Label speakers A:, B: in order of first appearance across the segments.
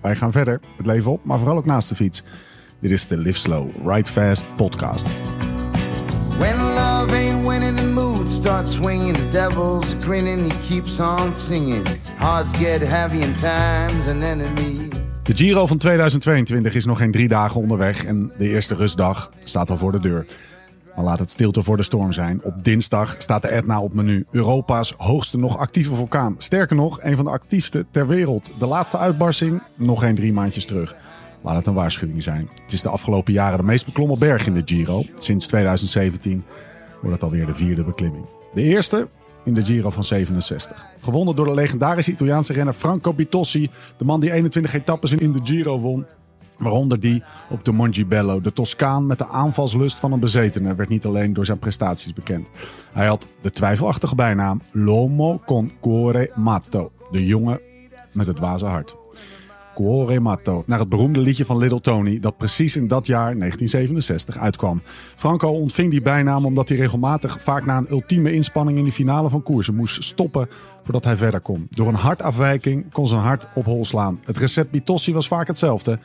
A: wij gaan verder, het leven op, maar vooral ook naast de fiets. Dit is de Live Slow, Ride Fast podcast.
B: When love ain't winning, the mood starts swinging. The devil's grinning, he keeps on singing. Hearts get heavy, and time's an enemy.
A: De Giro van 2022 is nog geen drie dagen onderweg en de eerste rustdag staat al voor de deur. Maar laat het stilte voor de storm zijn. Op dinsdag staat de Etna op menu. Europa's hoogste nog actieve vulkaan. Sterker nog, een van de actiefste ter wereld. De laatste uitbarsting nog geen drie maandjes terug. Laat het een waarschuwing zijn. Het is de afgelopen jaren de meest beklommen berg in de Giro. Sinds 2017 wordt het alweer de vierde beklimming. De eerste in de Giro van 67. Gewonnen door de legendarische Italiaanse renner Franco Bitossi. De man die 21 etappes in de Giro won. Waaronder die op de Mongibello. De Toscaan met de aanvalslust van een bezetene werd niet alleen door zijn prestaties bekend. Hij had de twijfelachtige bijnaam Lomo con cuore matto. De jongen met het dwaze hart. Cuore matto. Naar het beroemde liedje van Little Tony dat precies in dat jaar 1967 uitkwam. Franco ontving die bijnaam omdat hij regelmatig vaak na een ultieme inspanning in de finale van koersen moest stoppen voordat hij verder kon. Door een hartafwijking kon zijn hart op hol slaan. Het recept Bitossi was vaak hetzelfde.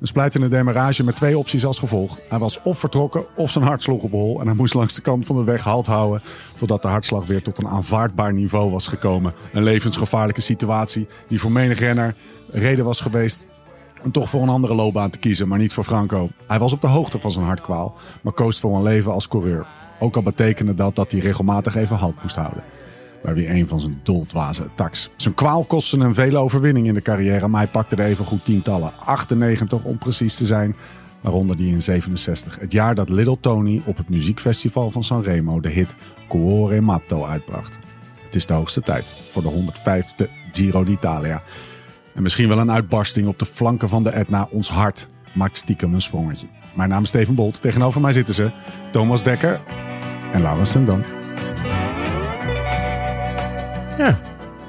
A: Een splijtende demarrage met twee opties als gevolg. Hij was of vertrokken of zijn hart sloeg op hol. En hij moest langs de kant van de weg halt houden. Totdat de hartslag weer tot een aanvaardbaar niveau was gekomen. Een levensgevaarlijke situatie die voor menig renner reden was geweest om toch voor een andere loopbaan te kiezen, maar niet voor Franco. Hij was op de hoogte van zijn hartkwaal, maar koos voor een leven als coureur. Ook al betekende dat dat hij regelmatig even halt moest houden. Maar weer een van zijn doldwaze attacks. Zijn kwaal kostte hem vele overwinningen in de carrière, maar hij pakte er even goed tientallen. 98 om precies te zijn, waaronder die in 67. Het jaar dat Little Tony op het muziekfestival van Sanremo de hit Cuore Matto uitbracht. Het is de hoogste tijd voor de 105e Giro d'Italia. En misschien wel een uitbarsting op de flanken van de Etna. Ons hart maakt stiekem een sprongetje. Mijn naam is Steven Bolt. Tegenover mij zitten ze Thomas Dekker en Laura Sendam.
C: Ja,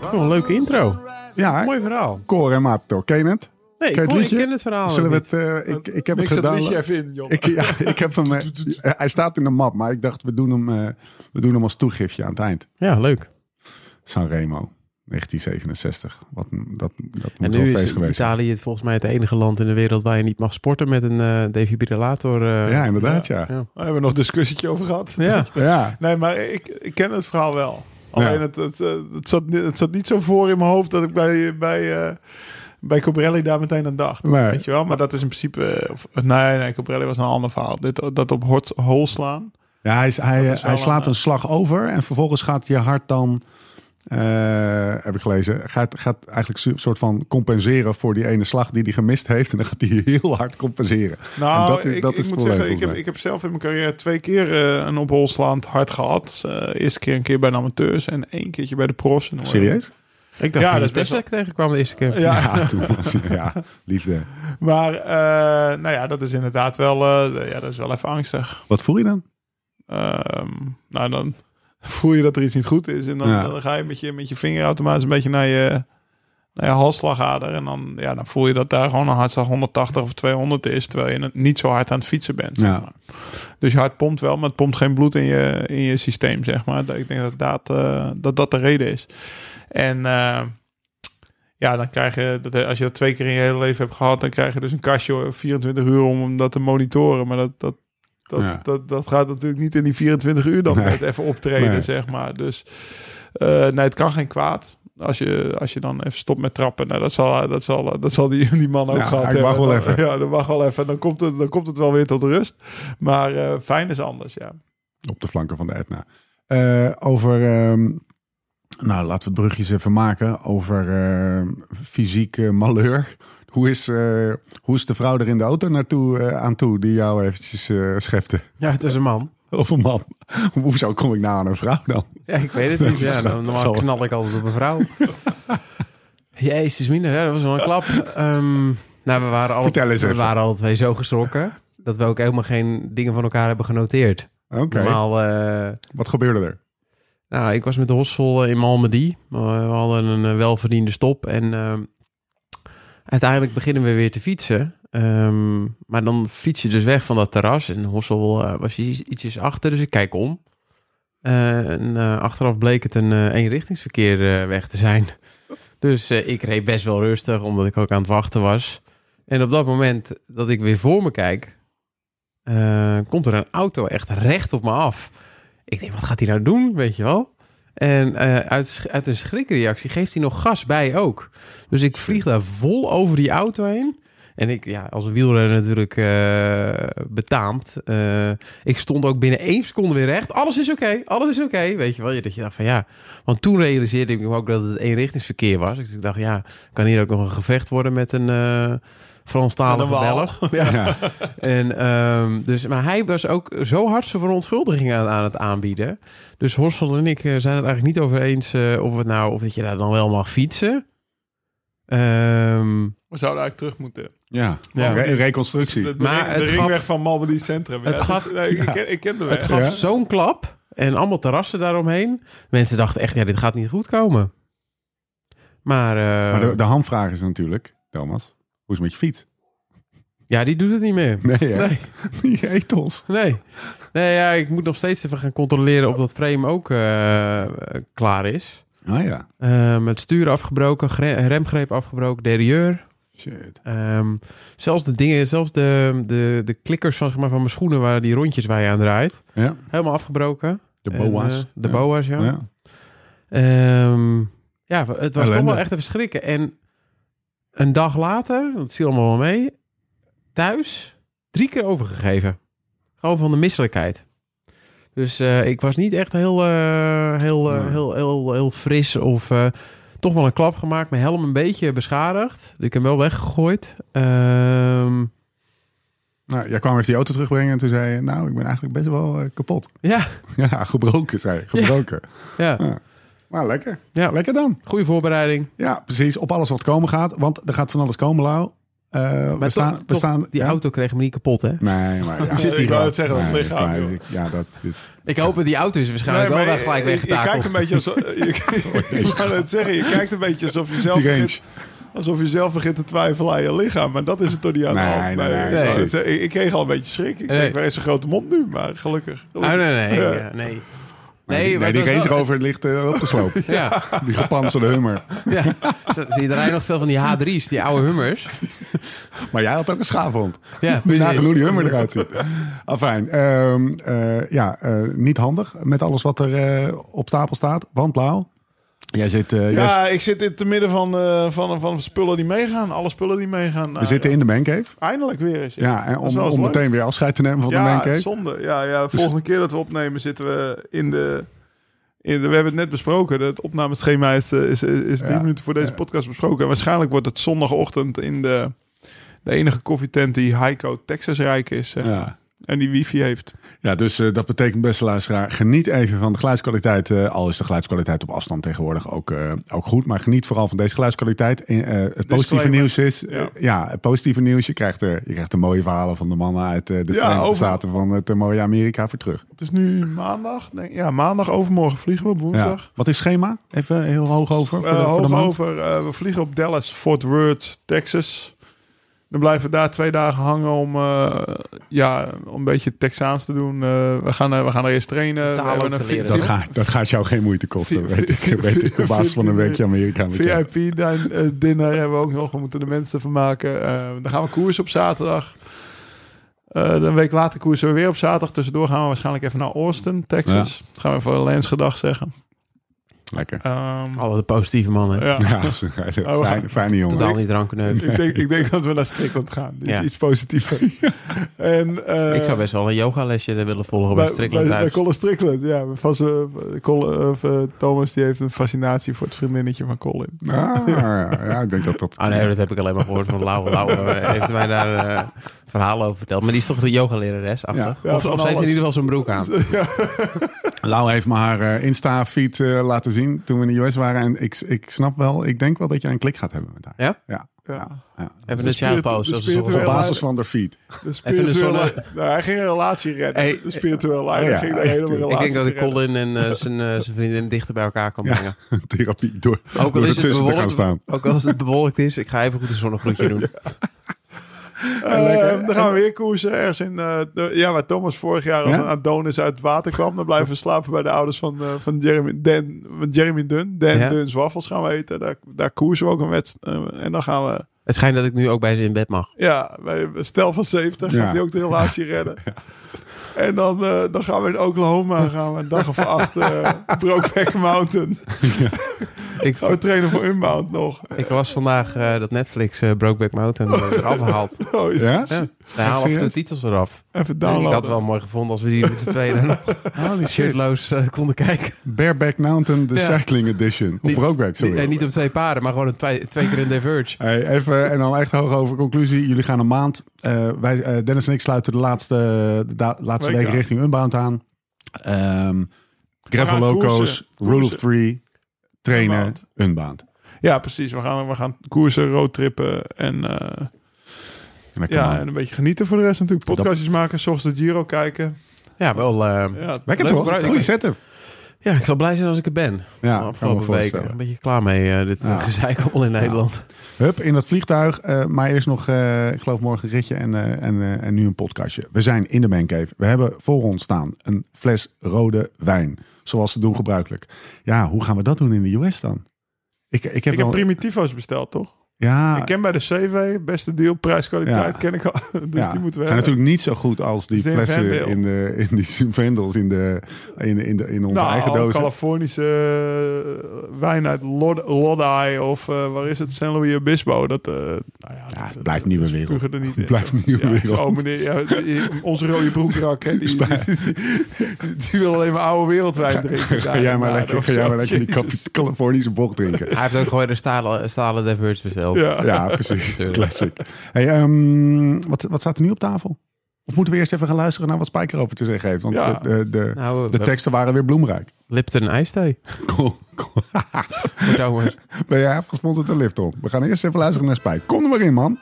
C: wel een Oh, leuke intro.
A: Ja, hè?
C: Mooi verhaal.
A: Core en Mato. Ken je het?
C: Nee, ik,
A: Ken je
C: hoor- ik
A: liedje?
C: ken het verhaal
A: Zullen we
C: niet.
A: het... eh, ik, ik heb
D: Mix
A: het
D: dat
A: gedaan.
D: liedje even in, joh.
A: Ik, ja, ik heb hem, eh, hij staat in de map, maar ik dacht, we doen, hem, eh, we doen hem als toegiftje aan het eind.
C: Ja, leuk.
A: Sanremo, 1967. Wat, een- dat, dat
C: En
A: moet wel
C: nu
A: een
C: is
A: feest geweest zijn.
C: Italië volgens mij het enige land in de wereld waar je niet mag sporten met een eh, defibrillator. eh.
A: Ja, inderdaad, ja.
C: Ja.
D: Daar hebben we nog een discussietje over gehad.
C: Ja.
A: Ja.
D: Nee, maar ik, ik ken het verhaal wel. Alleen het, het, eh, het, zat, ni- het zat niet zo voor in mijn hoofd dat ik bij, bij, eh bij Cobrelli daar meteen aan dacht.
A: Nee.
D: Weet je wel? Maar dat is in principe... eh, of- nee, nee, Cobrelli was een ander verhaal. Dit, dat op hort, hol slaan.
A: Ja, hij, is- hij,
D: Dat is wel
A: hij slaat
D: een, eh,
A: een slag over en vervolgens gaat je hart dan, eh, heb ik gelezen, gaat, gaat eigenlijk een soort van compenseren voor die ene slag die hij gemist heeft. En dan gaat hij heel hard compenseren.
D: Nou,
A: en dat, is-
D: ik,
A: dat
D: ik
A: is het
D: moet
A: probleem
D: zeggen, ik
A: volgens
D: heb,
A: mij.
D: ik heb zelf in mijn carrière twee keer eh, een opholslaand hart gehad. Eh, eerste keer een keer bij de amateurs en één keertje bij de profs. En dan word je-
A: Serieus?
C: Ik dacht dat
D: Ja, dat
C: het
D: is best
C: best
D: wel-
C: ik tegenkwam de eerste keer.
D: Ja,
A: Ja, toen was ja, liefde.
D: maar eh, nou ja, dat is inderdaad wel, eh, ja, dat is wel even angstig.
A: Wat voel je dan?
D: Ehm, nou, dan voel je dat er iets niet goed is. En dan,
A: Ja.
D: dan ga je met, je met je vinger automatisch een beetje naar je, naar je halsslagader. En dan, ja, dan voel je dat daar gewoon een hartslag 180 of 200 is. Terwijl je niet zo hard aan het fietsen bent. zeg
A: Ja.
D: maar. Dus je hart pompt wel, maar het pompt geen bloed in je, in je systeem, zeg maar. Dat- Ik denk dat dat, eh, dat, dat de reden is. En eh, ja, dan krijg je, dat, eh, als je dat twee keer in je hele leven hebt gehad, dan krijg je dus een kastje 24 uur om dat te monitoren. Maar dat, dat, dat,
A: Ja.
D: dat, dat gaat natuurlijk niet in die 24 uur dan
A: Nee.
D: net even optreden,
A: Nee.
D: zeg maar. Dus eh, nee, het kan geen kwaad. Als je, als je dan even stopt met trappen, nou, dat, zal, dat, zal, dat zal die, die man ook
A: Ja,
D: gehad
A: hij mag
D: hebben.
A: wel even.
D: Ja, dat mag wel even. Dan komt het, dan komt het wel weer tot rust. Maar eh, fijn is anders, ja.
A: Op de flanken van de Etna. Eh, over, ehm, nou laten we het brugjes even maken, over ehm, fysiek eh, malheur. Hoe is, eh, hoe is de vrouw er in de auto naartoe, eh, aan toe die jou eventjes eh, schepte?
C: Ja, het is een man.
A: Of een man? Hoezo kom ik nou aan een vrouw dan?
C: Ja, ik weet het niet. Ja,
A: Dat
C: dan- normaal
A: zal-
C: knal ik altijd op een vrouw. Jezus, minder. Ja, dat was wel een klap. Ehm, Nou, we waren, al,
A: Vertel eens
C: we
A: even.
C: waren alle twee zo geschrokken dat we ook helemaal geen dingen van elkaar hebben genoteerd.
A: Oké,
C: Normaal, eh,
A: wat gebeurde er?
C: nou, ik was met de hostel eh, in Malmedy. We hadden een eh, welverdiende stop en eh, uiteindelijk beginnen we weer te fietsen. Ehm, maar dan fiets je dus weg van dat terras en hostel eh, was iets- ietsjes achter, dus ik kijk om. Eh, en eh, achteraf bleek het een eh, eenrichtingsverkeer eh, weg te zijn. Dus eh, ik reed best wel rustig, omdat ik ook aan het wachten was. En op dat moment dat ik weer voor me kijk, eh, komt er een auto echt recht op me af. Ik denk, wat gaat hij nou doen, weet je wel? En eh, uit, sch- uit een schrikreactie geeft hij nog gas bij ook. Dus ik vlieg daar vol over die auto heen. En ik, ja, als een wielrenner natuurlijk eh, betaamd. eh, ik stond ook binnen één seconde weer recht. Alles is oké, alles is oké. Weet je wel, Je- dat je dacht van ja. Want toen realiseerde ik me ook dat het eenrichtingsverkeer was. Dus ik dacht, ja, kan hier ook nog een gevecht worden met een eh Franstalige
D: Met een Waal.
C: Belg? Ja.
A: Ja.
C: En, ehm, dus, maar hij was ook zo hard zijn verontschuldigingen aan, aan het aanbieden. Dus Horsel en ik eh, zijn het eigenlijk niet over eens eh, of, het nou, of dat je daar dan wel mag fietsen. Ehm,
D: We zouden eigenlijk terug moeten.
A: Ja,
C: Ja.
A: Re- reconstructie.
D: De, de
C: Maar
D: ring-
C: het
D: de
C: gaf-
D: ringweg van Malmedy Centrum.
C: Het
D: Ja,
C: gaf-
D: dus, nee, ik, ken, ik ken de weg.
C: het gaf
A: Ja.
C: zo'n klap en allemaal terrassen daaromheen. Mensen dachten echt, ja, dit gaat niet goed komen. Maar, eh,
A: Maar de, de hamvraag is natuurlijk, Thomas, hoe is het met je fiets?
C: ja, die doet het niet meer.
A: Nee, hè?
C: Nee.
A: Die etels.
C: Nee. Nee, ja, ik moet nog steeds even gaan controleren of dat frame ook eh, klaar is.
A: Ah ja,
C: Eh, met stuur afgebroken, gre- remgreep afgebroken, derieur.
A: shit.
C: Ehm, zelfs de dingen, zelfs de, de, de klikkers van, zeg maar, van mijn schoenen waren die rondjes waar je aan draait.
A: Ja.
C: Helemaal afgebroken.
A: De
C: En,
A: boa's.
C: eh, de
A: Ja.
C: boa's, ja.
A: Ja.
C: Ehm, ja, het was toch
A: Ellende.
C: wel echt even schrikken. En een dag later, dat viel allemaal wel mee, thuis drie keer overgegeven. Gewoon van de misselijkheid. Dus eh, ik was niet echt heel, eh, heel, eh,
A: Nee.
C: heel, heel, heel fris of eh, toch wel een klap gemaakt. Mijn helm een beetje beschadigd. Ik heb hem wel weggegooid. Ehm,
A: Nou, jij kwam even die auto terugbrengen en toen zei je, nou, ik ben eigenlijk best wel eh, kapot.
C: ja,
A: Ja, gebroken, zei je. Gebroken.
C: ja,
A: Ja. Maar lekker.
C: Ja.
A: Lekker dan.
C: goede voorbereiding.
A: Ja, precies. Op alles wat komen gaat. Want er gaat van alles komen, Lau. Eh, we
C: Maar
A: staan,
C: toch,
A: we
C: toch,
A: staan,
C: die
A: ja?
C: auto kreeg me niet kapot, hè?
A: Nee, maar ja.
D: Zit hier Ik wou wel. het zeggen, dat
A: Nee,
D: lichaam,
A: maar
D: joh.
A: ik- Ja, dat... dit-
C: Ik hoop dat die auto is waarschijnlijk
D: Nee,
C: wel
D: maar
C: daar gelijk
D: je- je- Je kijkt
C: weggetakeld.
D: een beetje alsof... je- ik wou net zeggen, je kijkt een beetje alsof je zelf...
A: Die range.
D: begint- Alsof je zelf begint te twijfelen aan je lichaam. Maar dat is het toch niet aan de
A: Nee, nee,
D: hand.
A: nee,
D: ik
C: nee.
D: wou net zeggen, Ik, ik kreeg al een beetje schrik. Ik
C: Nee.
D: denk, waar is zijn grote mond nu? Maar gelukkig.
C: Oh, nee,
D: gelukkig.
C: nee,
D: Ja.
C: ja, nee.
A: Nee,
C: maar
A: die
C: het was
A: Range
C: wel-
A: Rover ligt eh, op de sloop.
C: Ja,
A: Die gepantserde hummer.
C: ja. Zie je, er rijden nog veel van die H3's, die oude Hummers.
A: Maar jij had ook een schaafhond.
C: Ja,
A: Nagenoeg hoe die hummer eruit ziet. Afijn. ehm, eh, ja, eh, niet handig met alles wat er eh, op stapel staat. Want Lau, jij zit... eh, jij
D: Ja, ik zit in het midden van, eh, van, van spullen die meegaan. Alle spullen die meegaan. Nou,
A: We zitten in de mancave.
D: Eindelijk weer eens.
A: Ja, en
D: Dat is
A: om,
D: wel eens
A: om
D: leuk.
A: meteen weer afscheid te nemen van de Dus-
D: ja,
A: mancave.
D: zonde. Ja, ja, volgende keer dat we opnemen zitten we in de... In de we hebben het net besproken. Het opnameschema is, eh, is, is, is drie
A: Ja.
D: minuten voor deze podcast besproken. En waarschijnlijk wordt het zondagochtend in de, de enige koffietent die Heiko Texas rijk is. zeg.
A: Ja.
D: En die wifi heeft.
A: Ja, dus eh, dat betekent, beste luisteraar, geniet even van de geluidskwaliteit. Eh, al is de geluidskwaliteit op afstand tegenwoordig ook, eh, ook goed. Maar geniet vooral van deze geluidskwaliteit. En, eh, het positieve
D: Disclaimer.
A: nieuws is, eh,
D: Ja.
A: ja, het positieve nieuws. Je krijgt, er, je krijgt de mooie verhalen van de mannen uit eh, de
D: Ja,
A: Verenigde
D: over-
A: Staten van het eh, mooie Amerika voor terug.
D: Het is nu maandag. Denk, ja, maandag overmorgen vliegen we op
A: Ja.
D: woensdag.
A: Wat is schema? Even heel hoog over voor de,
D: Eh,
A: voor de maand.
D: hoogover, eh, we vliegen op Dallas, Fort Worth, Texas. Dan blijven we daar twee dagen hangen om, eh, ja, om een beetje Texaans te doen. Eh, we, gaan, eh, we gaan er eerst trainen.
C: Taal
D: we hebben
C: ook te
D: vi-
C: leren.
A: Dat gaat, dat gaat jou geen moeite kosten,
D: Vier-
A: weet ik. Weet ik op basis van een weekje Amerika. met jou.
D: VIP-dinner eh, hebben we ook nog. We moeten de mensen van maken. Eh, dan gaan we koers op zaterdag. Eh, een week later koersen we weer op zaterdag. Tussendoor gaan we waarschijnlijk even naar Austin, Texas. Gaan we even Lens gedag zeggen.
A: Lekker.
D: Ehm,
C: Alle de Oh, positieve mannen.
D: ja.
A: Ja, dat is een hele
D: Oh,
A: fijne, fijne jongen.
C: Totaal niet drankenneuk.
D: Ik denk, ik denk dat we naar Strickland gaan. Dit is
C: Ja.
D: iets positiever. en, eh,
C: Ik zou best wel een yogalesje willen volgen bij Strickland
D: bij, bij
C: thuis.
D: Colin Strickland, ja. Van z'n- Colin- of, eh, Thomas die heeft een fascinatie voor het vriendinnetje van Colin. Nou,
A: Ah, ja, ik denk dat dat...
C: Ah nee, dat heb ik alleen maar gehoord van Lauwe. Lauwe eh, heeft mij daar eh verhalen over verteld. Maar die is toch de yogalerares achter?
D: Ja,
C: of
D: van
C: of ze heeft in
D: alles.
C: ieder geval zijn broek aan.
A: Lau heeft me haar eh, Insta-feed eh, laten zien toen we in de US waren. En ik, ik snap wel, ik denk wel dat jij een klik gaat hebben met haar.
C: Ja?
A: Ja.
D: Ja.
A: Ja. Dus
C: Even dus-
D: de
C: een
D: spirit-
C: sjaalpauze.
D: de
C: als het zo-
A: Op
D: spirituele-
A: basis van de feed.
D: De
C: spirituele-
D: spirituele... Nou, hij ging een relatie redden.
C: Hey, oh
D: de spirituele leider
A: ja,
D: ging de
A: echt,
D: hele
A: tuurlijk.
D: relatie
C: Ik denk dat ik
D: redden.
C: Colin en eh, zijn, eh, zijn vriendin dichter bij elkaar kan
A: Ja.
C: brengen.
A: Therapie door,
C: Ook
A: door
C: al, is het
A: ertussen te gaan
C: bewolkt,
A: staan.
C: ook al als het bewolkt is, ik ga even goed een zonnegroetje doen.
D: Eh, dan gaan we weer koersen ergens in... eh, de- ja, waar Thomas vorig jaar als
A: Ja?
D: een Adonis uit het water kwam... dan blijven we slapen bij de ouders van, eh, van Jeremy, Dan, van Jeremy Dunn. Dan
C: Ja.
D: Dunn's waffels gaan we eten. Daar, daar koersen we ook een wedstrijd. en dan gaan we...
C: Het schijnt dat ik nu ook bij ze in bed mag.
D: Ja, bij een stel van 70
A: Ja.
D: gaat hij ook de relatie redden. En dan, eh, dan gaan we in Oklahoma gaan we een dag of acht eh Brokeback Mountain.
C: Ik,
D: Gaan we trainen voor Unbound nog.
C: ik las vandaag eh, dat Netflix eh, Brokeback Mountain eh, eraf haalt.
D: Oh, ja.
A: Ja?
C: Ja, ze halen af en toe
A: serieus?
C: titels eraf.
D: Even
C: ik had
D: downloaden.
C: het wel mooi gevonden als we die met z'n tweeën nog
A: Holy shit.
C: shirtloos eh, konden kijken.
A: Bareback Mountain, de
D: Ja.
A: cycling edition. Of
C: Niet-
A: Brokeback, sorry.
C: Niet- En niet op twee paarden, maar gewoon een twee, twee keer een diverge.
A: Hey, even en dan echt hoog over conclusie. Jullie gaan een maand. eh, wij, eh, Dennis en ik sluiten de laatste, de da- laatste
D: Week
A: week
D: aan.
A: richting Unbound aan. Ehm Gravel
D: gaan
A: Loco's,
D: koersen.
A: Rule of
D: Koersen.
A: Three, trainen, Unbound.
D: Unbound. Ja, precies. We gaan, we gaan koersen, roadtrippen en, eh,
A: En dat kan
D: ja,
A: wel.
D: en een beetje genieten voor de rest natuurlijk. Podcastjes maken, s ochtends de Giro kijken.
C: Ja, wel. eh,
D: Ja,
A: Lekker
C: Leuk,
A: toch?
C: bruik-
A: Goeie setup.
C: ja, ik zal blij zijn als ik er ben.
D: Nou,
A: Ja, kan ik me
C: afgelopen week
A: voorstellen.
C: een beetje klaar mee, eh, dit
A: Ja.
C: eh, gezeik allemaal in Nederland.
A: Hup, in dat vliegtuig. eh, maar eerst nog, eh, ik geloof morgen een ritje en, eh, en, eh, en nu een podcastje. We zijn in de mancave. We hebben voor ons staan een fles rode wijn. Zoals ze doen gebruikelijk. Ja, hoe gaan we dat doen in de US dan? Ik, ik heb
D: Ik heb
A: wel...
D: Primitivo's besteld, toch?
A: ja,
D: Ik ken bij de CV, beste deal, prijskwaliteit
A: Ja.
D: ken ik al. Dus
A: ja,
D: die moeten we
A: zijn
D: hebben.
A: natuurlijk niet zo goed als die
D: Is dit een
A: flessen
D: Vendel?
A: in, de, in die vendels in, de, in, de- in, de, in onze
D: nou,
A: eigen dozen.
D: Californische eh, wijn uit Lod- Lodi of eh, waar is het? San Luis Obispo. Dat, eh nou ja,
A: Ja,
D: dat-
A: het blijft
D: dat
A: nieuwe
D: spugen
A: wereld.
D: er niet
A: Het
D: in.
A: blijft nieuwe
D: Ja,
A: wereld.
D: zo, meneer, ja, die- onze rode broekrak, hè, die, die, die, die wil alleen maar oude wereldwijn drinken.
A: Ga jij maar
D: daar
A: lekker,
D: of
A: ga jij
D: zo.
A: maar lekker die
D: Jezus.
A: Cali- Californische bocht drinken.
C: Hij heeft ook gewoon de
A: eh,
C: stalen, stalen diverge besteld.
D: Ja.
A: Ja, precies.
C: Tuurlijk.
A: Classic. Hey, ehm, wat, wat staat er nu op tafel? Of moeten we eerst even gaan luisteren naar wat Spijker over te zeggen heeft? Want
D: Ja.
A: de, de, de,
C: Nou,
A: de
C: de
A: teksten waren weer bloemrijk.
C: Lipton ijsthee.
A: Cool, cool.
C: Voor zomers.
A: Ben jij afgesponden de lift op? We gaan eerst even luisteren naar Spijker. Kom er maar in, man.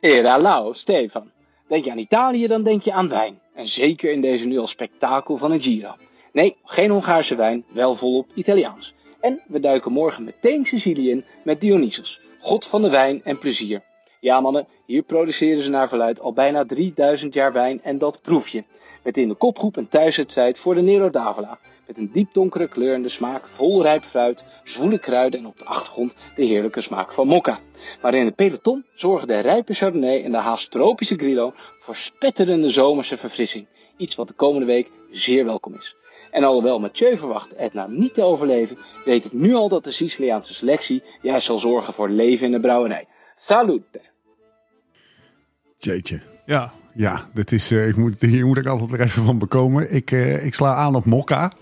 E: Era Lau, Stefan. Denk je aan Italië, dan denk je aan wijn. En zeker in deze nu al spektakel van een Giro. Nee, geen Hongaarse wijn, wel volop Italiaans. En we duiken morgen meteen Sicilië in met Dionysos, god van de wijn en plezier. Ja mannen, hier produceren ze naar verluid al bijna 3000 jaar wijn en dat proef je. Met in de kopgroep een thuiswedstrijd voor de Nero d'Avola. Met een diepdonkere kleur en de smaak vol rijp fruit, zwoele kruiden en op de achtergrond de heerlijke smaak van mokka. Maar in het peloton zorgen de rijpe Chardonnay en de haast tropische Grillo voor spetterende zomerse verfrissing. Iets wat de komende week zeer welkom is. En alhoewel Mathieu verwacht Edna niet te overleven, weet ik nu al dat de Siciliaanse selectie juist zal zorgen voor leven in de brouwerij. Salute!
A: Jeetje.
D: Ja.
A: Ja, dit is, eh, ik moet, hier moet ik altijd weer even van bekomen. Ik, eh, ik sla aan op Mokka.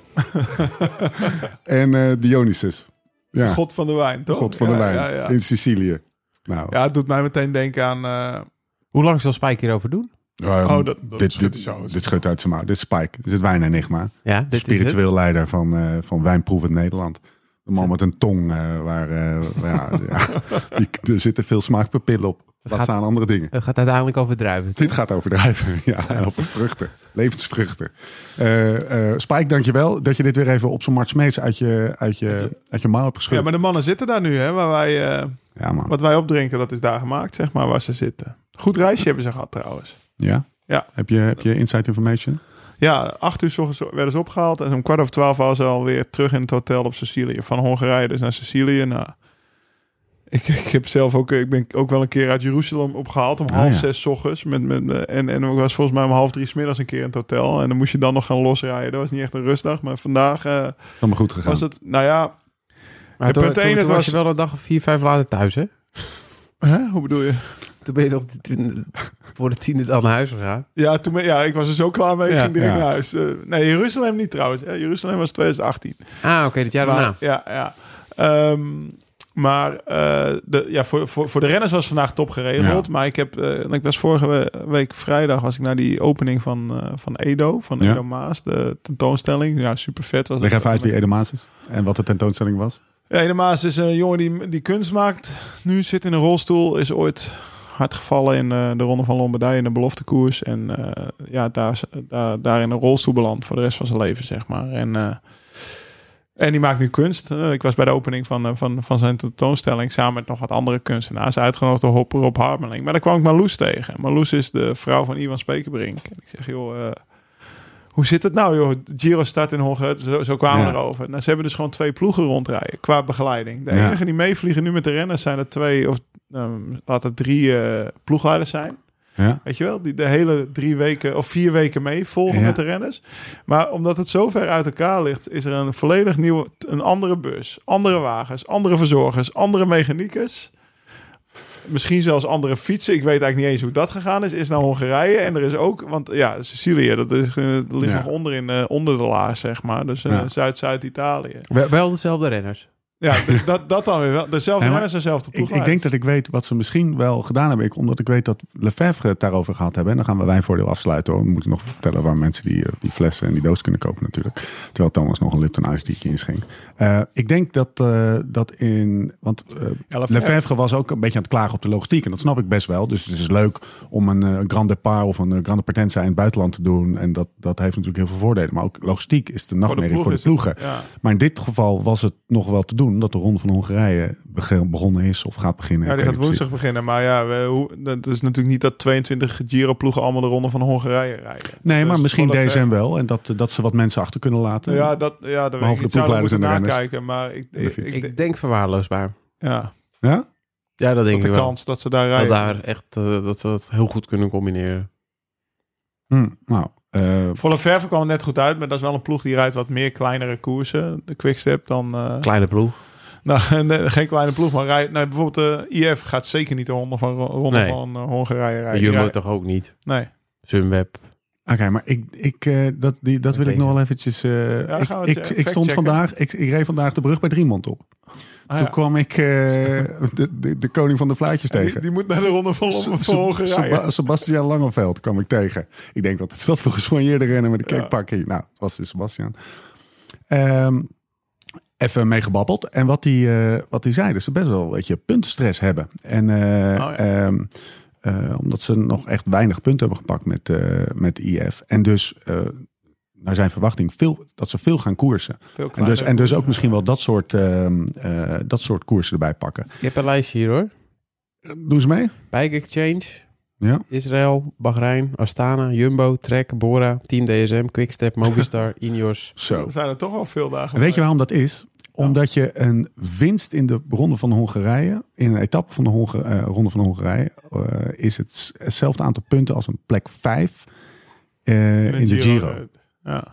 A: en eh, Dionysus. Ja, God,
D: God van de wijn, toch?
A: van de
D: Ja,
A: wijn.
D: Ja, ja.
A: In Sicilië. Nou,
D: Ja, het doet mij meteen denken aan... eh,
C: Hoe lang zal Spike hierover doen?
A: ehm,
D: oh, dat- dat
A: dit,
D: schudt
A: dit,
D: hij zo uit.
A: dit schudt uit zijn mouw. Dit is Spike. Dit is het wijnenigma.
C: Ja, dit is het.
A: spiritueel leider van, eh van Wijnproevend Nederland. De man met een tong eh, waar... eh, ja, ja, die, er zitten veel smaakpapillen op. Wat
C: gaat-
A: staan andere dingen.
C: Het gaat uiteindelijk over druiven.
A: Dit gaat over druiven, ja, en over vruchten, levensvruchten. Eh eh Spike, dankjewel dat je dit weer even op zo'n Mart Smeets uit je, uit, je, uit je mouw hebt geschud.
D: ja, maar de mannen zitten daar nu, hè, waar wij... eh,
A: Ja, man.
D: Wat wij opdrinken, dat is daar gemaakt, zeg maar, waar ze zitten. Goed reisje hebben ze gehad trouwens.
A: Ja?
D: Ja.
A: Heb, je, heb je inside information?
D: Ja, acht uur 's ochtends werden ze opgehaald. En om kwart over twaalf waren ze alweer terug in het hotel op Sicilië. Van Hongarije dus naar Sicilië. Nou, ik, ik, heb zelf ook, ik ben ook wel een keer uit Jeruzalem opgehaald. Om
A: Ah,
D: half
A: ja.
D: zes 's ochtends. Met, met, eh, en, en ik was volgens mij om half drie 's middags een keer in het hotel. En dan moest je dan nog gaan losrijden. Dat was niet echt een rustdag. Maar vandaag eh,
A: Allemaal goed gegaan.
D: was het, nou ja...
C: Maar toen,
D: punt
C: toen-
D: één,
C: toen
D: het
C: was
D: was-
C: je wel een dag of vier, vijf later thuis, hè?
D: Hè? Hoe bedoel je?
C: Toen ben je toch die twin- voor de tiende dan naar huis gegaan.
D: Ja, toen, ben- ja, ik was er zo klaar mee. Ik
C: Ja,
D: ging direct
A: ja.
D: naar huis. Eh, nee, Jeruzalem niet trouwens. hè. Jeruzalem was 2018.
C: Ah, oké, dit jaar
D: Maar-
A: Nou.
C: daarna.
D: Ja, ja. Ehm, maar eh, de, ja, voor, voor, voor de renners was vandaag top geregeld.
A: Ja.
D: Maar ik, heb, eh, ik was vorige we- week vrijdag was ik naar die opening van, eh, van Edo, van
A: Ja.
D: Edo Maas, de tentoonstelling. Ja, super vet was
A: Leg
D: dat.
A: even uit wie Edemaas is en wat de tentoonstelling was.
D: Ja, Maas is een jongen die, die kunst maakt. Nu zit in een rolstoel. Is ooit hard gevallen in eh, de Ronde van Lombardije in de beloftekoers. En eh, ja, daar, is- daar, daar in een rolstoel beland voor de rest van zijn leven, zeg maar. En, eh, en die maakt nu kunst. Eh, ik was bij de opening van, eh, van, van zijn tentoonstelling samen met nog wat andere kunstenaars. Uitgenodigd door Hop- Rob Harmeling. Maar daar kwam ik Marloes tegen. Marloes is de vrouw van Ivan Spekerbrink. En ik zeg, joh... eh, hoe zit het nou, joh? Giro start in Hongarije. Zo, zo kwamen
A: Ja.
D: we erover. Nou, ze hebben dus gewoon twee ploegen rondrijden qua begeleiding. De
A: Ja.
D: enige die meevliegen nu met de renners zijn er twee of ehm laat het drie eh, ploegleiders zijn.
A: Ja.
D: Weet je wel, die de hele drie weken of vier weken mee volgen
A: Ja.
D: met de renners. Maar omdat het zo ver uit elkaar ligt, is er een volledig nieuwe, een andere bus, andere wagens, andere verzorgers, andere mechaniekers. Misschien zelfs andere fietsen. Ik weet eigenlijk niet eens hoe dat gegaan is. Is naar Hongarije. En er is ook, want ja, Sicilië, dat, is, eh, dat ligt
A: Ja.
D: nog onder, in, eh, onder de laag, zeg maar. Dus eh,
A: Ja.
D: Zuid-Zuid-Italië.
C: Wel, wel dezelfde renners.
D: Ja, dus dat, dat dan weer wel. Dezelfde
A: Ja, maar
D: renners, dezelfde
A: Ik,
D: ploeg.
A: ik denk dat ik weet wat ze misschien wel gedaan hebben. Ik, omdat ik weet dat Lefebvre het daarover gehad hebben. En dan gaan we wijnvoordeel afsluiten. Hoor. We moeten nog vertellen waar mensen die, eh, die flessen en die doos kunnen kopen natuurlijk. Terwijl Thomas nog een Lipton Ice Tea'tje inschenkt. Eh, ik denk dat, eh, dat in... Want eh,
D: Lefebvre.
A: Lefebvre was ook een beetje aan het klagen op de logistiek. En dat snap ik best wel. Dus het is leuk om een eh, Grand Depart of een eh, Grande Partenza in het buitenland te doen. En dat, dat heeft natuurlijk heel veel voordelen. Maar ook logistiek is de nachtmerrie voor de
D: ploeg is
A: ploegen.
D: het- ja.
A: Maar in dit geval was het nog wel te doen omdat de Ronde van Hongarije bege- begonnen is of gaat beginnen.
D: Ja,
A: Ik
D: die
A: weet
D: gaat
A: niet
D: woensdag beginnen. Maar ja, we, hoe, dat is natuurlijk niet dat 22 Giro-ploegen allemaal de ronde van Hongarije rijden.
A: precies. Nee,
D: Dus
A: maar misschien
D: wat dat
A: deze
D: ver-
A: en wel. En dat, dat ze wat mensen achter kunnen laten.
D: Ja, dat, ja, dat weet ik
A: Behalve
D: niet.
A: de
D: Zou dat
A: ploegleiders en de
D: moeten
A: renners.
D: nakijken. Maar ik,
A: En de
D: ik,
A: fiets.
D: ik,
C: Ik denk verwaarloosbaar.
D: ja,
A: Ja?
C: Ja, dat
D: dat
C: denk
D: de
C: ik wel.
D: kans dat ze daar
C: Dat
D: rijden.
C: daar echt eh, dat ze dat heel goed kunnen combineren.
A: Hm, nou, eh,
D: Voor Lefebvre kwam het net goed uit, maar dat is wel een ploeg die rijdt wat meer kleinere koersen. De Quickstep dan... eh,
C: Kleine ploeg.
D: nou, nee, geen kleine ploeg, maar rijdt... Nou, bijvoorbeeld de IF gaat zeker niet de ronde van, ronde
C: Nee.
D: van eh, Hongarije rijden. Die
C: Jumbo
D: rijdt-
C: toch ook niet.
D: Nee.
C: Sunweb.
A: Oké, maar ik, ik, eh, dat, die, dat wil ik
C: Deze.
A: nog wel eventjes... eh,
D: dan
A: ik,
D: gaan we het,
A: ik,
D: eh,
A: ik stond
D: factchecken.
A: vandaag, ik, ik reed vandaag de brug bij Driemond op.
D: Ah,
A: Toen
D: ja.
A: kwam ik eh, de, de, de koning van de fluitjes tegen.
D: die, die moet naar de ronde van,
A: Se-
D: van
A: Se-
D: Hongarije.
A: Seba- Sebastian Langeveld kwam ik tegen. Ik denk, wat is dat voor geswanjeerde renner met een
D: Ja.
A: kikpakje? Nou, het was dus Sebastian. Ehm, even meegebabbeld. En wat hij eh, wat die zei, dat ze best wel een beetje puntenstress hebben. En eh,
D: Oh, ja.
A: ehm, eh, omdat ze nog echt weinig punten hebben gepakt met, eh, met IF. En dus... eh, naar zijn verwachting veel, dat ze veel gaan koersen.
D: Veel
A: En dus,
D: kleiner.
A: en dus ook misschien wel dat soort, ehm, eh, dat soort koersen erbij pakken.
C: Je hebt een lijstje hier hoor.
A: Doen ze mee?
C: Bike Exchange,
A: Ja.
C: Israël, Bahrein, Astana, Jumbo, Trek, Bora, Team DSM, Quickstep, Mobistar, Ineos.
A: Zo.
D: Er zijn er toch wel veel dagen.
A: Weet je waarom dat is? Omdat je een winst in de Ronde van Hongarije, in een etappe van de Honga- eh, Ronde van Hongarije, eh, is het s- hetzelfde aantal punten als een plek 5 in, de Giro.
D: Ja.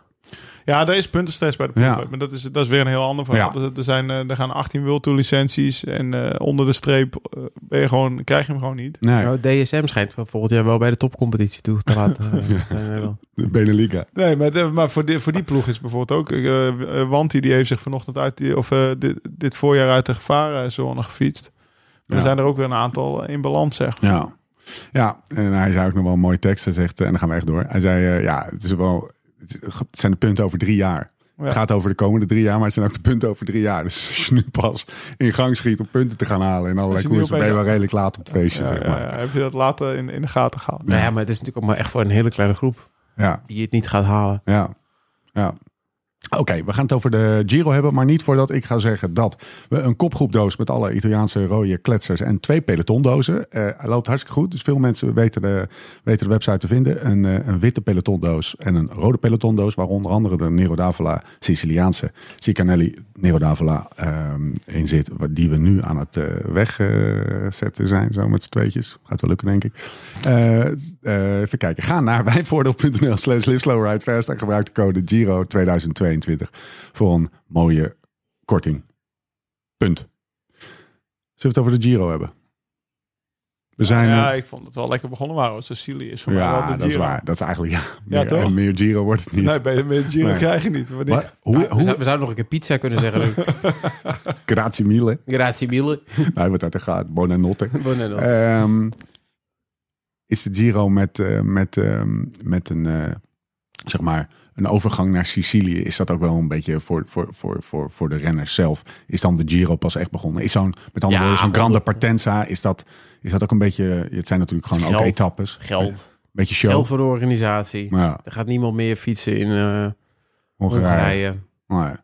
D: ja, daar is puntenstress bij de ploeg.
A: Ja.
D: Maar dat is, dat is weer een heel ander verhaal.
A: Ja.
D: Er- Er, zijn, eh, er gaan 18 World Tour licenties. En eh, onder de streep eh, ben je gewoon, krijg je hem gewoon niet.
A: Nee,
C: Nou, DSM schijnt wel volgend jaar wel bij de topcompetitie toe te laten. eh, zijn er wel.
A: de Beneliga.
D: Nee, maar, de- maar voor, die, voor die ploeg is bijvoorbeeld ook... eh, eh, Wanty die heeft zich vanochtend uit... Die, of eh, dit, dit voorjaar uit de gevarenzone gefietst. Maar
A: Ja.
D: Er zijn er ook weer een aantal eh, in balans, zeg maar.
A: Ja. Ja, en hij zei ook nog wel een mooie tekst. Hij zegt, eh, en dan gaan we echt door. Hij zei, eh, ja, het, is wel, het het zijn de punten over drie jaar. Het gaat over de komende drie jaar, maar het zijn ook de punten over drie jaar. Dus als je nu pas in gang schiet om punten te gaan halen en allerlei
D: je nu
A: koersen, ben je
D: opeens-
A: wel redelijk laat op het feestje.
D: Ja,
A: zeg
D: ja,
A: maar.
D: ja. Eh, Heb je dat later in, in de gaten gehouden?
C: Nou ja, maar het is natuurlijk ook maar echt voor een hele kleine groep
A: ja.
C: die het niet gaat halen.
A: Ja. ja. Oké, we gaan het over de Giro hebben, maar niet voordat ik ga zeggen dat we een kopgroepdoos met alle Italiaanse rode kletsers en twee pelotondozen. Eh hij loopt hartstikke goed, dus veel mensen weten de, weten de website te vinden. Een, eh, een witte pelotondoos en een rode pelotondoos, waar onder andere de Nero d'Avola Siciliaanse Cicanelli Nero d'Avola ehm, in zit, wat- die we nu aan het eh, wegzetten zijn, zo met z'n tweetjes. Gaat wel lukken, denk ik. Eh, eh, even kijken. Ga naar wijnvoordeel.nl slash liveslowridefast en gebruik de code GIRO 2022 voor een mooie korting. Punt. Zullen we het over de Giro hebben? We zijn...
D: Nou ja,
A: eh,
D: ik vond het wel lekker begonnen, maar hoor. Sicilië is voor mij wel
A: ja,
D: de Giro.
A: dat is waar. Dat is eigenlijk... Ja,
D: Ja,
A: meer,
D: toch?
A: meer Giro wordt het niet.
D: Nee, Ah, bij bij de Giro
A: Nee.
D: krijg je niet. Maar die-
A: Maar hoe...
C: we,
A: hoe
C: zou- we zouden nog een keer pizza kunnen zeggen.
A: grazie mille.
C: Grazie mille.
A: Hij wordt uit de gaat. Bonanotte.
C: Buonanotte.
A: eh, Ehm, is de Giro met, eh, met, ehm, met een eh, zeg maar, een overgang naar Sicilië, is dat ook wel een beetje voor, voor, voor, voor, voor de renners zelf. Is dan de Giro pas echt begonnen? Is zo'n, met andere
C: Ja,
A: woorden, zo'n
C: maar
A: Grande
C: toch.
A: Partenza, is dat, is dat ook een beetje, het zijn natuurlijk gewoon ook
C: Geld.
A: etappes.
C: Geld.
A: Beetje show.
C: Geld voor de organisatie.
A: eh, Maar ja,
C: Er gaat niemand meer fietsen in eh
A: Hongarije.
C: Hongarije.
A: Maar ja.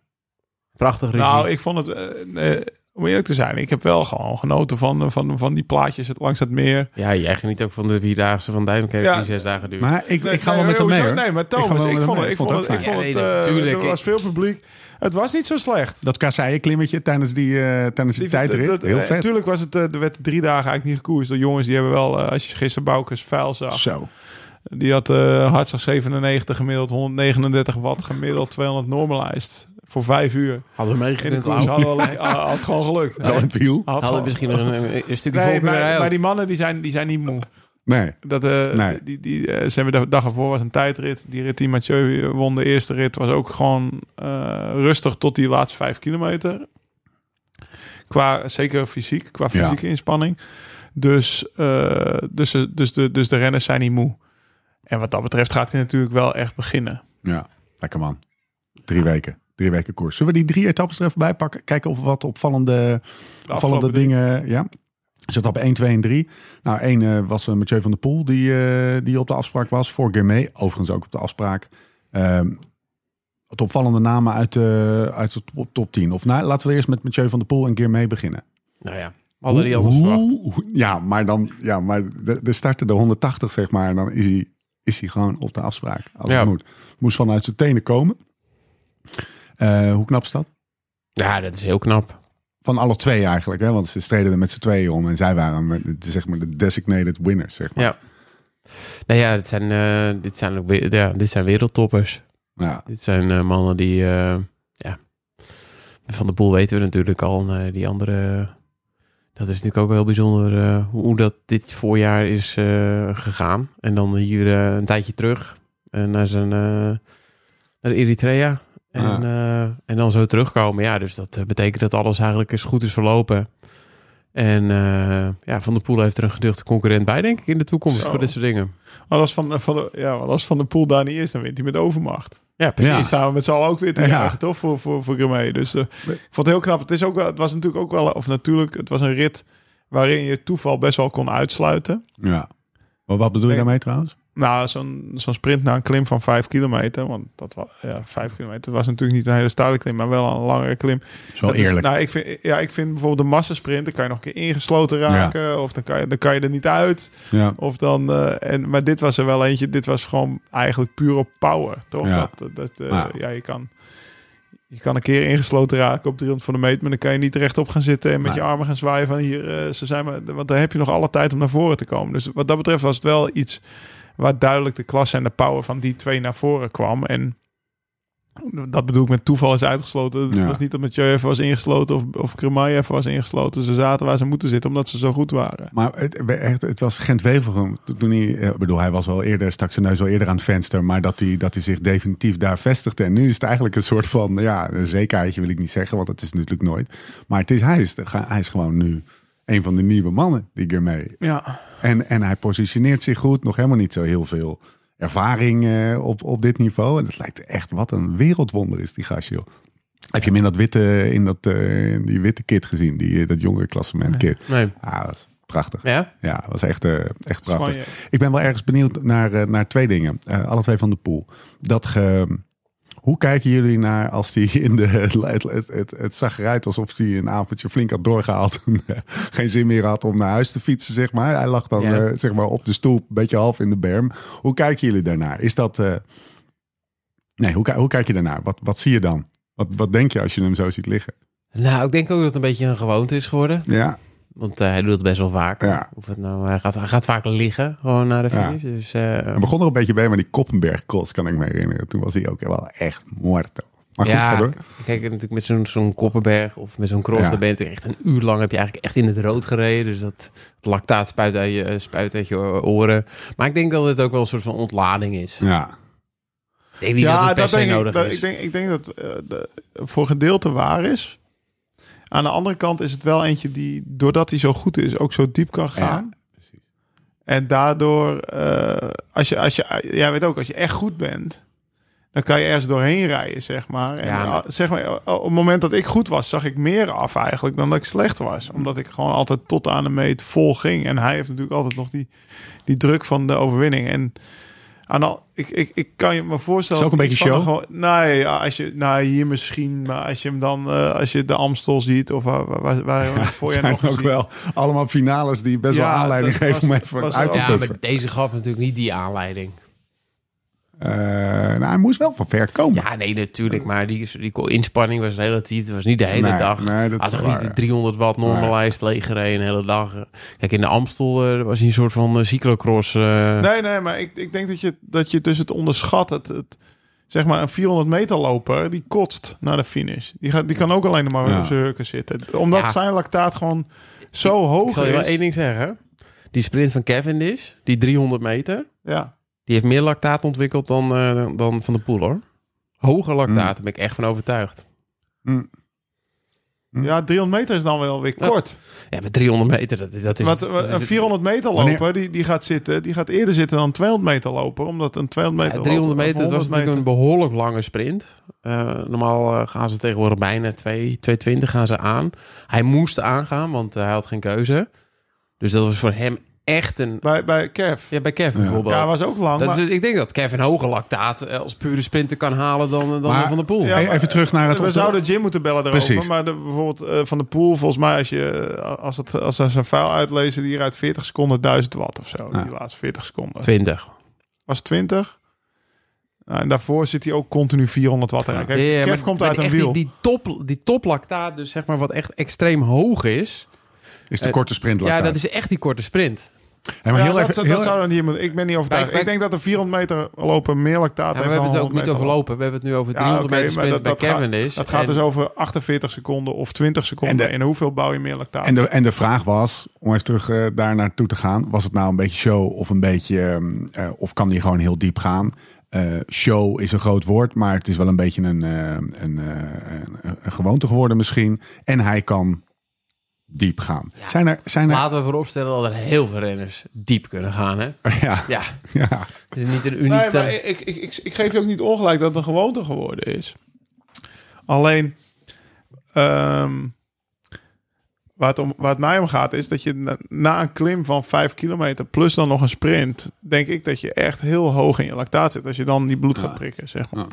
C: Prachtig regie.
D: Nou, ik vond het, eh, eh, om eerlijk te zijn, ik heb wel gewoon genoten van, van, van die plaatjes het- langs het meer.
C: Ja, jij geniet ook van de vierdaagse van Duinkerk
D: Ja.
C: die zes dagen duurt.
A: Maar ik, ik ga wel
D: Nee,
A: met hem
D: hoezo?
A: mee. hoor.
D: Nee, maar
A: ga wel
D: Thomas, ik
A: met hem
D: vond
A: mee.
D: het, ik vond het, ik
A: ook fijn.
D: vond het,
C: Ja, nee,
D: eh,
C: natuurlijk.
D: er was veel publiek. Het was niet zo slecht.
A: Dat kasseienklimmetje tijdens die, eh, tijdens die, tijdrit.
D: dat-
A: Heel
D: eh,
A: vet.
D: Tuurlijk was het, eh, er werd drie dagen eigenlijk niet gekoerst. De jongens die hebben wel, eh, als je gisteren Boukers vuil zag,
A: Zo.
D: die had eh hartslag 97 gemiddeld, 139 watt gemiddeld, 200 normalized voor vijf uur.
C: Hadden we
D: In de
C: meegekund.
D: koers
C: Hadden
D: had, wel, had, had gewoon gelukt.
A: Wel in het wiel?
D: Had
C: we
D: gewoon-
C: misschien nog een, een- een stukje
D: Nee,
C: volk
D: maar,
C: erbij
D: maar
C: ook.
D: die mannen die zijn, die zijn niet moe.
A: Nee.
D: Dat, eh,
A: Nee.
D: die, die, eh, ze hebben de dag ervoor was een tijdrit. Die rit die Mathieu won, de eerste rit, was ook gewoon eh, rustig tot die laatste vijf kilometer. Qua, zeker fysiek, qua
A: Ja.
D: fysieke inspanning. Dus, eh, dus, ze- dus, de, dus de renners zijn niet moe. En wat dat betreft gaat hij natuurlijk wel echt beginnen.
A: Ja. Lekker man. Drie weken. Drie weken koers. Zullen we die drie etappes er even bij pakken? Kijken of we wat opvallende, opvallende
D: afgelopen
A: dingen... Ja. Zit op 1, 2 en 3. Nou, 1 was eh, Mathieu van der Poel die, eh, die op de afspraak was. Voor Guermee, overigens ook op de afspraak. Ehm wat opvallende namen uit, eh, uit de top, top 10. Of nou, laten we eerst met Mathieu van der Poel en Guermee beginnen.
C: Nou ja, hadden die
A: Hoe-
C: anders verwacht.
A: hoe- hoe- Ja, maar dan, ja, maar de, de starter de 180 zeg maar, en dan is hij, is hij gewoon op de afspraak als
C: Ja.
A: het moet. Moest vanuit zijn tenen komen. Eh, hoe knap is dat?
C: Ja, dat is heel knap.
A: Van alle twee eigenlijk, hè? want ze streden er met z'n tweeën om en zij waren met- de, zeg maar de designated winners, zeg maar.
C: Ja. Nou ja, dit zijn, eh, dit zijn, ook, weer- ja, dit zijn wereldtoppers.
A: Ja.
C: Dit zijn eh, mannen die, eh, ja, van de boel weten we natuurlijk al. En, eh, die andere, eh, dat is natuurlijk ook wel heel bijzonder eh, hoe, hoe dat dit voorjaar is eh, gegaan. En dan hier eh, een tijdje terug eh, naar, zijn, eh, naar Eritrea. En,
A: Ja.
C: eh, en dan zo terugkomen. Ja, dus dat eh, betekent dat alles eigenlijk eens goed is verlopen. En eh, ja, Van der Poel heeft er een geduchte concurrent bij, denk ik, in de toekomst
D: Zo.
C: voor dit soort dingen.
D: Maar als van, van, de, ja, want als van de pool daar niet is, dan wint hij met overmacht.
C: Ja,
D: Ja.
A: Ja.
C: precies.
D: staan we met z'n allen ook weer te
A: Ja.
D: jagen, toch? Voor, voor, voor Grimmie. Dus eh, ik vond het heel knap. Het, is ook wel, het was natuurlijk ook wel, of natuurlijk, het was een rit waarin je toeval best wel kon uitsluiten.
A: ja. Maar wat bedoel je
D: Nee.
A: daarmee trouwens?
D: Nou, zo'n zo'n sprint naar een klim van vijf kilometer. Want dat was, ja, vijf kilometer was natuurlijk niet een hele steile klim, maar wel een langere klim.
A: Zo
D: Dat is-
A: eerlijk.
D: nou, ik vind, ja, ik vind bijvoorbeeld de massasprint, dan kan je nog een keer ingesloten raken. Of dan kan, je, dan kan je er niet uit.
A: ja.
D: Of dan, eh, en, maar dit was er wel eentje. Dit was gewoon eigenlijk puur op power, toch?
A: Ja.
D: Dat, dat, eh,
A: Ja.
D: ja, je kan... Je kan een keer ingesloten raken op 300 van de meter, maar dan kan je niet rechtop gaan zitten en met
A: Nee.
D: je armen gaan zwaaien van hier, eh, ze zijn maar, want dan heb je nog alle tijd om naar voren te komen. Dus wat dat betreft was het wel iets waar duidelijk de klasse en de power van die twee naar voren kwam. En dat bedoel ik met toeval is uitgesloten. Het
A: Ja.
D: was niet dat Mathieu even was ingesloten of, of Cremaille even was ingesloten. Ze zaten waar ze moeten zitten omdat ze zo goed waren.
A: Maar het, echt, het was Gent Wevergem. Toen hij, eh, ik bedoel, hij was wel eerder, stak zijn neus wel eerder aan het venster. Maar dat hij, dat hij zich definitief daar vestigde. En nu is het eigenlijk een soort van, ja, een zekerheidje wil ik niet zeggen. Want dat is natuurlijk nooit. Maar het is, hij, is, de- hij is gewoon nu een van de nieuwe mannen, die Guermee.
D: Ja,
A: En, en hij positioneert zich goed. Nog helemaal niet zo heel veel ervaring eh, op, op dit niveau. En het lijkt echt, wat een wereldwonder is die gast, joh. Heb je hem in, dat witte, in, dat, eh, in die witte kit gezien? Die, eh, dat jongere klassement kit.
C: Nee.
A: Ah, dat is prachtig.
C: Ja?
A: Ja, dat was echt, eh, echt prachtig.
D: Spanje.
A: Ik ben wel ergens benieuwd naar, eh, naar twee dingen. Eh, alle twee van de pool. Dat ge, hoe kijken jullie naar als die in de. Het, het, het, het zag eruit alsof hij een avondje flink had doorgehaald. En, eh, geen zin meer had om naar huis te fietsen, zeg maar. Hij lag dan
C: Ja.
A: eh, zeg maar op de stoel, een beetje half in de berm. Hoe kijken jullie daarnaar? Is dat. eh, nee, hoe, ki- hoe kijk je daarnaar? Wat, wat zie je dan? Wat, wat denk je als je hem zo ziet liggen?
C: Nou, ik denk ook dat het een beetje een gewoonte is geworden.
A: Ja,
C: Want eh, hij doet het best wel vaak.
A: Ja.
C: Of het nou, hij, gaat, hij gaat vaak liggen gewoon naar de finish. Dus, eh,
A: hij begon er een beetje bij, maar die Koppenberg cross kan ik me herinneren. Toen was hij ook wel echt muerto. Maar goed, ga
C: ja,
A: door.
C: kijk, natuurlijk met zo'n zo'n Koppenberg of met zo'n cross,
A: Ja.
C: dan ben je natuurlijk echt een uur lang heb je eigenlijk echt in het rood gereden. Dus dat het lactaat spuit uit je, eh, spuit uit je eh, oren. Maar ik denk dat het ook wel een soort van ontlading is.
A: Ja,
C: Ik denk niet dat het per se
D: denk ik-
C: nodig
D: dat-
C: is.
D: Ik denk, ik denk dat eh, de- voor gedeelte waar is. Aan de andere kant is het wel eentje die, doordat hij zo goed is, ook zo diep kan gaan. En daardoor, eh, als, je, als je, jij weet ook, als je echt goed bent, dan kan je ergens doorheen rijden, zeg maar. En,
C: Ja, maar-
D: ah, zeg maar. Op het moment dat ik goed was, zag ik meer af eigenlijk dan dat ik slecht was. Omdat ik gewoon altijd tot aan de meet vol ging. En hij heeft natuurlijk altijd nog die, die druk van de overwinning. En aan al, ik, ik, ik kan je me voorstellen...
A: Is ook een
D: dat
A: beetje
D: iets van
A: show?
D: de Gewoon, nou ja, als je, nou hier misschien. Maar als je hem dan, eh, als je de Amstel ziet of waar, waar, waar, waar je voor je
A: zijn
D: nog
A: ook
D: gezien.
A: wel allemaal finales die best
D: Ja,
A: wel aanleiding
D: dat
A: geven om
D: was-
A: even
D: was
A: uit te
D: ook-
A: puffen.
D: Ja,
C: deze gaf natuurlijk niet die aanleiding.
A: Eh, nou, hij moest wel van ver komen.
C: Ja, nee, natuurlijk. Maar die, die inspanning was relatief. Het was niet de hele
A: Nee,
C: dag.
A: nee, dat
C: Had
A: is
C: toch
A: waar.
C: niet de 300 watt normalized leeggereden de hele dag. Kijk, in de Amstel eh, was hij een soort van eh, cyclocross. eh,
D: Nee, nee, maar ik, ik denk dat je, dat je dus het onderschat. Het, het, zeg maar, een 400 meter loper, die kotst naar de finish. Die, gaat, die kan ook alleen maar
A: Ja.
D: op zijn hurken zitten. Omdat
C: Ja.
D: zijn lactaat gewoon zo hoog
C: Ik zal je wel
D: is.
C: één ding zeggen. Die sprint van Cavendish, die 300 meter,
D: Ja.
C: die heeft meer lactaat ontwikkeld dan, eh, dan- dan Van de Poel, hoor. Hoger lactaat,
A: Hmm.
C: daar ben ik echt van overtuigd.
A: Hm?
D: ja, 300 meter is dan wel weer
C: Ja.
D: kort.
C: Ja, met 300 meter, dat, dat is...
D: Want
C: dat is-
D: een 400 meter
A: Wanneer-
D: loper, die, die gaat zitten, die gaat eerder zitten dan een 200 meter loper. Omdat een 200 meter
C: Ja, 300
D: loper, of
C: meter, dat was
D: 100
C: natuurlijk een behoorlijk lange sprint. Eh, normaal eh, gaan ze tegenwoordig bijna 2, 220 gaan ze aan. Hij moest aangaan, want eh, hij had geen keuze. Dus dat was voor hem echt een...
D: Bij, bij Kev.
C: Ja, bij Kevin bijvoorbeeld.
D: Ja, was ook lang.
C: dat
D: maar-
C: is, ik denk dat Kevin hoger lactaat eh, als pure sprinter kan halen dan, eh, dan
A: Maar-
C: Van der Poel.
D: Ja,
A: Hey,
D: maar-
A: even terug naar het
D: we zouden Jim moeten bellen daarover.
A: Precies.
D: Maar de, bijvoorbeeld eh, van de pool, volgens mij, als, je, eh, als, het, als ze zijn vuil uitlezen, die rijdt 40 seconden 1000 watt of zo. Die laatste 40 seconden.
C: 20.
D: Was 20. Nou, en daarvoor zit hij ook continu 400 watt. En Kijk,
C: Ja,
D: Kev
C: maar-
D: komt
C: maar
D: uit een
C: echt
D: wiel.
C: Die, die, top, die toplactaat, dus zeg maar wat echt extreem hoog is.
A: Is de
C: Eh,
A: korte sprint
C: Ja, dat is echt die korte sprint.
A: maar
D: Ja,
A: heel
D: dat,
A: even,
D: zou-
A: heel
D: dat
A: even-
D: zou dan niet moeten. Ik ben niet overtuigd.
C: Kijk,
D: Ik denk dat de 400 meter lopen meer lactaat
C: Ja, maar
D: heeft
C: we hebben het
D: dan
C: ook niet
D: 100 meter
C: over
D: lopen.
C: lopen. We hebben het nu over
D: Ja,
C: 300
D: oké,
C: meter
D: maar
C: sprint bij
D: gaat-
C: Cavendish.
D: dat gaat
C: En-
D: dus over 48 seconden of 20 seconden.
A: En
D: En,
A: de-
D: hoeveel bouw je meer lactaat?
A: en, de, en de vraag was, om even terug eh, daar naartoe te gaan. Was het nou een beetje show of een beetje... ehm, eh, of kan die gewoon heel diep gaan? Eh, show is een groot woord, maar het is wel een beetje een, eh, een, eh, een, een gewoonte geworden misschien. En hij kan diep gaan. Zijn er... Zijn er
C: Laten we vooropstellen dat er heel veel renners diep kunnen gaan. Hè?
A: ja,
C: Ja,
A: ja.
C: het is niet eh, een uniek...
D: Nee, maar ik, ik, ik, ik geef je ook niet ongelijk dat het een gewoonte geworden is. Alleen, ehm, waar, het om, waar het mij om gaat, is dat je na, na een klim van 5 kilometer plus dan nog een sprint, denk ik dat je echt heel hoog in je lactaat zit. Als je dan die bloed gaat prikken, zeg maar.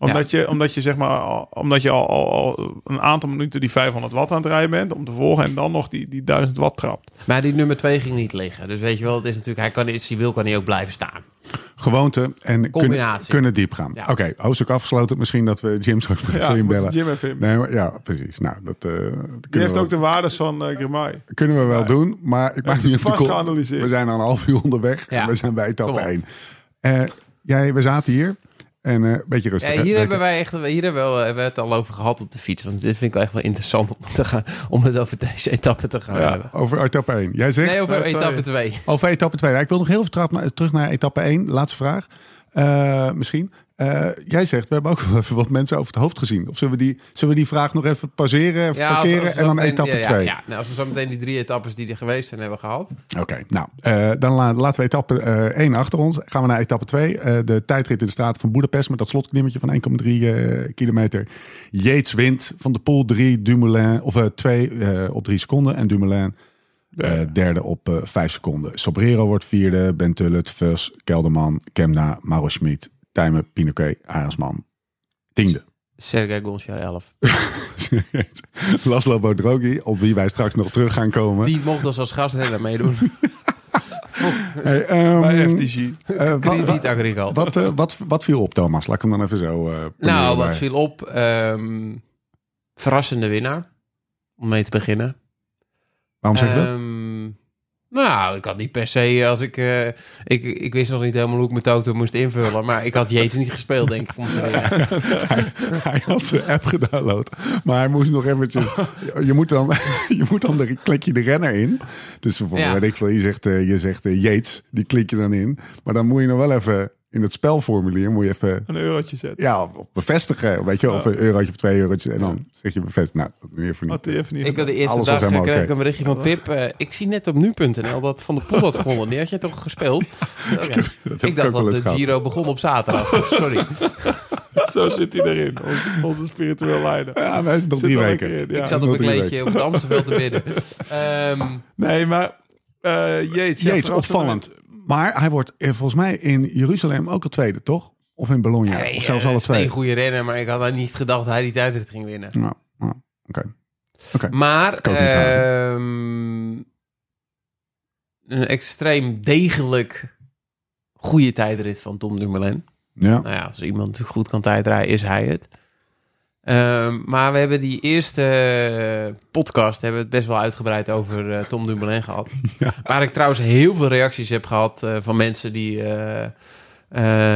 D: Omdat, je, omdat je, zeg maar, al- omdat je al, al, al een aantal minuten die 500 watt aan het rijden bent om te volgen en dan nog die, die 1000 watt trapt.
C: Maar die nummer 2 ging niet liggen. Dus weet je wel, het is natuurlijk, hij kan, als hij wil, kan hij ook blijven staan.
A: gewoonte en kunnen,
C: Combinatie.
A: kunnen diep gaan.
C: Ja.
A: Oké, hoofdstuk afgesloten. Misschien dat we Jim straks nog even
D: moet
A: inbellen.
D: Jim even inbellen.
A: nee, maar, ja, precies. Nou, dat, eh, dat kunnen,
D: Die heeft
A: we,
D: ook de waardes van eh Grimay.
A: kunnen we wel doen. Maar ik maak
D: hij
A: niet uit de
D: vast
A: kop.
D: geanalyseerd.
A: We zijn al een half uur onderweg.
C: Ja.
A: En we zijn bij etappe
C: Kom op.
A: 1. Eh, jij, we zaten hier. En eh, een beetje rustig.
C: Ja,
A: hè?
C: hier
A: Lekker.
C: hebben wij echt, hier hebben we, wel- hebben we het al over gehad op de fiets. Want dit vind ik wel echt wel interessant om, te gaan, om het over deze etappe te gaan
D: Ja.
C: hebben.
A: Over etappe 1. Jij zegt...
C: Nee, over
D: eh,
C: etappe 2.
A: Over etappe 2. ik wil nog heel even trap- naar- terug naar etappe 1. Laatste vraag. Eh, misschien. Eh, jij zegt, we hebben ook wel even wat mensen over het hoofd gezien. Of zullen we die, zullen we die vraag nog even pauzeren, even parkeren en dan etappe 2?
C: Ja, ja. Nou, als we zo meteen die drie etappes die er geweest zijn hebben gehad.
A: Oké, nou, eh, dan la- laten we etappe 1 achter ons. Gaan we naar etappe 2. de tijdrit in de straten van Boedapest met dat slotklimmetje van 1,3 eh, kilometer. Yates wint van de pool 3, Dumoulin, of 2 op 3 seconden. En Dumoulin eh, derde op 5 seconden. Sobrero wordt vierde, Ben Tullet, Vus, Kelderman, Kemna, Mauro Schmid, Tijmen, Pinoquet, Arendsman. Tiende.
C: Sergei Gonchar 11.
A: Laszlo Bodrogi, op wie wij straks nog terug gaan komen.
C: Die mocht als als gastrenner meedoen.
A: Hey, ehm,
D: Bij FTG.
A: eh, wa- wa-
C: Krediet Agricole.
A: Wat, eh, wat, wat viel op, Thomas? Laat ik hem dan even zo. eh,
C: Nou,
A: poneren
C: wat
A: bij.
C: viel op? Ehm, verrassende winnaar. Om mee te beginnen.
A: Waarom zeg je dat?
C: Ehm, Nou, ik had niet per se als ik, eh, ik. Ik wist nog niet helemaal hoe ik mijn toto moest invullen. Maar ik had Jeets niet gespeeld, denk ik. Om te winnen.
A: hij, hij had zijn app gedownload. Maar hij moest nog eventjes. Je, je moet dan, je moet dan de, klik je de renner in. Dus bijvoorbeeld,
C: Ja.
A: weet ik veel, je zegt, eh, je zegt eh, Yates, die klik je dan in. Maar dan moet je nog wel even in het spelformulier, moet je even.
D: Een eurotje zetten.
A: Ja, op- op bevestigen. Weet je, wel, of een eurotje of twee eurotjes. En dan zeg je bevestigd. Nou, dat meer voor
D: Had
A: niet.
D: hij even niet
C: Ik had de eerste
A: Alles was
C: dag eh,
A: helemaal
C: kreeg
A: oké.
C: ik een berichtje van Pip. eh, ik zie net op nu.nl dat Van de Poel had gewonnen. Die had jij toch gespeeld? Oh, ja.
A: heb ik
C: Ik
A: ook wel eens
C: dacht dat de
A: gehad.
C: Giro begon op zaterdag. Sorry.
D: Zo zit hij erin, onze, onze spiritueel leider.
A: Ja, maar hij is nog
D: Zit
A: drie
D: er
A: weken.
D: lekker in, ja.
A: Ik
F: Ik zat op
A: nog
F: mijn
A: drie
F: kleedje op het Amstelveld te bidden. Ehm,
D: Nee, maar eh Jeets. ja,
A: Jeets,
D: verrassend.
A: opvallend. Maar hij wordt eh, volgens mij in Jeruzalem ook al tweede, toch? Of in Bologna,
C: Nee,
A: of
C: eh,
A: zelfs alle
C: het is
A: twee.
C: Een goede renner, maar ik had daar niet gedacht dat hij die tijdrit ging winnen.
A: Nou, nou, oké.
C: Maar
A: kan ik niet
C: ehm, een extreem degelijk goede tijdrit van Tom Dumoulin.
A: Ja.
C: Nou ja, als iemand goed kan tijdrijden, is hij het. Ehm, maar we hebben die eerste eh, podcast hebben we het best wel uitgebreid over eh, Tom Dumoulin gehad. Waar ik trouwens heel veel reacties heb gehad eh, van mensen die eh,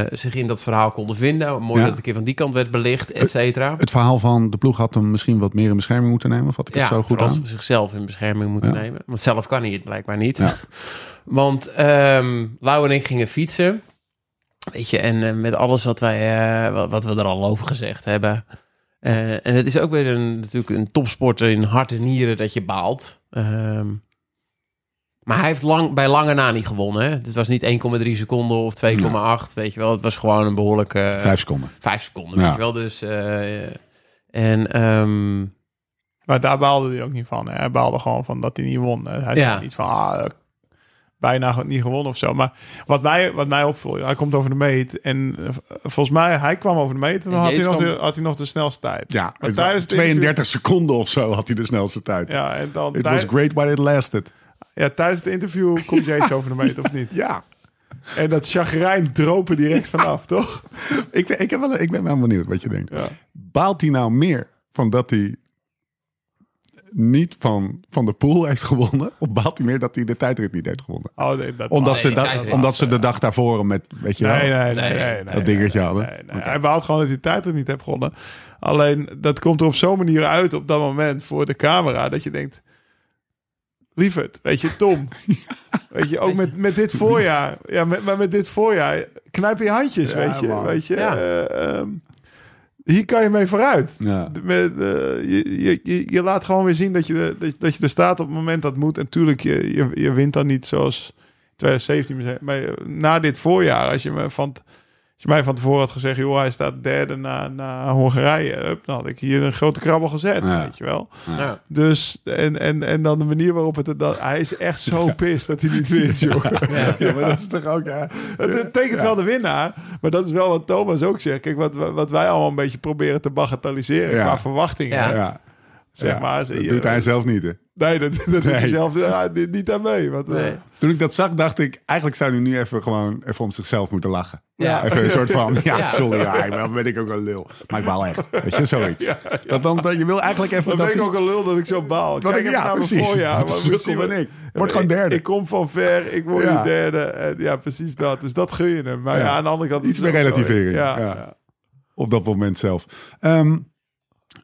C: eh, zich in dat verhaal konden vinden. Mooi
A: Ja.
C: dat ik een keer van die kant werd belicht, et cetera.
A: Het verhaal van de ploeg had hem misschien wat meer in bescherming moeten nemen. Vat ik het zo goed
C: vooral
A: aan?
C: ze zichzelf in bescherming moeten
A: Ja.
C: nemen. Want zelf kan hij het blijkbaar niet.
A: Ja.
C: Want ehm Lau en ik gingen fietsen. Weet je, en eh, met alles wat, wij, eh, wat, wat we er al over gezegd hebben. Eh, en het is ook weer een, natuurlijk een topsporter in hart en nieren dat je baalt. Ehm, maar hij heeft lang, bij lange na niet gewonnen. Hè? Het was niet 1,3 seconden of 2,8. Weet je wel, het was gewoon een behoorlijke... eh,
A: Vijf seconden.
C: vijf seconden,
A: Ja.
C: weet je wel. Dus, eh, en ehm,
D: Maar daar baalde hij ook niet van. Hè. Hij baalde gewoon van dat hij niet won. hè. Hij
C: Ja.
D: zei niet van, ah, eh, bijna ge- niet gewonnen of zo. Maar wat mij, wat mij opviel, hij komt over de meet. En eh, v- volgens mij, hij kwam over de meet en dan
C: En
D: had hij,
C: Jeets
D: nog de,
C: kwam-
D: had hij nog de snelste tijd.
A: Ja,
D: Maar
A: het was
D: tijdens het
A: 32 seconden of zo had hij de snelste tijd.
D: Ja, en dan
A: It was
D: tijd-
A: great while it lasted.
D: ja, tijdens het interview komt Jeets over de meet, of niet?
A: Ja,
D: En dat chagrijn dropen direct vanaf, toch?
A: ik, ben- ik, heb wel, ik ben wel benieuwd wat je denkt.
D: Ja.
A: Baalt hij nou meer van dat hij niet van, van de pool heeft gewonnen? Of baalt hij meer dat hij de tijdrit niet heeft gewonnen?
D: Oh, nee, dat
A: Omdat,
D: nee,
A: ze,
C: de
A: dat-
C: tijdrit.
A: omdat ze de dag daarvoor hem met, weet je wel,
D: nee, nee, nee,
C: Nee,
D: nee, nee,
A: dat dingetje
D: nee,
A: hadden.
D: nee, nee. Hij behaalt gewoon dat hij tijd er niet heeft gewonnen. Alleen, dat komt er op zo'n manier uit op dat moment voor de camera... dat je denkt, lieverd, weet je, Tom... Weet je, ook met, met dit voorjaar. Ja, met, maar met dit voorjaar. Knijp je handjes,
A: Ja,
D: weet je.
A: man.
D: Weet je
C: Ja.
D: eh, ehm, hier kan je mee vooruit.
A: Ja.
D: D- Met, eh, je, je, je, je laat gewoon weer zien dat je, de- dat, je- dat je er staat op het moment dat moet. En tuurlijk, je, je, je wint dan niet zoals 2017. Maar je- na dit voorjaar, als je, me van, t- als je mij van tevoren had gezegd... joh, hij staat derde na, na Hongarije. Hup, dan had ik hier een grote krabbel gezet,
A: Ja.
D: weet je wel.
C: nou,
D: Dus, en, en, en dan de manier waarop het... er Dan, hij is echt zo pist dat hij niet wint, joh.
A: Ja, maar dat is toch ook... Ja.
D: Het het betekent wel de winnaar. Maar dat is wel wat Thomas ook zegt. Kijk, wat, wat wij allemaal een beetje proberen te bagatelliseren
A: Ja.
D: qua verwachtingen.
C: Ja.
A: Ja.
D: Zeg
A: Ja,
D: maar, eh,
A: dat
D: je-
A: doet hij zelf niet, hè?
D: Nee, dat, dat doet
A: Nee.
D: hij zelf ja, niet niet aan mee. Want, eh,
C: nee.
A: Toen ik dat zag, dacht ik, eigenlijk zou hij nu even gewoon even om zichzelf moeten lachen.
C: Ja.
A: Even een soort van, ja,
C: Ja.
A: sorry, ja, maar dan ben ik ook een lul. Maar ik baal echt, weet je, zoiets. Dat dan, dat je wil eigenlijk even
D: Dan
A: dat
D: ben ik
A: die-
D: ook een lul dat ik zo baal.
A: Dat ik,
D: even
A: ja,
D: naar mijn
A: precies.
D: voorjaar,
A: Wat
D: maar
A: sukkel
D: misschien-
A: ben ik. Word gewoon derde.
D: Ik, kom van ver, ik word
A: Ja.
D: niet derde. En ja, precies dat. Dus dat gun je hem. Maar ja,
A: Ja.
D: aan de andere kant... is
A: Iets
D: het
A: meer
D: ook zo.
A: relativering,
D: Ja,
A: ja.
D: ja.
A: op dat moment zelf. Ehm,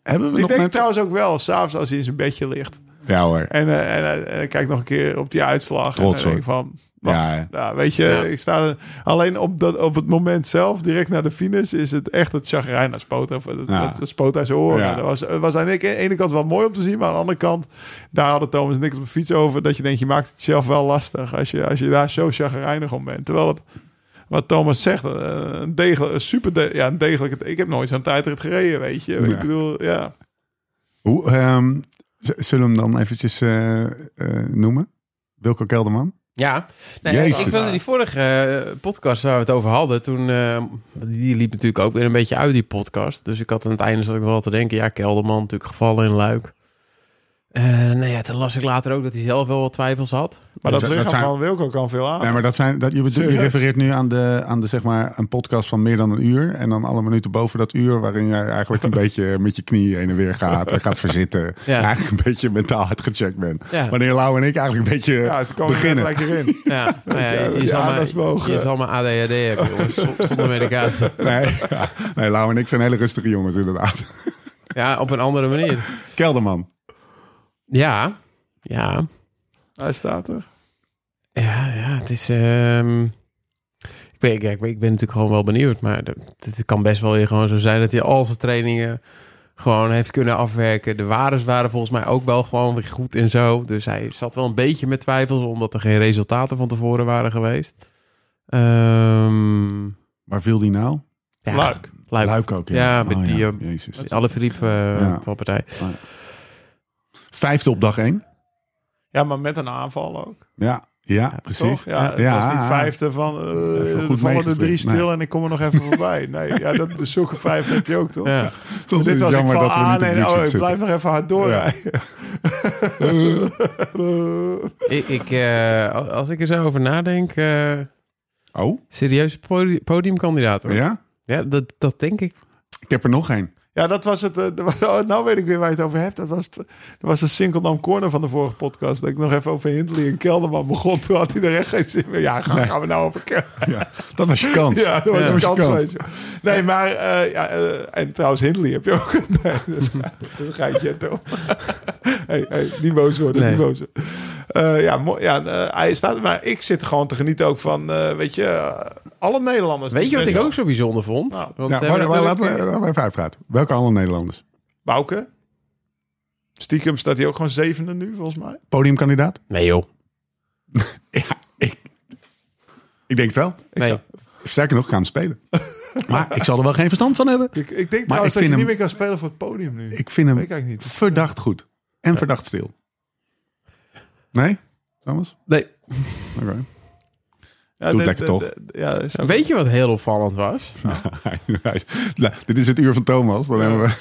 A: hebben we
D: Ik
A: nog
D: denk
A: mensen?
D: trouwens ook wel, s'avonds als hij in zijn bedje ligt...
A: Ja hoor,
D: en, eh, en, eh, en ik kijk nog een keer op die uitslag... en
A: Trots, hoor.
D: dan denk ik van... wacht,
A: ja, hè.
D: Nou, weet je,
C: Ja.
D: ik sta er, alleen op, dat, op het moment zelf, direct na de finish, is het echt het chagrijn. Dat spoot, hij- eh, dat,
A: Ja.
D: dat spoot uit zijn oren.
A: Ja.
D: Dat was, eh, was aan de ene kant wel mooi om te zien, maar aan de andere kant, daar hadden Thomas en ik op de fiets over, dat je denkt, je maakt het zelf wel lastig als je, als je daar zo chagrijnig om bent. Terwijl het, wat Thomas zegt, eh, een degelijk, een super, de- ja, een degelijke, ik heb nooit zo'n tijdrit gereden, weet je.
A: Ja.
D: Ik bedoel, ja.
A: Hoe, ehm, z- zullen we hem dan eventjes eh, eh, noemen? Wilco Kelderman?
C: Ja, nee,
A: Jezus.
C: ik wilde die vorige eh, podcast waar we het over hadden, toen eh, die liep natuurlijk ook weer een beetje uit die podcast. Dus ik had aan het einde zat ik wel te denken, ja, Kelderman natuurlijk gevallen in Luik. Eh nee, ja, toen las ik later ook dat hij zelf wel wat twijfels had.
D: Maar dat,
A: dat
D: lichaam
A: zijn-
D: van Wilco kan veel aan.
A: Nee, maar dat zijn, dat, je, bedoelt- je
D: Serieus?
A: refereert nu aan, de, aan de, zeg maar, een podcast van meer dan een uur. En dan alle minuten boven dat uur, waarin je eigenlijk een beetje met je knie heen en weer gaat. En gaat verzitten.
C: Ja.
A: Eigenlijk een beetje mentaal uitgecheckt bent.
C: Ja.
A: Wanneer Lau en ik eigenlijk een beetje
D: ja, het kwam er
A: beginnen.
D: lekker in.
C: Ja, nou ja, je, je
D: Ja,
C: zal maar,
D: dat is mogen.
C: je zal maar ADHD hebben, jongens, z- zonder medicatie.
A: Nee, ja. nee, Lau en ik zijn hele rustige jongens inderdaad.
C: Ja, op een andere manier.
A: Kelderman.
C: Ja, ja.
D: Hij staat er.
C: Ja, ja, het is. ehm, ik, ben, kijk, ik ben natuurlijk gewoon wel benieuwd. Maar dat- het kan best wel weer gewoon zo zijn dat hij al zijn trainingen gewoon heeft kunnen afwerken. De waardes waren volgens mij ook wel gewoon weer goed en zo. Dus hij zat wel een beetje met twijfels, omdat er geen resultaten van tevoren waren geweest. Ehm,
A: Waar viel die nou?
C: ja,
D: Luik.
C: Luik.
A: Luik ook, ja.
C: Ja, met
A: Oh,
C: die, eh,
A: Jezus.
C: Alle Philippe eh
A: Ja.
C: van partij.
A: Vijfde op dag één.
D: Ja, maar met een aanval ook.
A: Ja, ja, precies.
D: Toch? Ja, het
A: Ja.
D: was niet vijfde van... eh,
A: goed
D: er vallen er
A: meegespeeld.
D: drie stil
A: Nee.
D: en ik kom er nog even voorbij. Nee, ja, dat, dus zulke vijf heb je ook, toch?
C: Ja.
A: Soms
D: Dit
A: is
D: was
A: het
D: ik
A: jammer
D: van
A: dat we
D: aan
A: niet op
D: en oh,
A: YouTube
D: ik blijf
A: zitten.
D: nog even hard doorrijden.
C: Ik, ik, eh, al- als ik er zo over nadenk, eh
A: Oh,
C: serieus podi- podiumkandidaat hoor.
A: ja?
C: Ja, dat, dat denk ik.
A: Ik heb er nog één.
D: Ja, dat was het. eh, dat was- oh, nou weet ik weer waar je het over hebt. Dat was, het, dat was de Sinkeldam Corner van de vorige podcast. Dat ik nog even over Hindley en Kelderman begon. Toen had hij er echt geen zin meer. Ja, gaan, gaan we nou over Kelderman?
A: Ja, dat was je kans.
D: Ja, dat was
A: Ja,
D: een
A: dat
D: kans
A: was je
D: geweest. Nee, maar... eh, ja, eh, en trouwens, Hindley heb je ook... Nee, dat is, dat is een geitje, toch? hey, hey, niet boos worden,
C: Nee.
D: niet boos worden. Eh, ja, mo- ja eh, hij staat... Maar ik zit gewoon te genieten ook van, eh, weet je... eh, alle Nederlanders.
C: Weet je wat
D: Dus
C: ik ook zo bijzonder vond?
D: Nou,
C: Want
A: Ja,
C: ze
A: maar,
C: hebben
A: maar laten
C: natuurlijk-
A: we laten we even uitpraten. Welke andere Nederlanders?
D: Bouke. Stiekem staat hij ook gewoon zevende nu, volgens mij.
A: Podiumkandidaat?
C: Nee joh.
A: Ja, ik, ik denk het wel.
C: Nee.
A: Sterker nog, ik ga hem spelen. maar ik zal er wel geen verstand van hebben.
D: Ik, ik denk
A: Maar ik
D: trouwens dat
A: vind
D: je
A: hem-
D: niet meer kan spelen voor het podium nu.
A: Ik vind
D: Weet ik
A: hem
D: eigenlijk niet.
A: verdacht goed. En verdacht stil. Nee? Thomas?
C: Nee.
A: Oké.
D: Ja,
A: Doet lekker toch?
D: d- Ja, is ook-
C: Weet je wat heel opvallend was?
A: nou, dit is het uur van Thomas. Dan hebben we...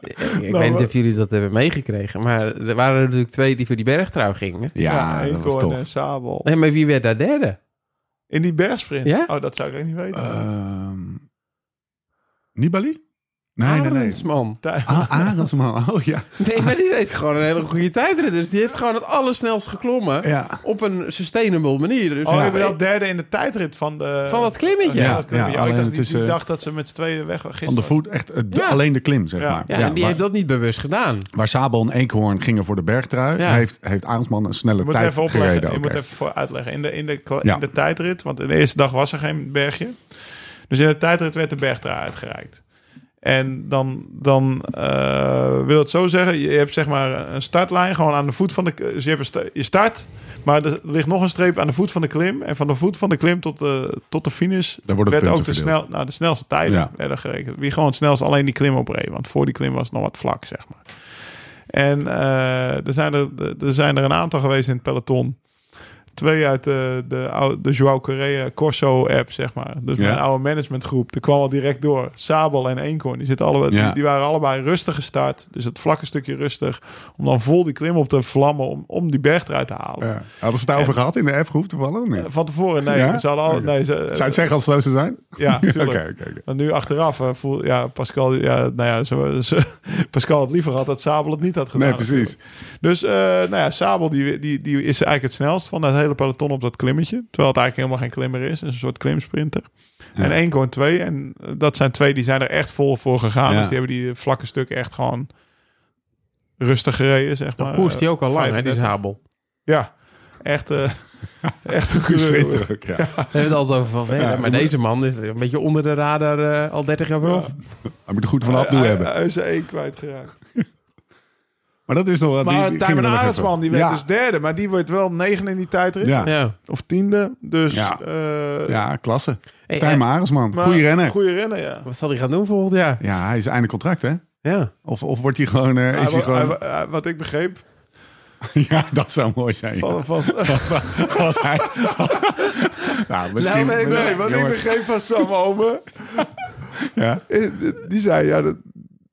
C: Ik,
A: Nou,
C: ik weet niet of jullie dat hebben meegekregen, maar er waren er natuurlijk twee die voor die bergtrouw gingen.
A: Ja, dat was
D: Eekhoorn
A: tof.
D: en Sabel.
C: Nee, maar wie werd daar derde?
D: In die bergsprint?
C: Ja?
D: Oh, dat zou ik echt niet weten.
A: Ehm,
D: Ah,
A: Nibali? Nee, nee, nee.
C: Arendsman.
D: Tij-
A: Ah, Arendsman. Oh ja.
C: Nee, maar die reed gewoon een hele goede tijdrit. Dus die heeft gewoon het allersnelst geklommen
A: Ja.
C: op een sustainable manier. Dus
D: Oh,
C: ja,
D: je bent al derde in de tijdrit van de...
C: Van dat klimmetje.
D: Ja,
A: Ja,
D: dat klimmetje.
A: ja,
D: Oh, ik
A: alleen
D: dacht, die- die,
A: tussen-
D: dacht dat ze met z'n tweeën weg waren
A: Van de
D: gisteren.
A: voet, echt eh, de-
C: Ja.
A: alleen de klim, zeg
D: Ja.
A: maar.
C: Ja, en die
A: maar-
C: heeft dat niet bewust gedaan.
A: Waar Sabel en Eekhoorn gingen voor de bergtrui,
C: Ja.
A: heeft, heeft Arendsman een snelle
D: Je moet
A: tijd
D: even opleggen.
A: gereden.
D: je
A: ook
D: moet
A: echt.
D: even voor uitleggen. In de, in, de, kla-
A: Ja.
D: in de tijdrit, want in de eerste dag was er geen bergje. Dus in de tijdrit werd de bergtra uitgereikt. En dan, dan eh, wil het zo zeggen, je hebt zeg maar een startlijn gewoon aan de voet van de... Dus je, hebt een sta- je start, maar er ligt nog een streep aan de voet van de klim. En van de voet van de klim tot de, tot de finish
A: Daar worden
D: werd
A: punten
D: ook de,
A: verdeeld.
D: snel, nou, de snelste tijden
A: Ja.
D: werden gerekend. Wie gewoon het snelst alleen die klim opreed. Want voor die klim was het nog wat vlak, zeg maar. En eh, er, zijn er, er zijn er een aantal geweest in het peloton. Twee uit de, de, oude- de Joao Correa Corso app, zeg maar. Dus
A: Ja.
D: mijn oude managementgroep. Die kwam al direct door. Sabel en Eenkorn. Die, zitten allebei,
A: Ja.
D: die, die waren allebei rustig gestart. Dus het vlakke stukje rustig. Om dan vol die klim op te vlammen. Om, om die berg eruit te
A: Ja.
D: halen.
A: Hadden ze het daarover gehad in de appgroep toevallig? of niet?
D: Van tevoren, nee.
A: Ja?
D: Ze hadden al,
A: Oké.
D: nee ze,
A: Zou je het zeggen als het zo zou zijn?
D: Ja,
A: Oké,
D: tuurlijk.
A: oké, oké.
D: En nu achteraf eh, voel ja, Pascal, ja, nou ja, zo, zo- Pascal had liever gehad dat Sabel het niet had gedaan.
A: Nee, precies.
D: Dus eh, nou ja, Sabel die, die, die is eigenlijk het snelst van dat hele peloton op dat klimmetje. Terwijl het eigenlijk helemaal geen klimmer is. Het is een soort klimsprinter. En één gewoon twee. En eh, dat zijn twee die zijn er echt vol voor gegaan.
A: Ja.
D: Dus die hebben die vlakke stuk echt gewoon rustig gereden, zeg maar.
C: Dan koerst hij ook al lang, hè, die
D: 35.
C: Zabel.
D: Ja, echt, eh, echt een
A: Goede
D: coureur, hoor.
A: sprinter ook, ja.
C: We hebben het altijd over Van Velen. maar deze man is een beetje onder de radar eh, al 30 jaar vanaf.
A: Hij moet er goed van afdoen
D: Hij-
A: hebben.
D: Hij is er één kwijtgeraakt.
A: Maar dat is nog wel... die-
D: Maar
A: die
D: Tijmen
A: gingen we nog
D: Arendsman,
A: even-
D: die werd
A: ja.
D: dus derde. Maar die wordt wel negen in die tijdrit.
A: Ja, ja.
C: Ja.
D: Of tiende. Dus,
A: Ja.
D: eh,
A: klasse.
C: Hey,
A: Tijmen Arendsman,
D: maar-
A: goede renner.
D: Goeie renner, ja.
C: Wat zal hij gaan doen volgend jaar?
A: Ja, hij is einde contract, hè?
C: Ja.
A: Of, of wordt hij gewoon... eh,
D: Hij
A: is hij
D: wa- hij
A: gewoon...
D: wa- hij- wat ik begreep
A: Ja, dat zou mooi zijn. ja.
D: van... van
A: Als hij... nou, misschien...
C: ben ik-
D: nee, wat ik
A: Jongen,
D: begreep van Sam Omen...
A: Ja.
D: is- die zei ja, dat,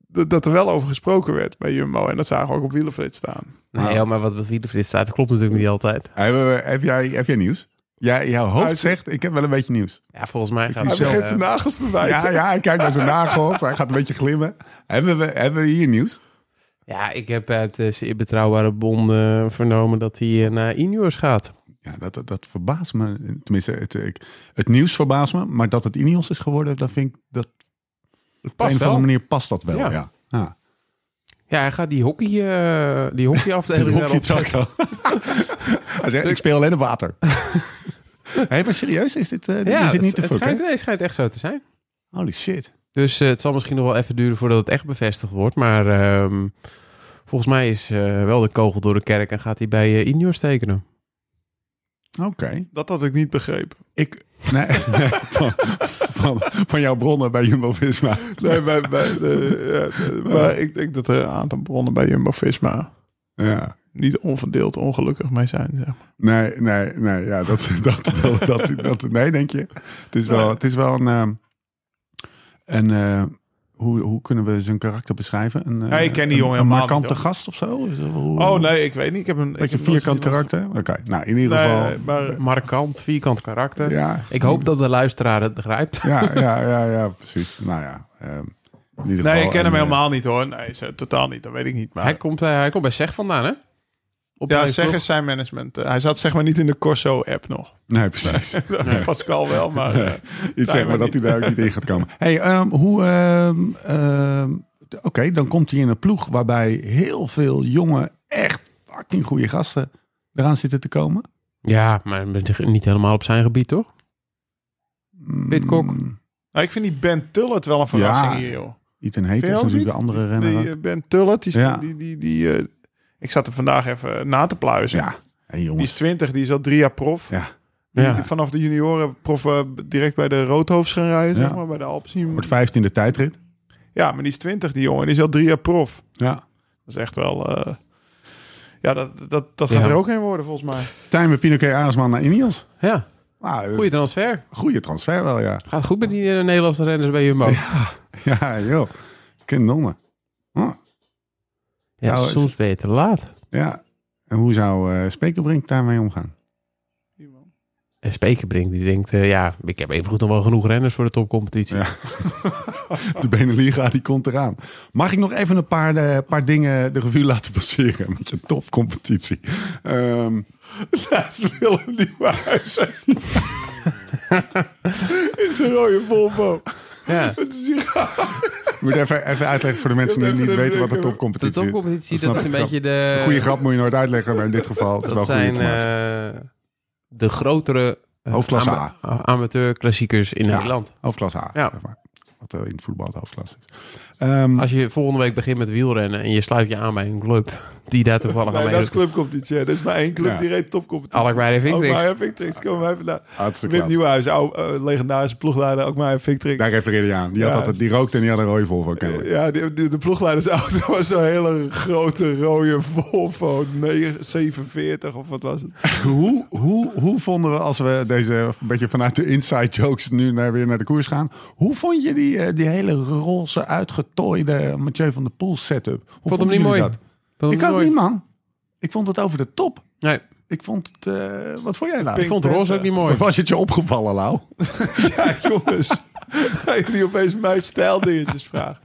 D: dat, dat er wel over gesproken werd bij Jumbo. En dat zagen we ook op Wielerflit staan.
C: Nee, joh, maar wat bij Wiedefrit staat, dat klopt natuurlijk niet altijd.
A: Hebben we- Heb jij, heb jij nieuws? Ja, jouw
D: Hij
A: hoofd
D: is-
A: zegt, ik heb wel een beetje nieuws.
C: Ja, volgens mij gaat
D: Hij
A: Zo,
D: begint
C: eh,
D: zijn nagels te bijten.
A: Ja, ja, hij kijkt naar zijn nagels. Hij gaat een beetje glimmen. Hebben we, hebben we hier nieuws?
C: Ja, ik heb uit eh, zeer betrouwbare bron eh, vernomen dat hij eh, naar Ineos gaat.
A: Ja, dat, dat, dat verbaast me. Tenminste, het, ik, het nieuws verbaast me. Maar dat het Ineos is geworden, dat vind ik... Dat, op een of andere manier past dat wel, ja.
C: Ja.
A: ja.
C: Ja, hij gaat die hockey, eh, die hockeyafdeling
A: Die
C: daarop zetten.
A: hockeytak. hij zegt, ik speel alleen op water. Hé, maar serieus, is dit, eh, dit- is dit
C: het,
A: niet te
C: het
A: fucken?
C: schijnt, nee, het schijnt echt zo te zijn.
A: Holy shit.
C: Dus eh, het zal misschien nog wel even duren voordat het echt bevestigd wordt. Maar ehm, volgens mij is eh, wel de kogel door de kerk en gaat hij bij eh Ineos tekenen.
A: Oké.
D: Dat had ik niet begrepen.
A: Ik, Nee, van, van, van jouw bronnen bij Jumbo-Visma.
D: Nee, bij, bij,
A: eh,
D: de- ja, de- maar ik denk dat er een aantal bronnen bij Jumbo-Visma
A: Ja.
D: niet onverdeeld ongelukkig mee zijn. Zeg maar.
A: Nee, nee, nee. Ja, dat, dat, dat, dat, dat- nee, denk je. Het is wel, het is wel een... ehm, een eh, hoe, hoe kunnen we zijn karakter beschrijven? Een, eh,
D: Ja, ik ken die
A: een-
D: jongen
A: Een
D: helemaal niet,
A: markante
D: hoor.
A: gast of zo? Is dat- hoe-
D: Oh nee, ik weet niet. Ik heb een
A: Beetje vierkant karakter? Oké, nou in ieder geval...
D: Nee, eh, maar
C: Markant, vierkant karakter.
A: ja,
C: Ik hoop dat de luisteraar het begrijpt.
A: ja, ja, ja, ja, precies. Nou ja, ehm, in ieder
D: Nee,
A: geval
D: ik ken hem
A: een, eh,
D: helemaal niet hoor. Nee, ze- totaal niet. Dat weet ik niet. Maar
C: Hij, komt, eh, hij komt bij Zeg vandaan, hè? Op
D: ja,
C: deze
D: zeg
C: ploeg.
D: eens zijn management. Eh, hij zat zeg maar niet in de Corso-app nog.
A: Nee, precies.
D: Pascal wel, maar eh,
A: Iets zeg maar
D: maar
A: dat hij daar ook niet in gaat komen. Hey, ehm, hoe. ehm, ehm, d- Oké, dan komt hij in een ploeg waarbij heel veel jonge, echt fucking goede gasten eraan zitten te komen.
C: Ja, maar niet helemaal op zijn gebied, toch?
A: Mm,
C: Pitcock.
D: nou, ik vind die Ben Tullet wel een verrassing hier, joh.
A: Ethan Hater is
D: Vind je ook
A: natuurlijk de andere
D: Die
A: renner. ook.
D: eh, Ben Tullet, die, is-
A: Ja.
D: die, die, die eh, ik zat er vandaag even na te pluizen.
A: Dus ja, hey,
D: Die is
A: jongens.
D: 20, die is al drie jaar prof.
A: Ja.
D: Die-
C: Ja.
D: die Vanaf de junioren prof eh, direct bij de Roodhoofds gaan rijden,
A: Ja.
D: zeg maar, bij de Alpecin.
A: Wordt 15 de tijdrit.
D: Ja, maar die is 20, die jongen. Die is al drie jaar prof.
A: Ja.
D: Dat is echt wel... eh, ja, dat, dat, dat gaat
C: Ja.
D: er ook heen worden, volgens mij.
A: Tijmen Pinoquet Aresman naar Ineos.
C: Ja,
A: Nou, eh,
C: goede transfer.
A: goede transfer wel, ja.
C: Gaat goed met die eh, Nederlandse renners bij Jumbo. Ja,
A: Ja, joh. Kanonnen. Oh, Nou,
C: soms ben je te laat.
A: ja. En hoe zou eh Spekerbrink daarmee omgaan?
C: En Spekenbrink die denkt, eh, ja, ik heb evengoed nog wel genoeg renners voor de topcompetitie.
A: Ja. De Beneliga die komt eraan. Mag ik nog even een paar, eh, paar dingen de revue laten passeren? Met je topcompetitie. Ehm
D: Naast Willem Nieuwenhuizen. is een rode Volvo.
C: Ja.
D: Het is hier
A: ik moet even, even uitleggen voor de mensen die
D: Even
A: niet
D: de
A: weten wat een
D: drukker.
A: topcompetitie
C: De
A: is.
C: topcompetitie, dat,
A: snap
C: is een
A: ik wel.
C: beetje de...
A: Een goede grap moet je nooit uitleggen, maar in dit geval het is
C: Dat
A: wel goede
C: zijn
A: informatie.
C: eh, de grotere... eh,
A: Hoofdklasse
C: ama- Amateurklassiekers in
A: Ja.
C: Nederland.
A: Hoofdklasse A,
C: Ja.
A: zeg maar. wat eh, in het voetbal de hoofdklasse is. Ehm,
C: Als je volgende week begint met wielrennen en je sluit je aan bij een club die daar toevallig aan
D: Nee, dat is
C: meedoet.
D: clubcompetitie. hè. Dat is maar één club
A: Ja.
D: die reed topcompetitie.
C: Alkmaar heeft
D: Ook
C: Vinkrix.
D: maar Victrix. Kom maar even naar.
A: hartstikke
D: Wim
A: klaar.
D: Nieuwenhuis, oude, eh, legendarische ploegleider. Ook maar Victrix.
A: Daar refereerde je aan. Die, had
D: Ja.
A: altijd, die rookte en die had een rode Volvo. kennelijk.
D: Ja, die- die- de ploegleidersauto was zo'n hele grote rode Volvo 9 47 of wat was het?
A: hoe, hoe, hoe vonden we, als we deze een beetje vanuit de inside jokes nu naar, weer naar de koers gaan. Hoe vond je die, eh, die hele roze uitgetooide Mathieu van der Poel setup? Hoe
C: Vond hem
A: vonden
C: niet
A: jullie
C: mooi.
A: dat?
C: Vond hem
A: Ik ook
C: mooi.
A: niet, man. Ik vond het over de top.
C: Nee,
A: Ik vond het... eh, wat vond jij nou?
C: ik vond roze ook niet mooi.
A: Was het je opgevallen, Lau?
D: Ja, jongens. Ga je niet opeens mijn stijldingetjes vragen?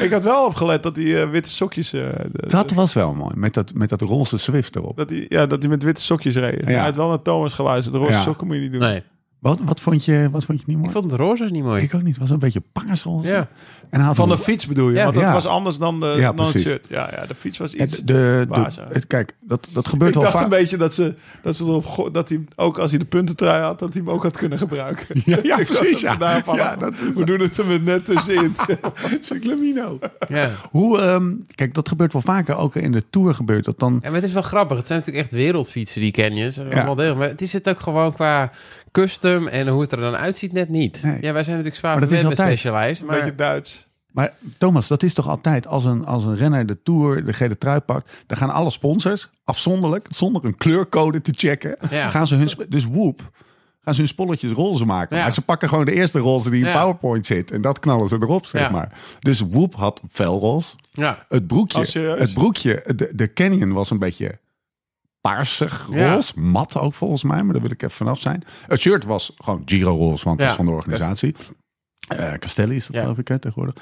D: Ik had wel opgelet dat die eh, witte sokjes... eh, de-
A: Dat was wel mooi, met dat, met dat roze Swift erop.
D: dat hij, ja, dat hij met witte sokjes reed. Hij had wel naar Thomas geluisterd. Roze
A: Ja.
D: sokken moet je niet doen.
C: Nee,
A: Wat, wat, vond, je, wat vond je niet mooi?
C: ik
A: Ik,
C: vond het roze niet mooi.
A: ook niet. Het was een beetje paarsroze.
C: Ja.
A: En hij had
D: Van
A: een-
D: de fiets bedoel je?
C: Ja.
D: want dat
A: Ja.
D: was anders dan, de,
A: Ja,
D: dan het
A: precies.
D: shirt. Ja, ja, de fiets was
A: het-
D: iets...
A: de, de,
D: Baas, ja.
A: het- kijk, dat, dat gebeurt
D: ik
A: wel
D: dacht
A: vaak.
D: een beetje dat ze, dat ze erop go- dat hij ook als hij de puntentrui had, dat hij hem ook had kunnen gebruiken.
A: Ja, ja,
D: Ik dacht
A: precies,
D: dat ze
A: ja.
D: daarvan
A: Ja,
D: hadden.
A: dat is-
D: We doen het er weer net tussenin.
A: Cyclamino.
C: Ja.
A: Hoe, ehm, kijk, dat gebeurt wel vaker. Ook in de Tour gebeurt dat dan.
C: Ja, maar het is wel grappig. Het zijn natuurlijk echt wereldfietsen die ken je. Ze zijn
A: Ja.
C: allemaal degelijk. Maar het is het ook gewoon qua custom en hoe het er dan uitziet net niet.
A: Nee.
C: Ja, wij zijn natuurlijk zwaar
A: Maar dat is
C: verwend met
A: altijd.
C: specialized.
D: Een
C: Maar
D: beetje Duits.
A: Maar Thomas, dat is toch altijd als een, als een renner de Tour de gele trui pakt. Dan gaan alle sponsors afzonderlijk, zonder een kleurcode te checken.
C: Ja.
A: Gaan ze hun, sp- dus woep, gaan ze hun spolletjes roze maken.
C: Ja.
A: Maar ze pakken gewoon de eerste roze die in
C: Ja.
A: PowerPoint zit. En dat knallen ze erop, zeg
C: Ja.
A: maar. Dus woep had felroze.
C: ja,
A: Het broekje,
D: Oh, serieus?
A: het broekje de, de Canyon was een beetje paarsig,
C: Ja.
A: roze. Mat ook volgens mij, maar daar wil ik even vanaf zijn. Het shirt was gewoon Giro roze, want het
C: Ja,
A: was van de organisatie. Eh, Castelli is dat
C: Ja.
A: geloof ik hè, tegenwoordig.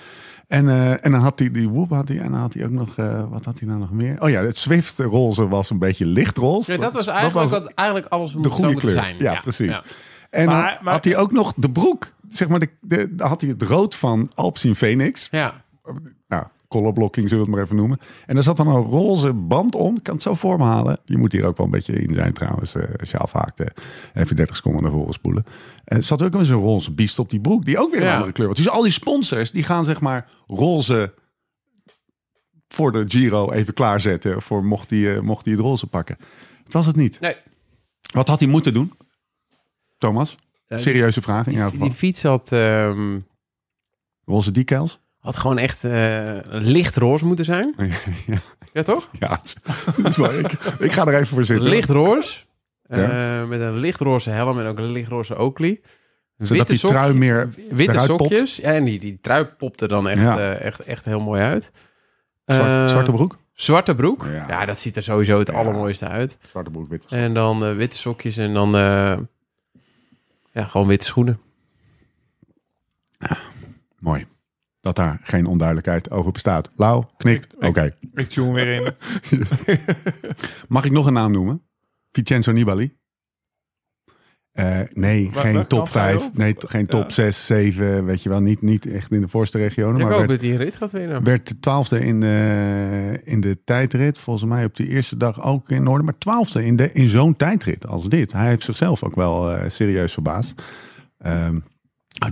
A: En, eh, en dan had hij die woep, had hij, en dan had hij ook nog, eh, wat had hij nou nog meer? Oh ja, het Zwift roze was een beetje lichtroze.
C: Ja, dat was eigenlijk wat eigenlijk alles moet
A: de
C: zo
A: goede
C: moeten
A: kleur.
C: zijn.
A: Ja, precies.
C: ja.
A: En
D: Maar-
A: dan
D: maar-
A: had hij ook nog de broek, zeg maar, de, de, had hij het rood van Alpsin Phoenix
C: Ja.
A: nou, colorblocking zullen we het maar even noemen. En daar zat dan een roze band om. Ik kan het zo voor me halen. Je moet hier ook wel een beetje in zijn trouwens. eh, als je afhaakt, eh, even 30 seconden naar voren spoelen. Er zat ook eens een roze biest op die broek. Die ook weer een
C: Ja.
A: andere kleur was. Dus al die sponsors, die gaan zeg maar roze voor de Giro even klaarzetten. Voor mocht hij eh, mocht hij het roze pakken. Dat was het niet.
C: Nee.
A: Wat had hij moeten doen? Thomas?
C: eh,
A: Serieuze vraag in
C: die,
A: jouw
C: die, die
A: geval.
C: fiets had, ehm,
A: Roze decals?
C: had gewoon echt eh lichtroze moeten zijn.
A: ja,
C: Ja, toch?
A: ja, het is- dat is waar. Ik, ik ga er even voor zitten.
C: Lichtroze.
A: Ja.
C: Eh, met een lichtroze helm en ook een lichtroze Oakley.
A: Zodat die
C: sok-
A: trui meer...
C: witte
A: eruit popt.
C: sokjes. Ja, en die, die trui popte dan echt,
A: Ja.
C: eh, echt, echt heel mooi uit.
A: Zwart-
C: Eh,
A: zwarte broek?
C: Zwarte broek.
A: Ja.
C: Ja. dat ziet er sowieso het
A: Ja.
C: allermooiste uit.
A: Zwarte broek, wit.
C: En dan eh, witte sokjes en dan eh, ja, gewoon witte schoenen.
A: Mooi. Dat daar geen onduidelijkheid over bestaat. Lau, knikt. Oké.
D: Ik tune weer in.
A: Mag ik nog een naam noemen? Vincenzo Nibali. Eh, nee,
D: Waar-
A: geen
D: waar
A: top
D: knalt hij
A: 5.
D: op?
A: Nee, t- geen top 6, 7. Weet je wel, niet, niet echt in de voorste regionen.
C: ik
A: Maar
C: hoop
A: werd,
C: dat hij een rit gaat winnen.
A: werd de twaalfde in, de- in de tijdrit. Volgens mij op die eerste dag ook in orde. Maar twaalfde in, de- in zo'n tijdrit als dit. Hij heeft zichzelf ook wel eh, serieus verbaasd. Ehm,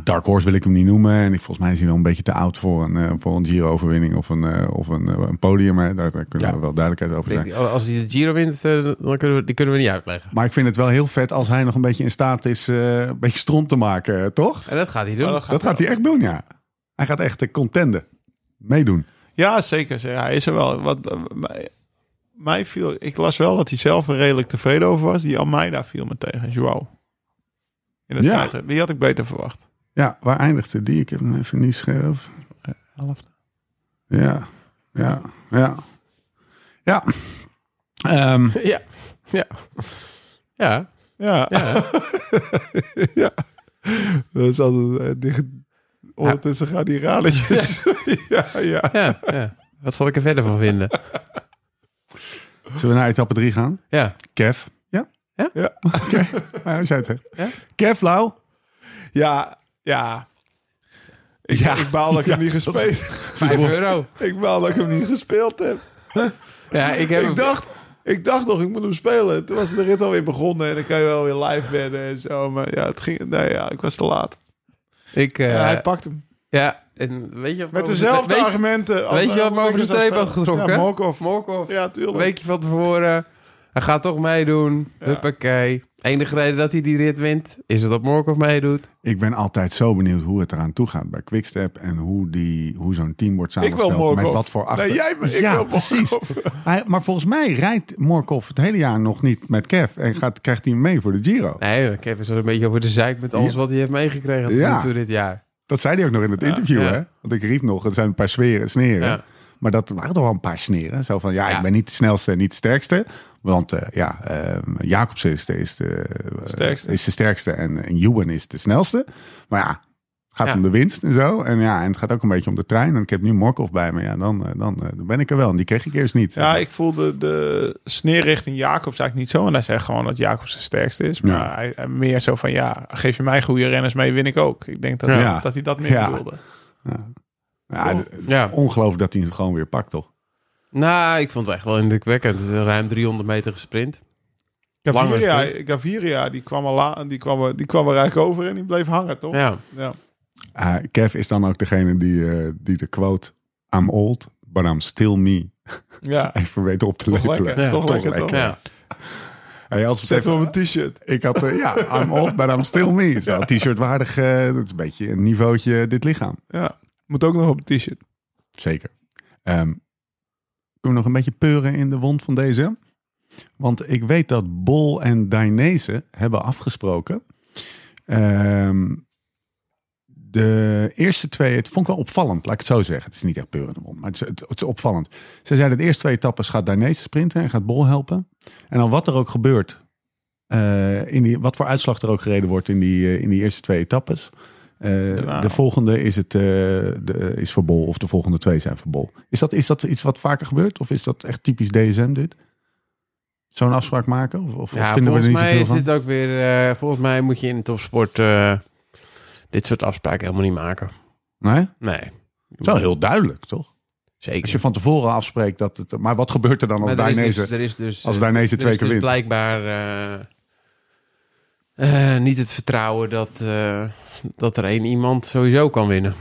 A: Dark Horse wil ik hem niet noemen. En ik, volgens mij is hij wel een beetje te oud voor een, eh, voor een Giro-overwinning of, een, eh, of een, eh, een podium. Hè. Daar, daar kunnen
C: Ja.
A: we wel duidelijkheid over
C: Ik
A: zijn.
C: denk, als hij de Giro wint, eh, dan kunnen we, die kunnen we niet uitleggen.
A: Maar ik vind het wel heel vet als hij nog een beetje in staat is eh, een beetje stront te maken, eh, toch?
C: En dat gaat hij doen.
D: Maar dat gaat-
A: Dat gaat hij echt doen, ja. Hij gaat echt eh, contenden. Meedoen.
D: Ja, zeker. zeker. Hij is er wel. Wat, eh, mij, mij viel, ik las wel dat hij zelf er redelijk tevreden over was. Die Almeida viel me tegen, Joao. In het
A: Ja.
D: tijdrit. Die had ik beter verwacht.
A: Ja, waar eindigde die? Ik heb hem even niet scherp.
D: Eh, Helft.
A: Ja, ja, ja. Ja. Ehm,
C: Ja. Ja. Ja.
D: Ja.
C: ja.
D: Dat is altijd eh, dicht.
C: Nou.
D: Ondertussen gaan die radertjes. Ja, ja.
C: ja, ja. Wat zal ik er verder van vinden?
A: zullen we naar etappe 3 gaan?
C: Ja.
A: Kev. Ja?
C: Ja?
A: Ja. Oké. Nou, als jij het zegt.
C: Ja?
A: Kev Lau.
D: Ja, ja. Ik, ik baal dat ik hem niet gespeeld
C: Vijf euro.
D: Ik baal dat ik hem niet gespeeld heb.
C: Ja, ik heb
D: Ik dacht, ik dacht nog, ik moet hem spelen. Toen was de rit alweer begonnen en dan kan je wel weer live wedden en zo. Maar ja, het ging, nou ja, ik was te laat.
C: Ik, eh,
D: En
C: ja,
D: hij pakt hem.
C: en weet je wat me
D: Met
C: over de-
D: dezelfde
C: weet je-
D: argumenten. als-
C: Weet je wat me
D: eh,
C: over de
D: ik zou
C: streep had
D: spelen.
C: getrokken?
D: Ja, Morkov.
C: Morkov.
D: Ja,
C: Een
D: tuurlijk.
C: weekje van tevoren. Hij gaat toch meedoen.
D: Ja.
C: Huppakee. Enige reden dat hij die rit wint, is dat Morkov meedoet.
A: Ik ben altijd zo benieuwd hoe het eraan toe gaat bij Quickstep. En hoe, die, hoe zo'n team wordt
D: Ik wil
A: samengesteld.
D: Morkov.
A: Met wat voor achter...
D: Nee, jij, ik
A: ja,
D: wil
A: precies.
D: Morkov.
A: Hij- maar volgens mij rijdt Morkov het hele jaar nog niet met Kev. En gaat, krijgt hij hem mee voor de Giro.
C: Nee, Kevin is een beetje over de zeik met alles
A: Ja.
C: wat hij heeft meegekregen tot nu
A: Ja.
C: toe dit jaar.
A: Dat zei hij ook nog in het interview.
C: ja.
A: Hè? Want ik riep nog, er zijn een paar sferen, sneren.
C: Ja.
A: Maar dat waren toch wel een paar sneren. Zo van, ja,
C: Ja.
A: ik ben niet de snelste en niet de sterkste. Want eh, ja, eh, Jacobsen is de, is, de,
D: Sterkste.
A: is de sterkste en, en Ewan is de snelste. Maar ja, het gaat
C: Ja.
A: om de winst en zo. En ja, en het gaat ook een beetje om de trein. En ik heb nu Morkov bij me. Ja, dan, eh, dan, eh, dan ben ik er wel. En die kreeg ik eerst niet.
D: Ja, ik voelde de sneer richting Jacobs eigenlijk niet zo. En hij zei gewoon dat Jacobs de sterkste is. Maar
A: Ja.
D: hij, hij meer zo van, ja, geef je mij goede renners mee, win ik ook. Ik denk dat,
A: Ja.
D: dat hij dat meer
A: Ja.
D: bedoelde.
A: Ja, d-
C: Ja.
A: Ongelooflijk dat hij het gewoon weer pakt, toch?
C: Nou, ik vond het echt wel indrukwekkend. Ruim 300 meter gesprint. Langer
D: Gaviria, Gaviria die, kwam er la, die, kwam er, die kwam er eigenlijk over en die bleef hangen, toch?
C: Ja.
D: Ja.
A: Ah, Kev is dan ook degene die, eh, die de quote... I'm old, but I'm still me.
D: Ja.
A: Even weten op te
D: Toch
A: lepelen.
D: lekker,
C: Ja,
D: toch
A: toch
D: lekker, toch?
A: lekker.
C: ja.
A: Hey, als we het
D: Zet hem
A: even-
D: op een t-shirt.
A: Ik had, eh, ja, I'm old, but I'm still me. Het is wel een t-shirt waardig. eh, dat is een beetje een niveautje dit lichaam.
D: Ja. Moet ook nog op een t-shirt.
A: Zeker. Ehm, kunnen we nog een beetje peuren in de wond van deze? Want ik weet dat Bol en Dainese hebben afgesproken. Ehm, de eerste twee, het vond ik wel opvallend, laat ik het zo zeggen. Het is niet echt peuren in de wond, maar het is, het, het is opvallend. Ze zeiden de eerste twee etappes gaat Dainese sprinten en gaat Bol helpen. En dan wat er ook gebeurt, eh, in die, wat voor uitslag er ook gereden wordt in die, eh, in die eerste twee etappes. eh,
D: Daarna.
A: de volgende is, het, eh, de, is voor Bol of de volgende twee zijn voor Bol. Is dat, is dat iets wat vaker gebeurt of is dat echt typisch DSM dit? Zo'n afspraak maken? Of, of
C: Ja,
A: vinden we er
C: volgens
A: niet
C: mij
A: zoveel
C: is
A: van?
C: dit ook weer... eh, volgens mij moet je in de topsport eh, dit soort afspraken helemaal niet maken.
A: Nee? Het
C: Nee,
A: is wel heel duidelijk, toch?
C: zeker.
A: Als je van tevoren afspreekt dat het... Maar wat gebeurt er dan als
C: Maar er is dus-
A: Dainese...
C: er is dus,
A: Als Dainese
C: er
A: twee
C: is
A: keer
C: dus
A: wint.
C: blijkbaar eh, eh, niet het vertrouwen dat, eh, dat er één iemand sowieso kan winnen.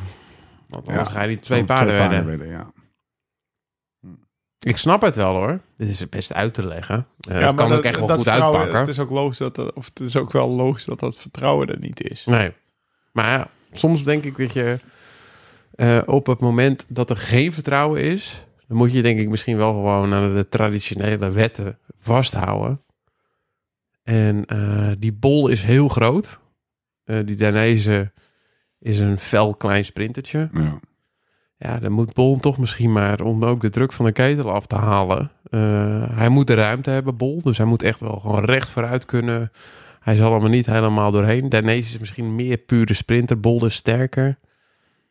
C: Want anders
A: Ja,
C: ga je die twee paarden
A: Twee
C: winnen.
A: paarden werden, ja.
C: Ik snap het wel hoor. Dit is best uit te leggen. Eh het kan
D: maar
C: ook echt wel
D: dat
C: goed
D: vertrouwen-
C: uitpakken.
D: Het is ook logisch dat, dat- of het is ook wel logisch dat dat vertrouwen er niet is.
C: Nee. Maar ja, soms denk ik dat je eh, op het moment dat er geen vertrouwen is, dan moet je denk ik misschien wel gewoon aan de traditionele wetten vasthouden. En eh, die bol is heel groot. Eh, die Danese is een fel klein sprintertje.
A: Ja.
C: Ja, dan moet Bol toch misschien maar, om ook de druk van de ketel af te halen. Eh, hij moet de ruimte hebben, Bol. Dus hij moet echt wel gewoon recht vooruit kunnen. Hij zal hem er niet helemaal doorheen. Daarnees is misschien meer pure sprinter. Bol is sterker.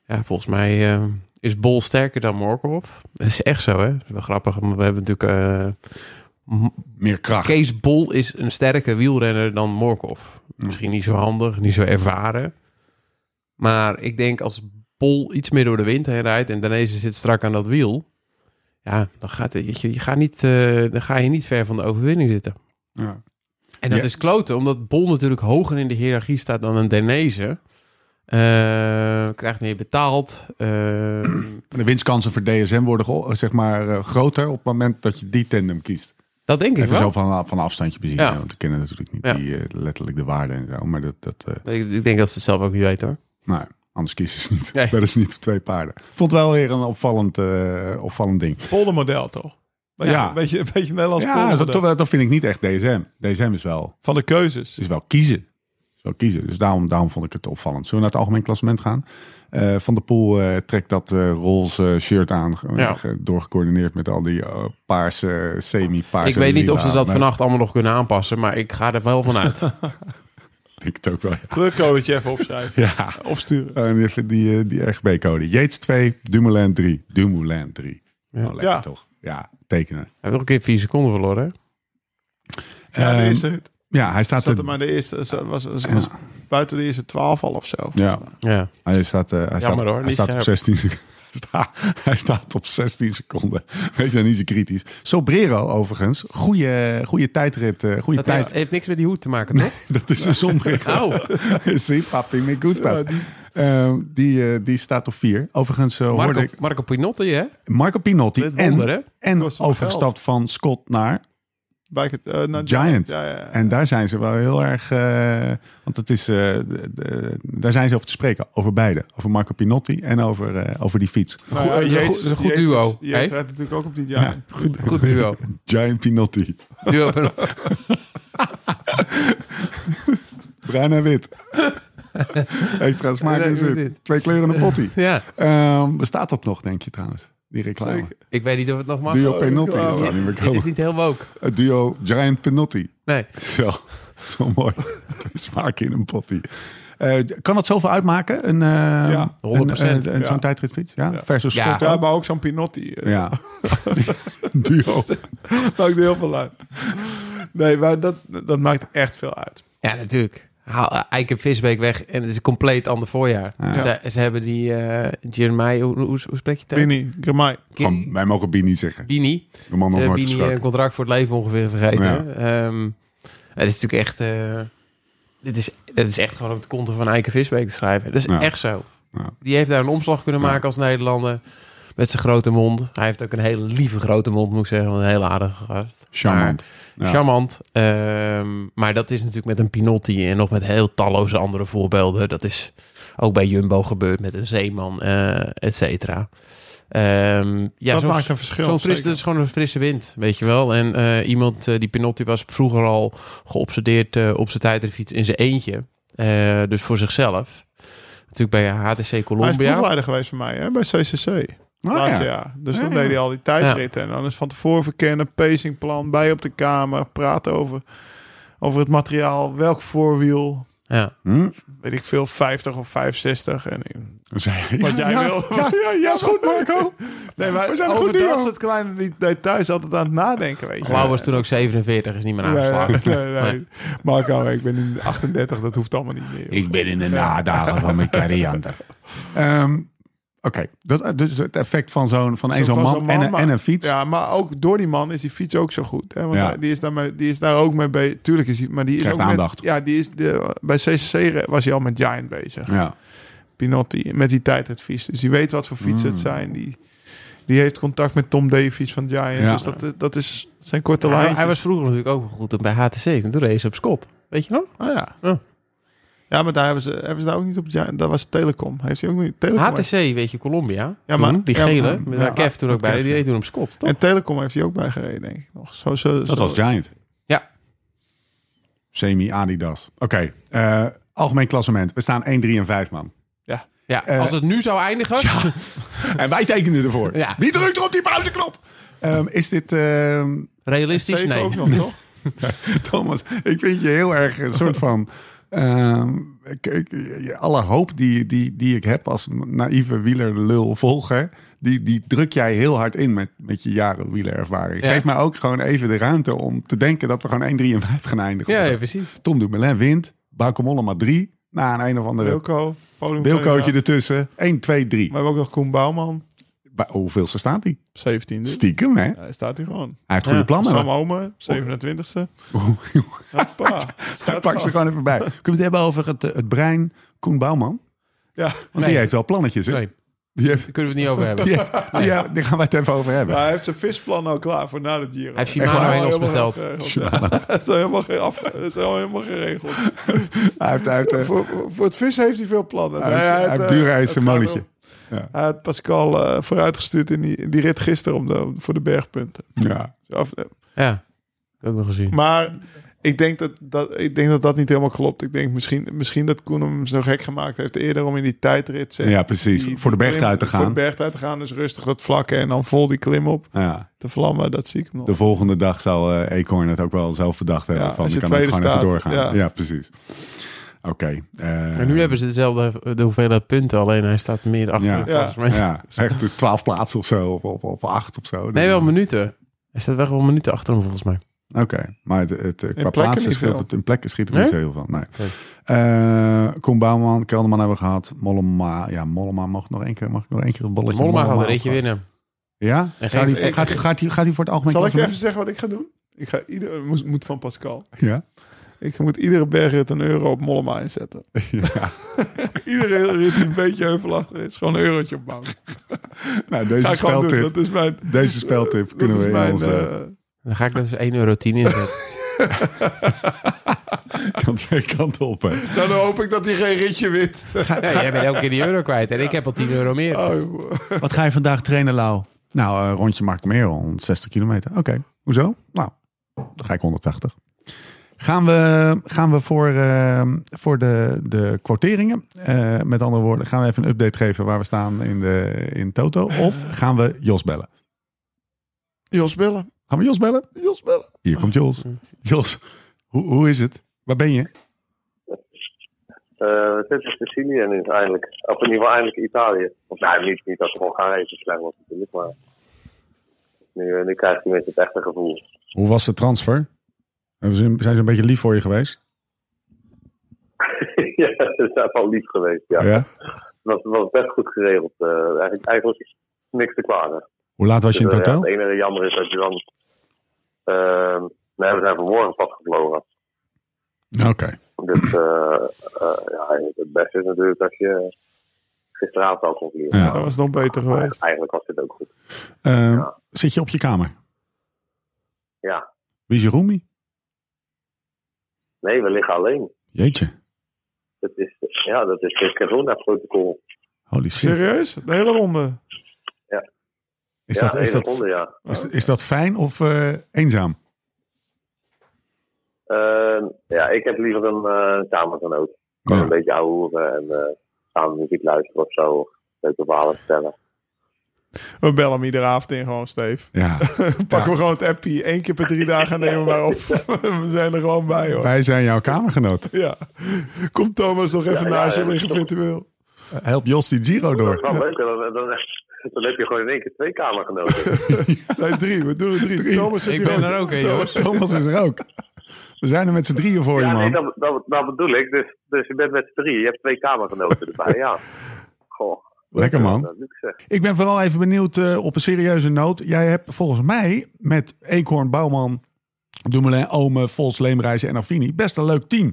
C: Ja, volgens mij eh, is Bol sterker dan Morkov. Dat is echt zo, hè? Dat is wel grappig. want We hebben natuurlijk... eh, M-
A: Meer kracht.
C: Kees Bol is een sterke wielrenner dan Morkov. Misschien niet zo handig, niet zo ervaren. Maar ik denk als Bol iets meer door de wind heen rijdt en Danese zit strak aan dat wiel. Ja, dan, gaat, het- weet je, je gaat niet, eh, dan ga je niet ver van de overwinning zitten.
A: Ja.
C: En dat
A: Ja.
C: is kloten, omdat Bol natuurlijk hoger in de hiërarchie staat dan een Danese. Eh, krijgt meer betaald. eh,
A: En De winstkansen voor DSM worden ge- zeg maar, eh, groter op het moment dat je die tandem kiest.
C: dat denk ik
A: Even
C: wel.
A: zo van, van een afstandje bezien.
C: Ja.
A: hè, want we kennen natuurlijk niet
C: Ja.
A: die, eh, letterlijk de waarde en zo. Maar dat, dat, eh,
C: Ik, ik denk dat ze het zelf ook niet weten hoor.
A: Nou, anders kiezen ze niet.
C: Nee.
A: Dat is niet voor twee paarden. Vond wel weer een opvallend, eh, opvallend ding.
D: Poldermodel toch? Beetje,
A: Ja.
D: Een beetje, een beetje Nederlands
A: Ja,
D: poldermodel.
A: dat, toch wel- dat vind ik niet echt DSM. DSM is wel,
D: Van de keuzes.
A: is wel kiezen. Is wel kiezen. Dus daarom, daarom vond ik het opvallend. Zullen we naar het algemeen klassement gaan? Eh, Van der Poel eh, trekt dat eh, roze shirt aan. ge-
C: Ja.
A: ge- Doorgecoördineerd met al die eh, paarse, semi-paarse.
C: Ik weet Ah, niet of ze
A: lila.
C: dat
A: Nee,
C: vannacht allemaal nog kunnen aanpassen, maar ik ga er wel van uit.
A: Ik denk het ook wel.
D: Kleurcodetje even opschrijven.
A: Ja.
D: Opsturen.
A: En even die, eh, die RGB-code. Yates 2, Dumoulin 3. Dumoulin 3. Oh, lekker
D: Ja.
A: toch? Ja, tekenen.
C: Hij heeft nog een keer vier seconden verloren. hè?
D: Ja, de
A: Ehm,
D: eerste rit.
A: Ja, hij staat,
D: Zat
A: te,
D: er maar de eerste, zat- was, was, was buiten de eerste twaalf al of zo.
A: Ja.
C: Ja.
A: hij staat, eh, hij staat,
C: hoor,
A: hij
C: niet
A: staat op
C: scherp.
A: 16 seconden. hij staat op 16 seconden. Wees daar niet zo kritisch. Sobrero overigens, goede, goede tijdrit. eh, Goede
C: Dat
A: tijd.
C: heeft, heeft niks met die hoed te maken, toch?
A: Dat is een zonbril.
C: Oh,
A: Zie, papi, me gustas.
D: Ja,
A: die die, eh, die staat op 4. Overigens eh, hoorde
C: Marco,
A: ik
C: Marco Pinotti, hè?
A: Marco Pinotti.
C: Dit
A: en
C: wonder, hè?
A: en
D: Kost hem geld.
A: overgestapt van Scott naar
D: Bij het, eh, naar
A: Giant.
D: Ja, ja, ja.
A: En daar zijn ze wel heel erg. eh, want het is, eh, de- de- daar zijn ze over te spreken. Over beide. Over Marco Pinotti en over, eh, over die fiets.
D: Nou ja,
C: Goed- dat is een goed- dat is een goed duo,
D: Jezus- Jezus
C: hè?
D: rijdt natuurlijk ook op die Giant.
A: goed.
C: Goed duo.
A: Giant Pinotti.
C: duo Pinotti.
A: Bruin en wit. Extra smaak en zin. Twee kleuren en een potty.
C: Ja,
A: Ehm, bestaat dat nog, denk je trouwens? Die reclame.
D: Zeker.
C: ik weet niet of het nog mag.
A: Duo Pinotti. Dat zou niet meer
C: Dit is
A: komen.
C: niet heel woke.
A: Het Duo Giant Pinotti.
C: Nee.
A: Zo, dat is wel mooi. Twee smaken in een potty. Eh, kan dat zoveel uitmaken? Een, eh,
D: Ja,
C: 100%,
A: een, eh, Zo'n
D: ja.
A: tijdritfiets? Ja?
D: Ja.
A: Versus
C: Ja.
A: Scott.
D: Ja, maar ook zo'n Pinotti. eh,
A: Ja. Duo.
D: Maakt heel veel uit. Nee, maar dat, dat maakt echt veel uit.
C: Ja, natuurlijk. Haal eh, Eik en Visbeek weg en het is een compleet ander voorjaar. Ze, ze hebben die eh Jeremiah, hoe, hoe, hoe spreek je het? uit?
D: Winnie, Gramai.
A: Gewoon, wij mogen Bini zeggen.
C: Bini.
A: De man nog
C: Eh,
A: nooit
C: Bini
A: gesproken.
C: een contract voor het leven ongeveer vergeten.
A: Ja.
C: Ehm, het is natuurlijk echt... eh, dit, is, dit is echt gewoon op de konten van Eike Visbeek te schrijven. Dat is
A: Ja.
C: echt zo.
A: Ja.
C: Die heeft daar een omslag kunnen maken als Nederlander. Met zijn grote mond. Hij heeft ook een hele lieve grote mond, moet ik zeggen. want Een hele aardige gast.
A: Charmant.
C: Maar-
A: Ja.
C: Charmant. Ehm, maar dat is natuurlijk met een Pinotti en nog met heel talloze andere voorbeelden. Dat is ook bij Jumbo gebeurd met een zeeman, eh et cetera. Ehm, ja,
D: Dat
C: zo'n-
D: maakt een verschil,
C: Zo'n frisse,
D: zeker.
C: dat is gewoon een frisse wind, weet je wel. En eh, iemand eh, die Pinotti was vroeger al geobsedeerd eh, op zijn tijdritfiets in zijn eentje. Eh, dus voor zichzelf. Natuurlijk bij HTC
D: Hij is
C: Colombia.
D: ploegleider geweest voor mij hè, bij CCC.
A: Ah,
D: laatste
A: ja.
D: jaar. Dus
A: Ja,
D: dan
A: ja.
D: deed hij al die tijdritten. En dan is van tevoren verkennen, pacingplan, bij op de kamer, praten over, over het materiaal, welk voorwiel,
C: Ja.
A: Hm?
D: weet ik veel, 50 of 65. En,
A: Dan zei hij,
D: Wat
A: ja,
D: jij
A: ja,
D: wil.
A: Ja, ja, ja, is goed Marco.
D: nee, maar
A: We zijn een goed
D: over
A: duo.
D: dat soort kleine die- details altijd aan het nadenken, weet je.
C: Blauw was toen ook 47, is niet meer
D: Nee,
C: aangeslagen.
D: nee, nee, nee. Marco, ik ben in 38, dat hoeft allemaal niet meer.
A: Ik ben in de nadagen van mijn kariander. Ehm, Oké, dat- dus het effect van zo'n van één
D: Zo
A: zo'n
D: van
A: man,
D: zo'n
A: en, een,
D: maar-
A: en een fiets.
D: Ja, maar ook door die man is die fiets ook zo goed. Hè? Want
A: Ja.
D: hij- die, is daar mee- die is daar ook mee bezig. Tuurlijk is hij, maar die is
A: Krijgt
D: ook met-
A: aandacht.
D: ja, die is de, bij CCC re- was hij al met Giant bezig.
A: Ja. Mm.
D: Pinotti, met die tijdadvies. Dus die weet wat voor fietsen het zijn. Die, Die heeft contact met Tom Davies van Giant.
A: Ja.
D: Dus dat, dat is zijn korte
C: Hij,
D: lijn.
C: hij was vroeger natuurlijk ook wel goed bij HTC. En toen race op Scott. Weet je nog?
D: Oh, ja.
C: Ja.
D: ja. maar daar hebben ze, hebben ze daar ook niet op. Ja, dat was Telecom. Heeft hij ook niet Telecom?
C: HTC, weet je, Colombia.
D: Ja,
C: toen,
D: maar-
C: die
D: ja,
C: gele,
D: maar-
C: met
D: ja,
C: waar Kev toen
D: met
C: ook bij,
D: Kev,
C: die
D: ja.
C: reed toen op Scott, toch?
D: En Telecom heeft hij ook bij gereden, denk ik nog. Zo, zo,
A: Dat was Giant.
C: Ja.
A: Semi-Adidas. Oké, eh, algemeen klassement. We staan 1, 3 en 5, man.
C: Ja,
A: Eh,
C: als het nu zou eindigen...
A: En wij tekenen ervoor.
C: Ja.
A: Wie drukt er op die pauzeknop? Ehm, is dit... ehm,
C: Realistisch,
D: Zeven
C: nee.
D: ook nog, toch?
A: Thomas, ik vind je heel erg een soort van... ehm, ik- ik- alle hoop die, die, die ik heb als naïeve wielerlul volger... Die, die druk jij heel hard in met, met je jaren wielerervaring.
C: Ja.
A: Geef mij ook gewoon even de ruimte om te denken... dat we gewoon 1, 3 en 5 gaan eindigen.
C: Ja,
A: of zo.
C: ja, precies.
A: Tom Dumoulin wint. Bauke Mollema 3. Na een een of andere
D: Wilco. Podium
A: wilcootje ertussen. 1, 2, 3.
D: We hebben ook nog Koen Bouwman.
A: Bij- Hoeveel staat hij?
D: 17e.
A: Stiekem, hè?
D: Ja, hij staat hier gewoon.
A: Hij heeft goede
C: Ja.
A: plannen.
D: Sam Omen, 27e. Hoppa.
A: Hij
D: Staat
A: pakt ze
D: vast.
A: gewoon even bij. Kunnen we het hebben over het, eh, het brein Koen Bouwman?
D: Ja.
A: Want die heeft wel plannetjes, hè?
C: Nee,
A: Die, heeft,
C: daar kunnen we het niet over hebben.
A: die, die- ja, die gaan wij het even over hebben.
D: Maar hij heeft zijn visplan al klaar voor na de Giro.
C: Hij heeft Shimano
D: Helemaal-
C: Engels
D: helemaal
C: besteld.
D: geregeld, ja. Dat is helemaal geen af- dat is helemaal geregeld.
A: Hij heeft, hij heeft, eh,
D: voor, voor- voor het vissen heeft hij veel plannen.
A: Hij heeft- hij heeft
D: eh,
A: duur, hij is
D: het
A: een
D: gaat
A: molletje.
D: om-
A: Ja.
D: Hij had Pascal eh, vooruitgestuurd in die, in die rit gisteren om de, om- voor de bergpunten.
A: ja.
D: Zo af- eh,
C: Ja, ook nog gezien.
D: Maar ik denk dat, dat, ik denk dat dat niet helemaal klopt. Ik denk misschien, misschien dat Koen hem zo gek gemaakt heeft eerder om in die tijdrit... zeg,
A: ja, precies.
D: die-
A: voor de
D: die
A: berg
D: klim-
A: uit te
D: Voor de
A: gaan.
D: berg uit te gaan, dus rustig dat vlakken en dan vol die klim op.
A: Ja.
D: De vlammen, dat zie ik nog.
A: De volgende dag zal eh Acorn het ook wel zelf bedacht hebben.
D: Ja,
A: van,
D: als
A: ik
D: je
A: kan ook
D: tweede
A: gewoon even
D: staat,
A: doorgaan. Ja,
D: ja.
A: precies. Oké. eh,
C: En nu hebben ze dezelfde de hoeveelheid punten, alleen hij staat meer achter.
A: Ja.
C: volgens mij.
A: ja, echt 12 plaatsen of zo, of, of, of acht of zo.
C: Nee, wel minuten. Hij staat wel wel minuten achter hem, volgens mij.
A: Oké, maar het, het, eh, qua
D: plekken
A: plaatsen
D: niet
A: scheelt
D: veel.
A: het in plekken schiet er
C: Nee?
A: niet zo heel veel. Nee.
C: Oké.
A: Eh, Koen Bouwman, Kelderman hebben we gehad. Mollema, ja, Mollema mag nog één keer, mag ik nog één keer een bolletje.
C: Mollema gaat een
A: opgaan?
C: ritje winnen.
A: Ja?
C: En
A: Zou
C: geen-
A: die-
D: ik-
A: gaat,
D: ik-
A: gaat, die, gaat die voor het algemeen
D: Zal ik even
A: klassement?
D: zeggen wat ik ga doen? Ik ga ieder, moet, moet van Pascal.
A: Ja.
D: Ik moet iedere bergrit een euro op Mollema inzetten.
A: ja.
D: Iedere rit die een beetje heuvelachtig is, gewoon een eurotje opbouwen.
A: Nou,
D: Ga
A: deze
D: ik gewoon doen. Dat
A: speltip,
D: is mijn...
A: deze speltip kunnen we
D: dat is
A: in
D: mijn...
A: onze
D: eh,
C: Dan ga ik dus 1,10 euro inzetten.
D: eh,
A: kan twee kanten op. hè.
D: nou, dan hoop ik dat hij geen ritje wint.
C: Nee, jij bent elke keer die euro kwijt en ik heb al 10 euro meer.
D: Oh, joh.
A: Wat ga je vandaag trainen, Lau? Nou, eh, rondje Mark Merel, 160 kilometer. Oké, hoezo? Nou, dan ga ik 180. Gaan we, gaan we voor, eh, voor de, de quoteringen, eh, met andere woorden, gaan we even een update geven waar we staan in, de, in Toto? Of gaan we Jos bellen?
D: Jos bellen.
A: Gaan we Jos bellen?
D: Jos bellen.
A: Hier komt Jos. Jos, hoe, hoe is het? Waar ben je?
G: Eh, het is Sicilië en uiteindelijk, of in ieder geval eindelijk Italië. Of nou, niet, niet dat we gewoon gaan reizen, slecht was natuurlijk, maar nu, eh, nu krijgt hij mensen het echte gevoel.
A: Hoe was de transfer? Hebben ze- Zijn ze een beetje lief voor je geweest?
G: ja, dat is wel lief geweest, ja.
A: Ja.
G: Dat was best goed geregeld. eh, eigenlijk, eigenlijk was niks te klagen.
A: Hoe laat was je in
G: Dus,
A: het
G: eh, ja,
A: hotel?
G: het enige jammer is dat je dan... ehm, nee, we zijn vanmorgen pas gevlogen.
A: Oké.
G: Dus eh, eh, ja, het beste is natuurlijk dat je gisteravond al kon vliegen.
A: Ja.
D: Dat was nog beter
G: Maar
D: geweest.
G: eigenlijk was dit ook goed.
A: Ehm,
G: Ja.
A: Zit je op je kamer?
G: Ja.
A: Wie is je roomie?
G: Nee, we liggen alleen.
A: Jeetje.
G: Dat is, ja, dat is het corona-protocol.
A: Holy shit.
D: Serieus? De hele ronde?
A: Is,
G: ja,
A: dat, is,
G: hele
A: dat,
G: ronde, ja.
A: is, is dat fijn of eh, eenzaam?
G: Ehm, ja, ik heb liever een eh kamergenoot.
A: Ja.
G: Gewoon Een beetje ouwe hoeren en eh, samen muziek luisteren of zo. of Leuke verhalen vertellen.
D: We bellen hem iedere avond in gewoon, Steve.
A: Ja.
D: Pakken we gewoon het appie. Eén keer per drie dagen nemen we maar op. we zijn er gewoon bij, hoor.
A: Wij zijn jouw kamergenoot.
D: Ja. Komt Thomas nog even
G: ja,
D: naast
G: ja,
D: je liggen
G: toch.
D: virtueel?
A: Help Jos die Giro
G: Dat is
A: door.
G: wel leuk. hè, Dan, dan, dan heb je gewoon in één keer twee kamergenoten.
D: Nee, drie. We doen er drie. Thomas zit
C: Ik
D: hier
C: ben
D: ook.
C: er ook een, jongens.
D: Thomas-
A: Thomas is er ook. We zijn er met z'n drieën voor
G: ja,
A: je,
G: nee,
A: man.
G: dat, dat, dat bedoel ik. Dus, dus je bent met z'n drieën. Je hebt twee kamergenoten erbij, ja. Goh.
A: Lekker, man.
G: Dat is eh, luxe.
A: Ik ben vooral even benieuwd eh, op een serieuze noot. Jij hebt volgens mij met Eekhoorn, Bouwman, Dumoulin, Ome, Vos, Leemreizen en Affini best een leuk team.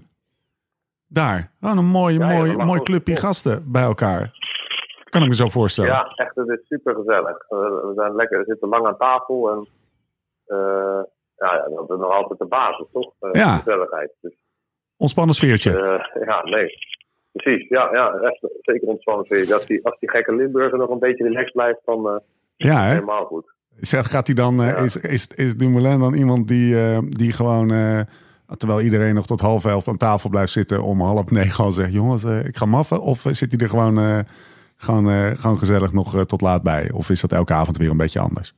A: Daar. Gewoon een mooie,
G: Ja, ja,
A: mooi,
G: dat mag
A: mooi
G: ook.
A: clubje gasten bij elkaar. Kan ik me zo voorstellen.
G: Ja, echt, het is super gezellig. We zijn lekker, we zitten lang aan tafel en eh, ja, ja, dat is nog altijd de basis, toch? Eh,
A: Ja.
G: Gezelligheid. Dus,
A: Ontspannen sfeertje.
G: eh, ja, nee. Precies, ja, ja echt, zeker ontspannen sfeer. Als die, als die gekke Limburger nog een beetje relaxed blijft, dan eh,
A: Ja, hè?
G: helemaal goed.
A: Zegt, gaat hij dan, eh, is, is, is Dumoulin dan iemand die, eh, die gewoon, eh, terwijl iedereen nog tot half elf aan tafel blijft zitten, om half negen al zegt, jongens, eh, ik ga maffen? Of eh, zit hij er gewoon, eh, gewoon, eh, gewoon gezellig nog eh, tot laat bij? Of is dat elke avond weer een beetje anders?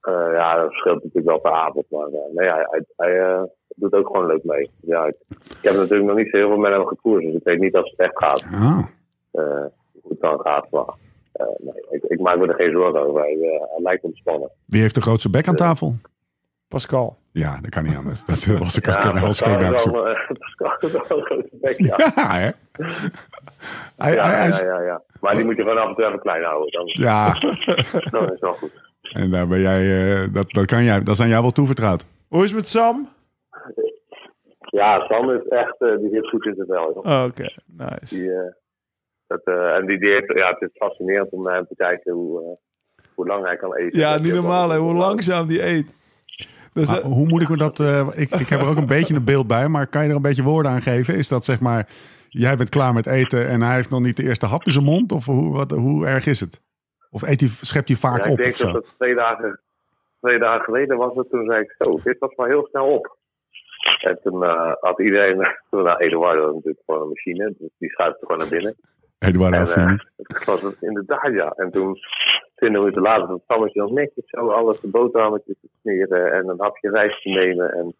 G: Eh, ja, dat scheelt natuurlijk wel per avond, maar eh, nee, hij, hij, hij, eh, doet ook gewoon leuk mee. Ja, ik, ik heb natuurlijk nog niet zo heel veel met hem gekoerd, dus ik weet niet of het echt gaat.
A: Ah,
G: eh, hoe het dan gaat. Maar eh, nee, ik, ik maak me er geen zorgen over. Hij, eh, hij lijkt ontspannen.
A: wie heeft de grootste bek
G: Eh.
A: aan tafel?
D: Pascal.
A: Ja, dat kan niet anders. Dat eh, was ik ook
G: Ja,
A: een heel
G: Pascal
A: scheen
G: is
A: uitzoek.
G: wel, eh, Pascal is wel een grote bek, ja.
A: Ja, hè? Hij-
G: Ja,
A: hij- hij
G: ja,
A: is-
G: ja, ja. Maar die moet je gewoon af en toe even klein houden. Dan,
A: Ja,
G: dan is het wel goed.
A: en daar ben jij, eh, dat, dat kan jij, dat zijn jij wel toevertrouwd.
D: Hoe is het met Sam?
G: Ja, Sam is echt, eh, die zit goed in zijn vel. joh.
D: Oh, Oké, nice.
G: Die, eh, dat, eh, en die, die heeft, ja, het is fascinerend om naar hem te kijken hoe, eh, hoe lang hij kan eten.
D: Ja,
G: Dat
D: niet
G: is ook
D: normaal hè,
G: wel-
D: hoe langzaam die eet. Dus,
A: Maar
D: eh,
A: hoe moet ik me dat... eh, ik, ik heb er ook een beetje een beeld bij, maar kan je er een beetje woorden aan geven? Is dat zeg maar, jij bent klaar met eten en hij heeft nog niet de eerste hap in zijn mond? Of hoe, wat, hoe erg is het? Of eet hij, schept hij vaak
G: Ja, ik
A: op
G: denk
A: of zo?
G: dat het twee dagen, twee dagen geleden was het. Toen zei ik zo, dit was maar heel snel op. En toen eh, had iedereen, toen nou, Eduardo had natuurlijk gewoon een machine, dus die schuift gewoon naar binnen.
A: Eduardo
G: en eh,
A: Affini.
G: toen was het inderdaad ja. En toen, twintig minuten later, dat Sammetje nog netjes zo alles de boterhammetjes te smeren en een hapje rijst te nemen en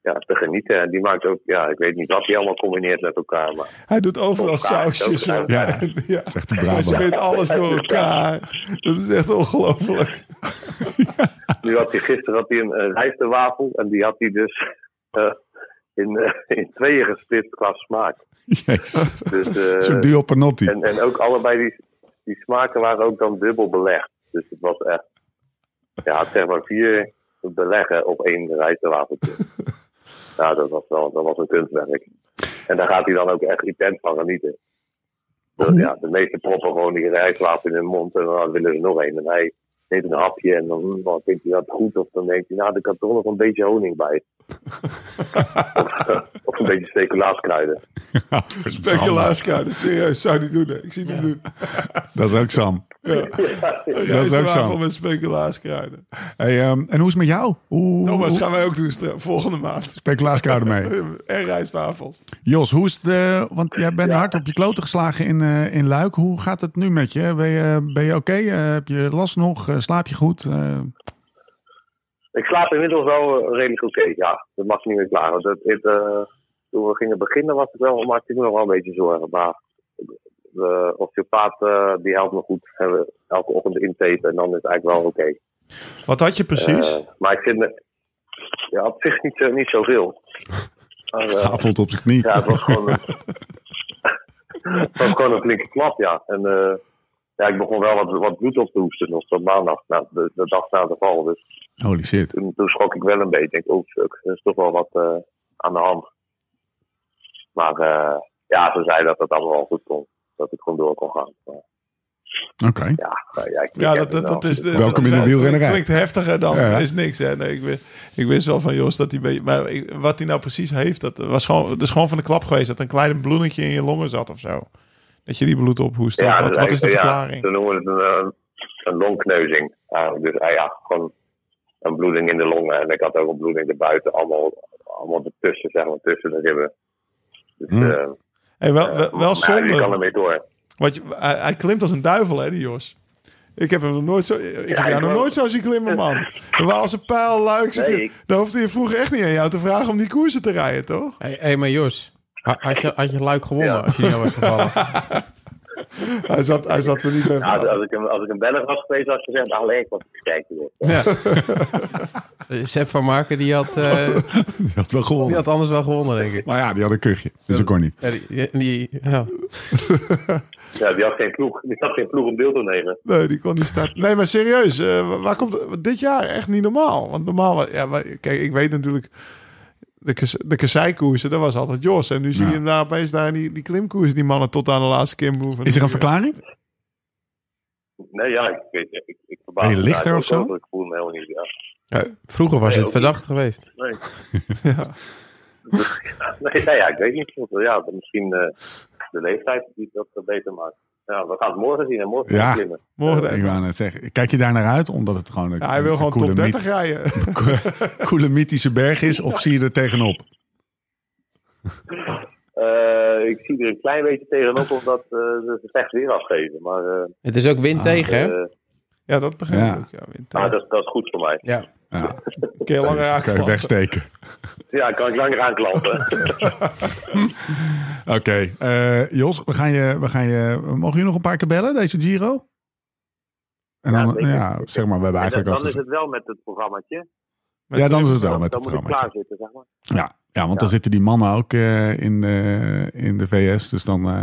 G: ja, te genieten. En die maakt ook, ja, ik weet niet wat die allemaal combineert met elkaar, maar
D: hij doet overal
G: Elkaar,
D: sausjes
G: elkaar.
D: op.
A: Ja,
D: ja.
A: zegt de
D: Hij
A: Brabant.
D: smeert alles door elkaar. Dat is echt ongelooflijk.
G: Nu had hij gisteren had hij een, een rijstewafel en die had hij dus eh, in, eh, in tweeën gesplitst qua smaak.
A: Jezus.
G: Dus, eh,
A: Een soort duo panotti.
G: en, en ook allebei die, die smaken waren ook dan dubbel belegd. Dus het was echt, ja, het zeg maar vier beleggen op één rijstewafeltje. Nou, dat was wel dat was een kunstwerk. En daar gaat hij dan ook echt intens van genieten. Dus, ja, de meeste proppen gewoon die rijstwafel in hun mond en dan willen ze nog één. En hij neemt een hapje en dan, hmm, dan vindt hij dat goed. Of dan denkt hij, nou, er kan toch nog een beetje honing bij. of, of een beetje speculaaskruiden.
D: Speculaaskruiden, serieus, zou die doen. hè. Ik zie het hem doen.
A: Dat is ook Sam.
D: Dat
A: is ook zo.
D: met speculaaskruiden.
A: Hey, ehm, en hoe is het met jou? Hoe, hoe,
D: Thomas,
A: hoe,
D: gaan wij ook doen stra- volgende maand.
A: Speculaaskruiden mee.
D: En rijsttafels.
A: Jos, hoe is het? eh, want jij bent hard op je kloten geslagen in, eh, in Luik. Hoe gaat het nu met je? Ben je, ben je oké? Eh, heb je last nog? Eh, slaap je goed? Eh,
G: Ik slaap inmiddels wel eh, redelijk oké, ja. Dat mag niet meer klaar. Dat, het, eh, toen we gingen beginnen was ik wel, maakte ik me nog wel een beetje zorgen. Maar de osteopaat eh, die helpt me goed. En we elke ochtend intapen en dan is het eigenlijk wel oké.
D: Wat had je precies?
G: Eh, maar ik vind het ja, op zich niet, eh, niet zoveel. Maar, eh,
A: Tafelt op zijn knie.
G: ja, het was gewoon een, het was gewoon een flinke klap, ja. En eh, ja, ik begon wel wat, wat bloed op te hoesten nog tot maandag, na, de, de dag na de val. Dus
A: Holy shit.
G: toen, toen schrok ik wel een beetje. Ik denk, oh fuck, er is toch wel wat eh, aan de hand. Maar eh, ja, ze zei dat het allemaal wel goed kon. Dat ik gewoon door kon gaan. Maar,
A: Oké.
G: ja, nou, ja, ik- ik
D: Ja,
G: heb
D: dat, dat,
G: het wel.
D: dat is...
G: Dus,
D: dat-
A: Welkom in de
D: dat-
A: wielrennerij.
D: Klinkt heftiger dan.
A: Ja.
D: Dat is niks. Hè. Nee, ik, wist, ik wist wel van Jos dat hij... Beetje, maar ik- wat hij nou precies heeft, dat was gewoon, dat is gewoon van de klap geweest. Dat een klein bloedetje in je longen zat of zo. Dat je die bloed ophoest.
G: ja,
D: of wat,
G: dus
D: wat is de
G: eigenlijk, ja,
D: verklaring?
G: Ze noemen het een, eh, een longkneuzing. eigenlijk. dus ah, ja, gewoon een bloeding in de longen. En ik had ook een bloeding erbuiten. Allemaal, allemaal ertussen, zeg maar, tussen de ribben. Dus,
A: Hmm.
G: eh,
D: Hey, wel, wel, wel
G: maar ja, nou, je kan
D: zonde.
G: ermee door.
D: Want je, hij, hij klimt als een duivel, hè, die Jos. Ik heb hem nog nooit zo, ik heb
G: ik
D: jou nog
G: ook.
D: nooit zo zien klimmen, man. De Waalse pijl, luik. zit
G: Nee,
D: hier-
G: ik-
D: Daar hoefde je vroeger echt niet aan jou te vragen om die koersen te rijden, toch?
C: Hé, hey, maar Jos, ha- had je, had je luik gewonnen als je niet aan was gevallen?
D: Hij zat, hij zat er niet bij.
G: Nou, als, als ik een, als ik een Belg was geweest, had ik gezegd, alleen ik was kijken. joh.
C: ja. Eh, Sepp van Marken, die had, eh,
A: Die had wel
C: die
A: gewonnen.
C: had anders wel gewonnen, denk ik.
A: Maar ja, die had een kuchje. Dus dat kon niet.
C: Ja, die, die- ja.
G: Ja, die had geen ploeg. Die had geen ploeg om deel te nemen.
D: Nee, die kon niet starten. Nee, maar serieus, eh, waar komt dit jaar echt niet normaal? Want normaal, ja, maar, kijk, ik weet natuurlijk. de, kes- de kasseikoersen, dat was altijd Jos. En nu zie
A: Ja.
D: je hem daar opeens daar die, die klimkoers, die mannen tot aan de laatste keer moeven.
A: Is er een verklaring?
G: Nee, ja, ik weet ik, ik, ik verbaas
A: Ben je
G: me
A: lichter
G: daar
A: of zo?
G: ook over. Ik voel me helemaal niet, ja.
C: Ja, vroeger was
G: Nee,
C: dit
G: ook niet.
C: verdacht geweest.
G: Nee.
D: Ja.
G: Nee, nou ja, ik weet niet. Ja, misschien eh, de leeftijd die dat eh, beter maakt. Ja, we gaan het morgen zien en morgen
A: Ja.
G: gaan we klimmen.
D: Morgen.
A: Ik wou net zeggen. Kijk je daar naar uit? Omdat het gewoon een,
D: Ja, hij wil
A: een
D: gewoon
A: coole
D: top 30
A: myth-
D: rijden.
A: coole mythische berg is? Of zie je er tegenop?
G: Eh, ik zie er een klein beetje tegenop omdat eh ze het echt weer afgeven. Maar, eh,
C: Het is ook wind tegen, hè?
G: eh,
D: Ja, dat begrijp
A: Ja.
D: ik ook. Ja, winter.
G: maar dat, dat is goed voor mij.
C: Ja.
A: Ja,
D: Kun je langer
A: kan je
D: aanklappen.
A: wegsteken.
G: Ja, kan ik langer aanklampen.
A: Oké, eh, Jos, we gaan je, we gaan je, mogen je nog een paar keer bellen deze Giro? En
G: Ja,
A: dan,
G: zeker.
A: ja, zeg maar, we hebben
G: En dan,
A: eigenlijk al
G: dan is
A: gezegd-
G: het wel met het programmaatje.
A: Ja, dan is het wel
G: Dan,
A: met
G: dan
A: het
G: moet ik
A: programma.
G: klaar zitten, zeg maar.
A: Ja, ja, want dan zitten die mannen ook eh, in, de, in de VS, dus dan, eh,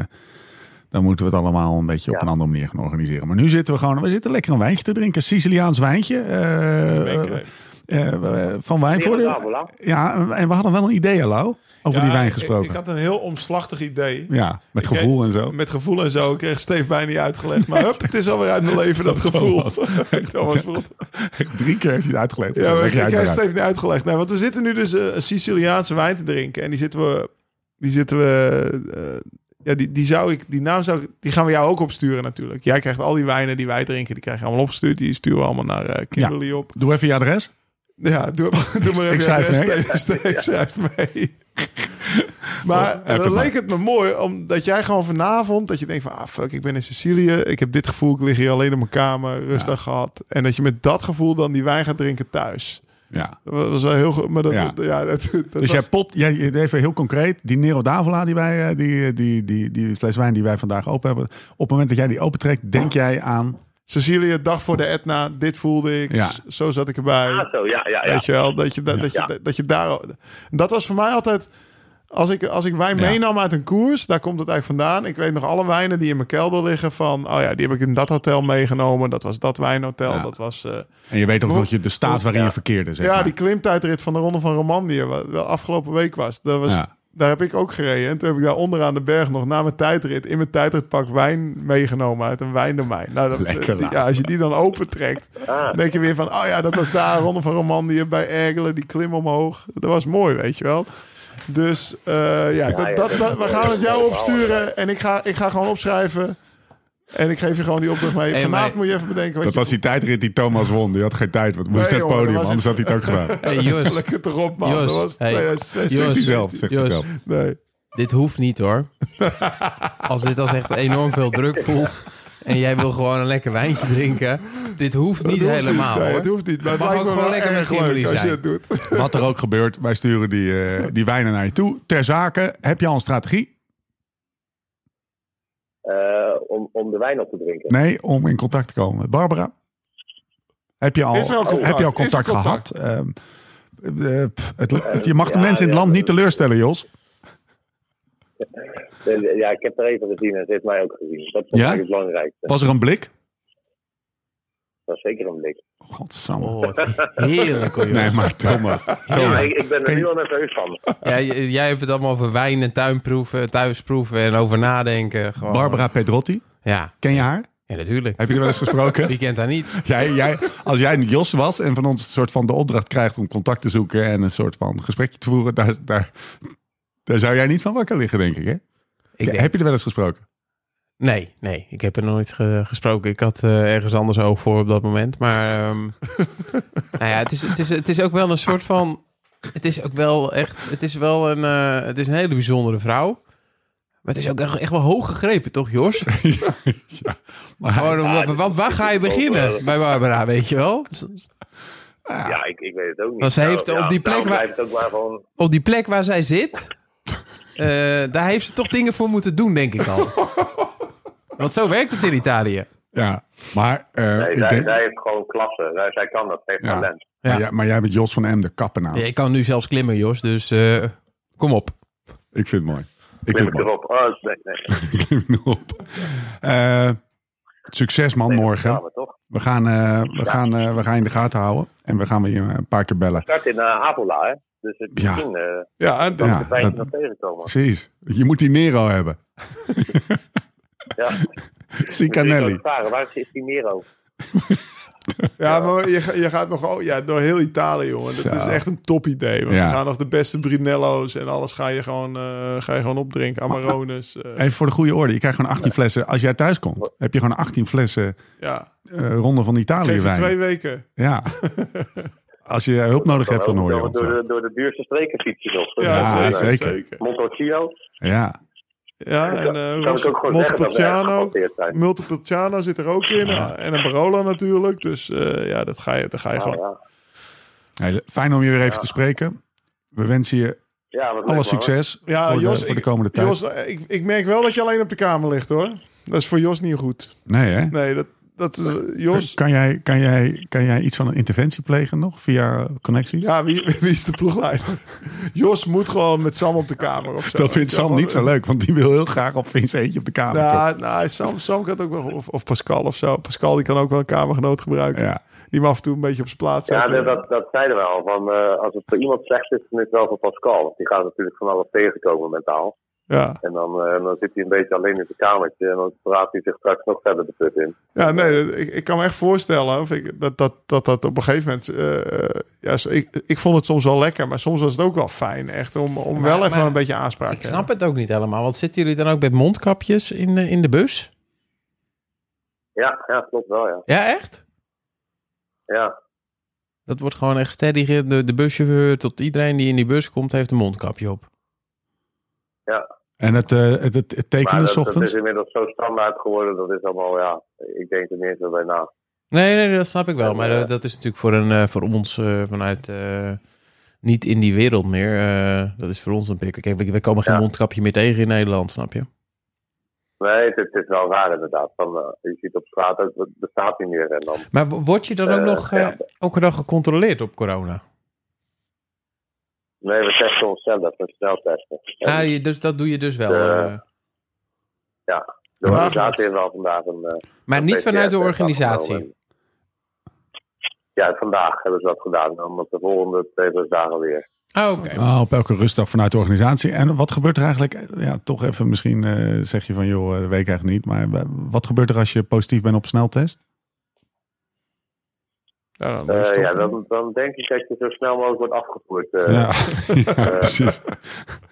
A: dan moeten we het allemaal een beetje op
G: Ja.
A: een andere manier gaan organiseren. Maar nu zitten we gewoon, we zitten lekker een wijntje te drinken, Siciliaans wijntje eh,
D: Beker.
A: eh, eh, van Wijnvoordeel.
G: Neerlandavola.
A: Ja, en we hadden wel een idee, hallo, over
D: Ja,
A: die wijn
D: ik-
A: gesproken.
D: Ik, had een heel omslachtig idee.
A: ja, met
D: Ik-
A: gevoel en zo.
D: Met gevoel en zo. Ik kreeg Steve bijna niet uitgelegd. Maar hup, het is alweer uit mijn leven, dat gevoel. Thomas voelt.
A: Drie keer heeft hij het uitgelegd.
D: Ja,
A: Leg
D: maar
A: jij
D: ik
A: het
D: ik
A: maar
D: heb
A: uit.
D: het even niet uitgelegd. Nee, want we zitten nu dus eh, een Siciliaanse wijn te drinken. En die zitten we... Die zitten we... eh, ja, die, die zou ik... Die naam zou ik... Die gaan we jou ook opsturen natuurlijk. Jij krijgt al die wijnen die wij drinken. Die krijg je allemaal opgestuurd. Die sturen we allemaal naar eh, Kimberly op.
A: Doe even je adres.
D: Ja, doe, doe maar even.
A: ik schrijf
D: eh,
A: mee.
D: Steve, Steve schrijft mee. Maar
A: heb het
D: dan
A: maar.
D: leek het me mooi, omdat jij gewoon vanavond, dat je denkt van, ah fuck, ik ben in Sicilië, ik heb dit gevoel, ik lig hier alleen in mijn kamer, rustig gehad. En dat je met dat gevoel dan die wijn gaat drinken thuis.
A: Ja.
D: Dat was wel heel goed, maar dat,
A: Ja.
D: ja. dat, dat
A: Dus
D: was-
A: jij popt, jij, even heel concreet, die Nero Davola die wij, eh, die, die, die, die fles wijn die wij vandaag open hebben. Op het moment dat jij die opentrekt, denk jij aan.
D: Sicilië, dag voor de Etna, dit voelde ik,
A: Ja.
D: s- zo zat ik erbij.
G: Ah, zo, ja, ja, ja.
D: Weet je wel, dat je, da- dat, je,
G: Ja.
D: da- dat je daar... Dat was voor mij altijd... Als ik, als ik wijn
A: Ja.
D: meenam uit een koers, daar komt het eigenlijk vandaan. Ik weet nog alle wijnen die in mijn kelder liggen van... Oh ja, die heb ik in dat hotel meegenomen. Dat was dat wijnhotel.
A: Ja.
D: Dat was... eh,
A: En je weet ook dat je de staat waarin je verkeerde. Zeg
D: ja,
A: maar.
D: die klimtijdrit van de Ronde van Romandie, wat wel afgelopen week was. Dat was
A: Ja.
D: Daar heb ik ook gereden. En toen heb ik daar onderaan de berg nog na mijn tijdrit... in mijn tijdritpak wijn meegenomen uit een wijndomein. Nou, dat,
A: Lekker
D: die-
A: laat.
D: ja, als je die dan opentrekt, dan denk je weer van... oh ja, dat was daar, Ronde van Romandie bij Ergelen, die klim omhoog. Dat was mooi, weet je wel. Dus eh, ja, dat,
G: ja,
D: dat,
G: dat-
D: dat- we gaan het jou
G: dat-
D: opsturen en ik ga, ik ga gewoon opschrijven... En ik geef je gewoon die opdracht mee.
C: Hey,
D: Vanavond
C: maar-
D: moet je even bedenken wat
A: dat
D: je
A: was die tijdrit die Thomas won. Die had geen tijd, want het moest
D: Nee,
A: het
D: jongen,
A: podium,
D: dat was
A: anders had hij het ook gedaan.
C: Hey, Jos.
D: Lekker erop, man.
C: Jos,
D: dat was
C: hey.
D: 2016.
C: Jos.
A: Zegt hij zelf, zegt hij
C: Jos.
A: zelf.
D: Nee.
C: Dit hoeft niet hoor. Als dit als echt enorm veel druk voelt en jij wil gewoon een lekker wijntje drinken. Dit hoeft niet
D: Het hoeft
C: helemaal
D: niet, nee,
C: hoor.
D: Het hoeft niet. Maar het
C: Mag
D: lijkt
C: ook
D: me
C: gewoon
D: wel
C: lekker
D: erg
C: met Kimberly
D: leuk als je
C: zijn.
D: het doet.
A: Wat er ook gebeurt, wij sturen die, eh, die wijnen naar je toe. Ter zake, heb je al een strategie?
G: Eh, om, om de wijn op te drinken.
A: Nee, om in contact te komen met Barbara. Heb je al,
D: Is er al contact?
A: Heb je al
D: Is er
A: contact,
D: contact?
A: gehad? Ehm, eh, pff, het- je mag de
G: ja,
A: mensen in het
G: ja,
A: land niet
G: dat-
A: teleurstellen, Jos.
G: Eh, Ja, ik heb er even gezien en ze heeft mij ook gezien. Dus Dat is
A: Ja?
G: eigenlijk het belangrijkste.
A: Was er een blik?
G: Dat is zeker een blik.
A: Godsamme.
C: Oh, wat heerlijk hoor. Jos.
A: Nee, maar Thomas.
G: Ja,
A: Thomas.
G: maar ik, ik ben
A: Kan
G: er
A: je-
G: nu al nerveus van.
C: Jij, jij hebt het allemaal over wijn en tuinproeven, thuisproeven en over nadenken. Gewoon.
A: Barbara Pedrotti,
C: Ja,
A: ken je haar?
C: ja natuurlijk.
A: Heb je er wel eens gesproken?
C: Wie kent haar niet?
A: jij, jij, als jij een Jos was en van ons een soort van de opdracht krijgt om contact te zoeken en een soort van gesprekje te voeren, daar, daar, daar zou jij niet van wakker liggen, denk ik. Hè?
C: Ik denk-
A: Heb je er wel eens gesproken?
C: Nee, nee, ik heb er nooit ge- gesproken. Ik had eh, ergens anders oog voor op dat moment. Maar ehm, nou ja, het, is, het, is, het is ook wel een soort van. Het is ook wel echt. Het is wel een, eh, het is een hele bijzondere vrouw. Maar het is ook echt, echt wel hoog gegrepen, toch, Jos?
A: Maar hij-
C: Gewoon omdat, want waar ga je beginnen bij Barbara, weet je wel?
A: Ah.
G: Ja, ik, ik weet het ook niet.
C: Want ze heeft
G: Nou,
C: op die plek
G: daarom
C: waar-
G: blijft het ook maar gewoon...
C: Op die plek waar zij zit, eh, daar heeft ze toch dingen voor moeten doen, denk ik al. Want zo werkt het in Italië.
A: ja, maar eh,
G: Nee,
A: ik
G: zij,
A: denk,
G: zij heeft gewoon klasse. Zij, zij kan dat. Zij heeft
A: Ja.
G: talent.
A: Maar, jij, maar jij bent Jos van M, de kappen
C: Ja, Ik kan nu zelfs klimmen, Jos, dus eh, kom op.
A: Ik vind het mooi. Ik
G: Klim
A: vind het
G: ik
A: mooi.
G: erop. Oh, nee, nee.
A: Klim hem op. Eh, succes man morgen.
G: Gaan we toch?
A: We gaan, eh, we, gaan, eh, we gaan je in de gaten houden. En we gaan weer een paar keer bellen.
G: Start in eh, Avola, hè? Dus het,
A: Ja.
G: misschien eh
D: Ja, en-
G: kan
A: Ja,
G: ik de feitje
A: dat-
G: nog tegenkomen.
A: Precies. Je moet die Nero hebben.
G: Ja.
A: Sicanelli.
G: Ik vragen, waar is die Nero?
D: Ja, maar je, ga- je gaat nog oh, ja, door heel Italië, jongen.
A: Zo.
D: Dat is echt een topidee. Want
A: Ja.
D: we gaan nog de beste Brunello's en alles ga je gewoon, eh, ga je gewoon opdrinken. Amarones. eh,
A: Even voor de goede orde. Je krijgt gewoon 18 flessen. Als jij thuis komt, heb je gewoon 18 flessen
D: ja.
A: eh, Ronde van Italië
D: Geef je twee
A: wijn.
D: weken.
A: Ja. Als je eh, hulp nodig hebt, dan hoor je
G: door,
A: ons.
G: door,
A: wel.
G: de, door de duurste streken fietsen nog.
D: Ja,
A: Ja,
D: zeker.
A: zeker.
D: zeker.
G: Montalcino.
D: eh,
A: Ja.
D: Ja, en
G: Ja,
D: eh
G: kan
D: Ros-
G: ik ook gewoon zeggen dat wij
D: Montepulciano.
G: gemonteerd zijn.
D: Montepulciano zit er ook in. eh, En een Barola natuurlijk. Dus eh, ja, dat ga je, dat ga je
G: Ja,
D: gewoon.
G: ja.
A: Hey, Fijn om je weer even te spreken. We wensen je
G: Ja, wat leuk,
A: alle
G: man.
A: succes voor, de, voor de
D: ik-
A: komende tijd.
D: Jos, eh, ik, ik merk wel dat je alleen op de kamer ligt, hoor. Dat is voor Jos niet goed.
A: nee, hè?
D: Nee, dat, dat is... Jos...
A: Kan, jij, kan, jij, kan jij iets van een interventie plegen nog via connecties?
D: Ja, wie, wie is de ploegleider? Jos moet gewoon met Sam op de kamer of zo.
A: Dat vindt Sam niet zo leuk, want die wil heel graag op Vincentje op de kamer. toch?
D: Nou, nou, Sam, Sam kan het ook wel, of, of Pascal of zo. Pascal die kan ook wel een kamergenoot gebruiken.
A: Ja.
D: Die hem af en toe een beetje op zijn plaats
G: Ja,
D: zetten.
G: nee, dat, dat zeiden we al. Van, eh, als het voor iemand slecht is, dan is het wel voor Pascal. Want die gaat natuurlijk van alles tegenkomen mentaal.
D: ja.
G: En dan, eh, dan zit hij een beetje alleen in zijn kamertje. En dan praat hij zich straks nog verder de put in.
D: ja, nee, dat- ik, ik kan me echt voorstellen of ik, dat, dat, dat dat op een gegeven moment... eh, eh, ja, zo- ik, ik vond het soms wel lekker, maar soms was het ook wel fijn. Echt, om, om wel even
F: maar-
D: een beetje aanspraak
F: Ik
D: te
F: snap het ook niet helemaal. Want zitten jullie dan ook met mondkapjes in, eh, in de bus?
G: Ja, ja klopt wel, ja.
F: Ja, echt?
G: Ja,
F: Dat wordt gewoon echt steady. ge- De, de buschauffeur tot iedereen die in die bus komt, heeft een mondkapje op.
G: ja.
A: En het, eh, het, het, het
G: Maar
A: tekenen
G: dat,
A: s
G: dat is
A: ochtends?
G: inmiddels zo standaard geworden. Dat is allemaal, ja... Ik denk er niet eens meer bij na.
F: Nee, nee, nee, dat snap ik wel.
G: En,
F: Maar
G: eh,
F: dat, dat is natuurlijk voor, een, eh, voor ons eh, vanuit eh, niet in die wereld meer. eh, dat is voor ons een pik. Kijk, we, we komen geen
G: Ja.
F: mondkapje meer tegen in Nederland, snap je?
G: Nee, het, het is wel raar inderdaad. Van, eh, je ziet op straat, het be- bestaat niet meer. En dan,
F: Maar w- word je dan ook
G: Eh,
F: nog eh,
G: ja.
F: elke dag gecontroleerd op corona?
G: nee, we testen onszelf. We snel testen. En
F: Ah, je, dus dat doe je dus wel.
G: Ja.
F: eh.
G: de organisatie heeft wel vandaag een... eh,
F: maar
G: een
F: niet vanuit de
G: PCR-test
F: organisatie.
G: afgenomen. Ja, vandaag hebben ze dat gedaan. Dan op de volgende twee drie dagen weer.
F: Ah, oké.
A: Ah, op elke rustdag vanuit de organisatie. En wat gebeurt er eigenlijk? Ja, toch even misschien eh, zeg je van joh, eh, dat weet ik eigenlijk niet. Maar eh, wat gebeurt er als je positief bent op sneltest?
D: Ja,
A: Oh,
D: dan
G: Eh,
D: doe je stoppen.
G: ja, dan, dan denk ik dat je zo snel mogelijk wordt afgevoerd. eh,
A: ja. ja, precies.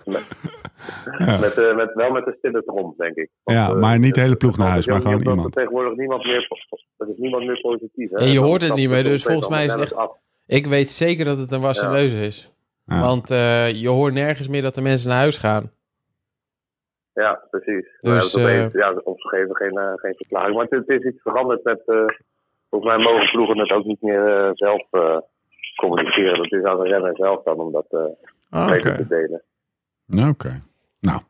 G: met, eh, met, wel met de stille rond, denk ik.
A: Ja,
G: eh,
A: maar niet de hele
G: het-
A: ploeg naar
G: het-
A: huis, maar
G: het-
A: gewoon
G: het- het-
A: iemand.
G: Er is tegenwoordig niemand meer, po- er is niemand meer positief. Hè?
F: Ja, je
G: Dan-
F: hoort het
G: dan-
F: niet meer,
G: dan-
F: dus
G: dan-
F: volgens mij is het
G: dan-
F: echt-
G: af.
F: Ik weet zeker dat het een wasse
G: Ja.
F: leuze is.
A: Ja.
F: Want eh, je hoort nergens meer dat de mensen naar huis gaan.
G: Ja, precies.
F: Dus,
G: Dus, we hebben opeens, ja, ons geven geen, eh, geen verklaring. Maar het, het is iets veranderd met... eh, volgens mij mogen ploegen het ook niet meer eh, zelf eh, communiceren. Dat is aan de renner zelf dan om dat eh
D: Ah, oké.
G: beter te delen.
A: Oké. Nou,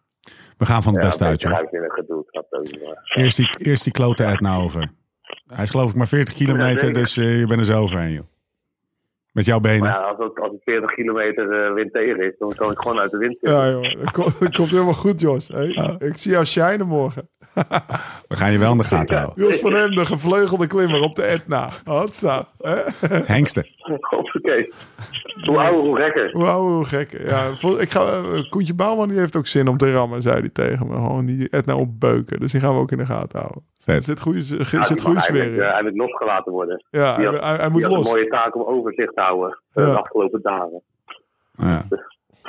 A: we gaan van het beste uit, joh.
G: Ga ik in een gedoe. het gaat ook niet meer.
A: Eerst die, eerst die klote uit nou over. Hij is geloof ik maar 40 kilometer,
G: zeker.
A: dus eh, je bent er zo overheen, joh. Met jouw benen.
G: Maar ja, als het, als het 40 kilometer eh, wind tegen is, dan kan ik gewoon uit de wind zitten.
D: Ja, joh, dat, komt, dat komt helemaal goed, Jos. Hey, Ik zie jou shinen morgen.
A: We gaan je wel in de gaten houden.
D: Jos van Hem, de gevleugelde klimmer op de Etna. Hatsa. Eh, hè?
A: Hengsten.
G: Hoppakee. Hoe ouder, hoe gekker.
D: Wauw, hoe gek. Ja, vol- ik ga, eh, Koentje Bouwman die heeft ook zin om te rammen, zei hij tegen me. Gewoon die Etna opbeuken. Dus die gaan we ook in de gaten houden. Er
A: Vet.
D: zit goede, er
G: Ja,
D: zit
G: die mag
D: goede sfeer
G: eigenlijk,
D: in.
G: eh, eigenlijk losgelaten worden.
D: Ja,
G: die
D: hij,
G: had-
D: hij- hij
G: Die
D: moet
G: had een
D: los.
G: mooie taak om overzicht te houden eh,
D: Ja.
G: de afgelopen dagen.
A: Ja.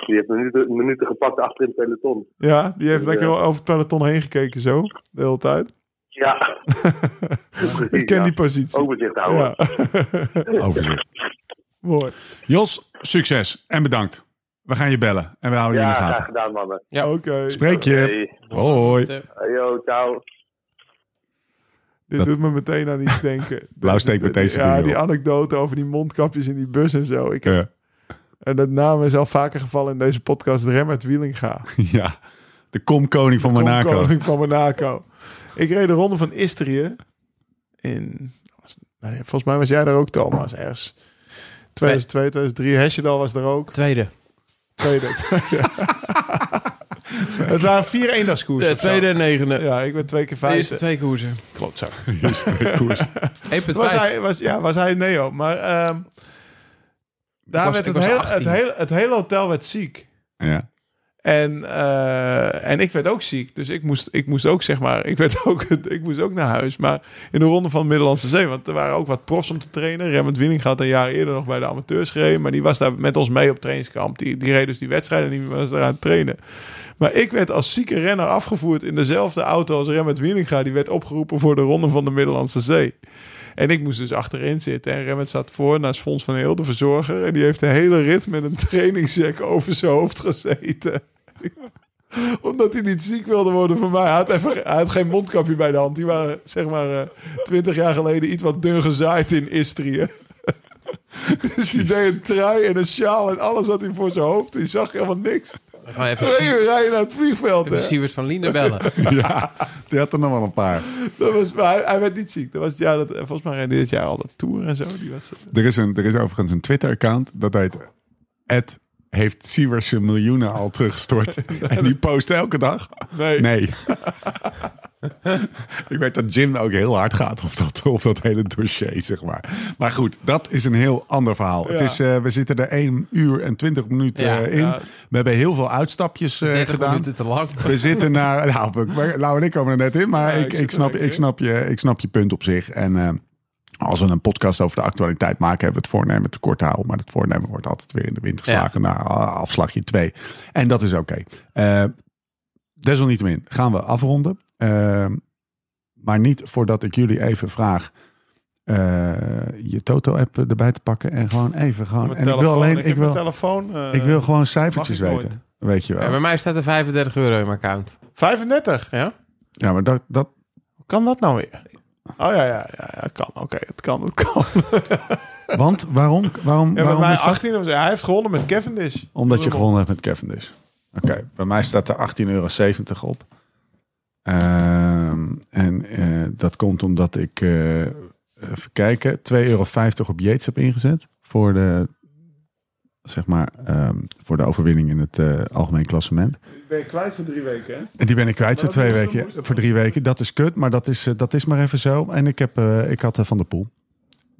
G: Die heeft minuten, minuten gepakt achter in het peloton.
D: Ja, die heeft
G: Ja.
D: lekker over het peloton heen gekeken zo. De hele tijd.
G: Ja.
D: Ik ken die positie.
G: Overzicht houden.
D: Ja. Oh,
A: Overzicht.
D: Mooi.
A: Jos, succes en bedankt. We gaan je bellen en we houden je in de
G: graag
A: gaten.
G: gedaan, mannen.
F: Ja.
D: Oké.
A: Spreek je.
G: Hey,
A: Hoi.
G: hey, yo, ciao.
D: Dit
A: Dat-
D: doet me meteen aan iets denken.
A: Blauwsteek meteen zijn
D: Ja,
A: bureau.
D: die anekdote over die mondkapjes in die bus en zo. Ik heb,
A: Ja.
D: En dat naam is al vaker gevallen in deze podcast. Remmert Wielinga.
A: Ja, de komkoning van Monaco.
D: Koning van Monaco. Ik reed de ronde van Istrië. In, was- nee, volgens mij was jij daar ook, Thomas. Ergens 2002, 2003. Hesjedal was er ook.
F: Tweede.
D: Tweede. tweede. Het waren vier eendagskoersen.
F: De
D: of zo.
F: tweede en negende.
D: Ja, ik ben twee keer
F: de
D: vijfde.
F: eerste twee koersen.
D: Klopt zo.
A: Koers.
F: 1.5.
D: Was hij, was, ja, was hij Neo. Maar ehm, Daar
F: was-
D: werd
F: ik
D: het,
F: was
D: hele,
F: 18.
D: het, hele, het hele hotel werd ziek.
A: Ja.
D: En, eh, en ik werd ook ziek. Dus ik moest, ik moest ook, zeg maar, ik, werd ook, ik moest ook naar huis. Maar in de ronde van de Middellandse Zee. Want er waren ook wat profs om te trainen. Remmert Wieling had een jaar eerder nog bij de amateurs gereden. Maar die was daar met ons mee op trainingskamp. Die, die reed dus die wedstrijd en die was daar aan het trainen. Maar ik werd als zieke renner afgevoerd in dezelfde auto als Remmert Wielinga. Die werd opgeroepen voor de ronde van de Middellandse Zee. En ik moest dus achterin zitten. En Remmert zat voor naast Fons van Heel, de verzorger. En die heeft de hele rit met een trainingsjack over zijn hoofd gezeten. Omdat hij niet ziek wilde worden van mij. Hij had, even, hij had geen mondkapje bij de hand. Die waren, zeg maar, eh, twintig jaar geleden iets wat dun gezaaid in Istrië. Dus die deed een trui en een sjaal en alles had hij voor zijn hoofd. Die zag helemaal niks.
F: Gewoon even,
D: Twee
F: Sie-
D: uur rijden naar het vliegveld.
F: even
D: hè.
F: Siewert van Linden bellen.
A: ja, die had er nog wel een paar.
D: Dat was, maar hij, hij werd niet ziek. Dat was, ja, dat, volgens mij rende dit jaar al dat tour en zo. Die was,
A: Er is, een, er is overigens een Twitter-account dat heet... Ed heeft Siewers zijn miljoenen al teruggestort. en die post elke dag.
D: nee.
A: Nee. ik weet dat Jim ook heel hard gaat op dat, op dat hele dossier, zeg maar. Maar goed, dat is een heel ander verhaal. Het
D: Ja.
A: is, eh, we zitten er 1 uur en 20 minuten
F: Ja,
A: eh, in. We hebben heel veel uitstapjes eh,
F: 30
A: gedaan.
F: minuten te lang.
A: We zitten naar. Nou, we- we- Lau en ik komen er net in, maar ik,
D: Ja, ik
A: ik,
D: zit er
A: snap,
D: lekker
A: ik,
D: in.
A: snap je, ik snap je punt op zich. En eh, als we een podcast over de actualiteit maken, hebben we het voornemen te kort te houden. Maar het voornemen wordt altijd weer in de wind geslagen na ah, afslagje 2. En dat is oké. Eh, desalniettemin gaan we afronden. Eh, maar niet voordat ik jullie even vraag. eh, je Toto-app erbij te pakken en gewoon even gewoon.
D: Mijn
A: En ik wil
D: telefoon,
A: alleen,
D: ik,
A: ik
D: heb mijn
A: wil,
D: telefoon. eh,
A: ik wil gewoon cijfertjes
D: mag ik
A: weten. Weet je wel.
F: Ja, bij mij staat er 35 euro in mijn account.
D: 35.
F: Ja?
A: Ja, maar dat, dat,
D: Hoe kan dat nou weer? Oh ja, ja, ja, ja kan. Oké, het kan, het kan.
A: Want waarom? waarom,
D: Ja, bij
A: waarom
D: mij
A: is dat?
D: 18, of zo. hij heeft gewonnen met Cavendish.
A: Omdat je gewonnen hebt met Cavendish. Oké, bij mij staat er 18,70 euro op. Ehm, en eh, dat komt omdat ik, eh, even kijken, 2,50 euro op Yates heb ingezet. Voor de, zeg maar, ehm, voor de overwinning in het eh, algemeen klassement.
D: Ben je kwijt voor drie weken, hè?
A: En die ben ik kwijt voor
D: Maar dat
A: twee
D: is een
A: weken,
D: moeilijke
A: voor drie weken. Dat is kut, maar dat is, eh, dat is maar even zo. En ik, heb, eh, ik had eh, Van der Poel.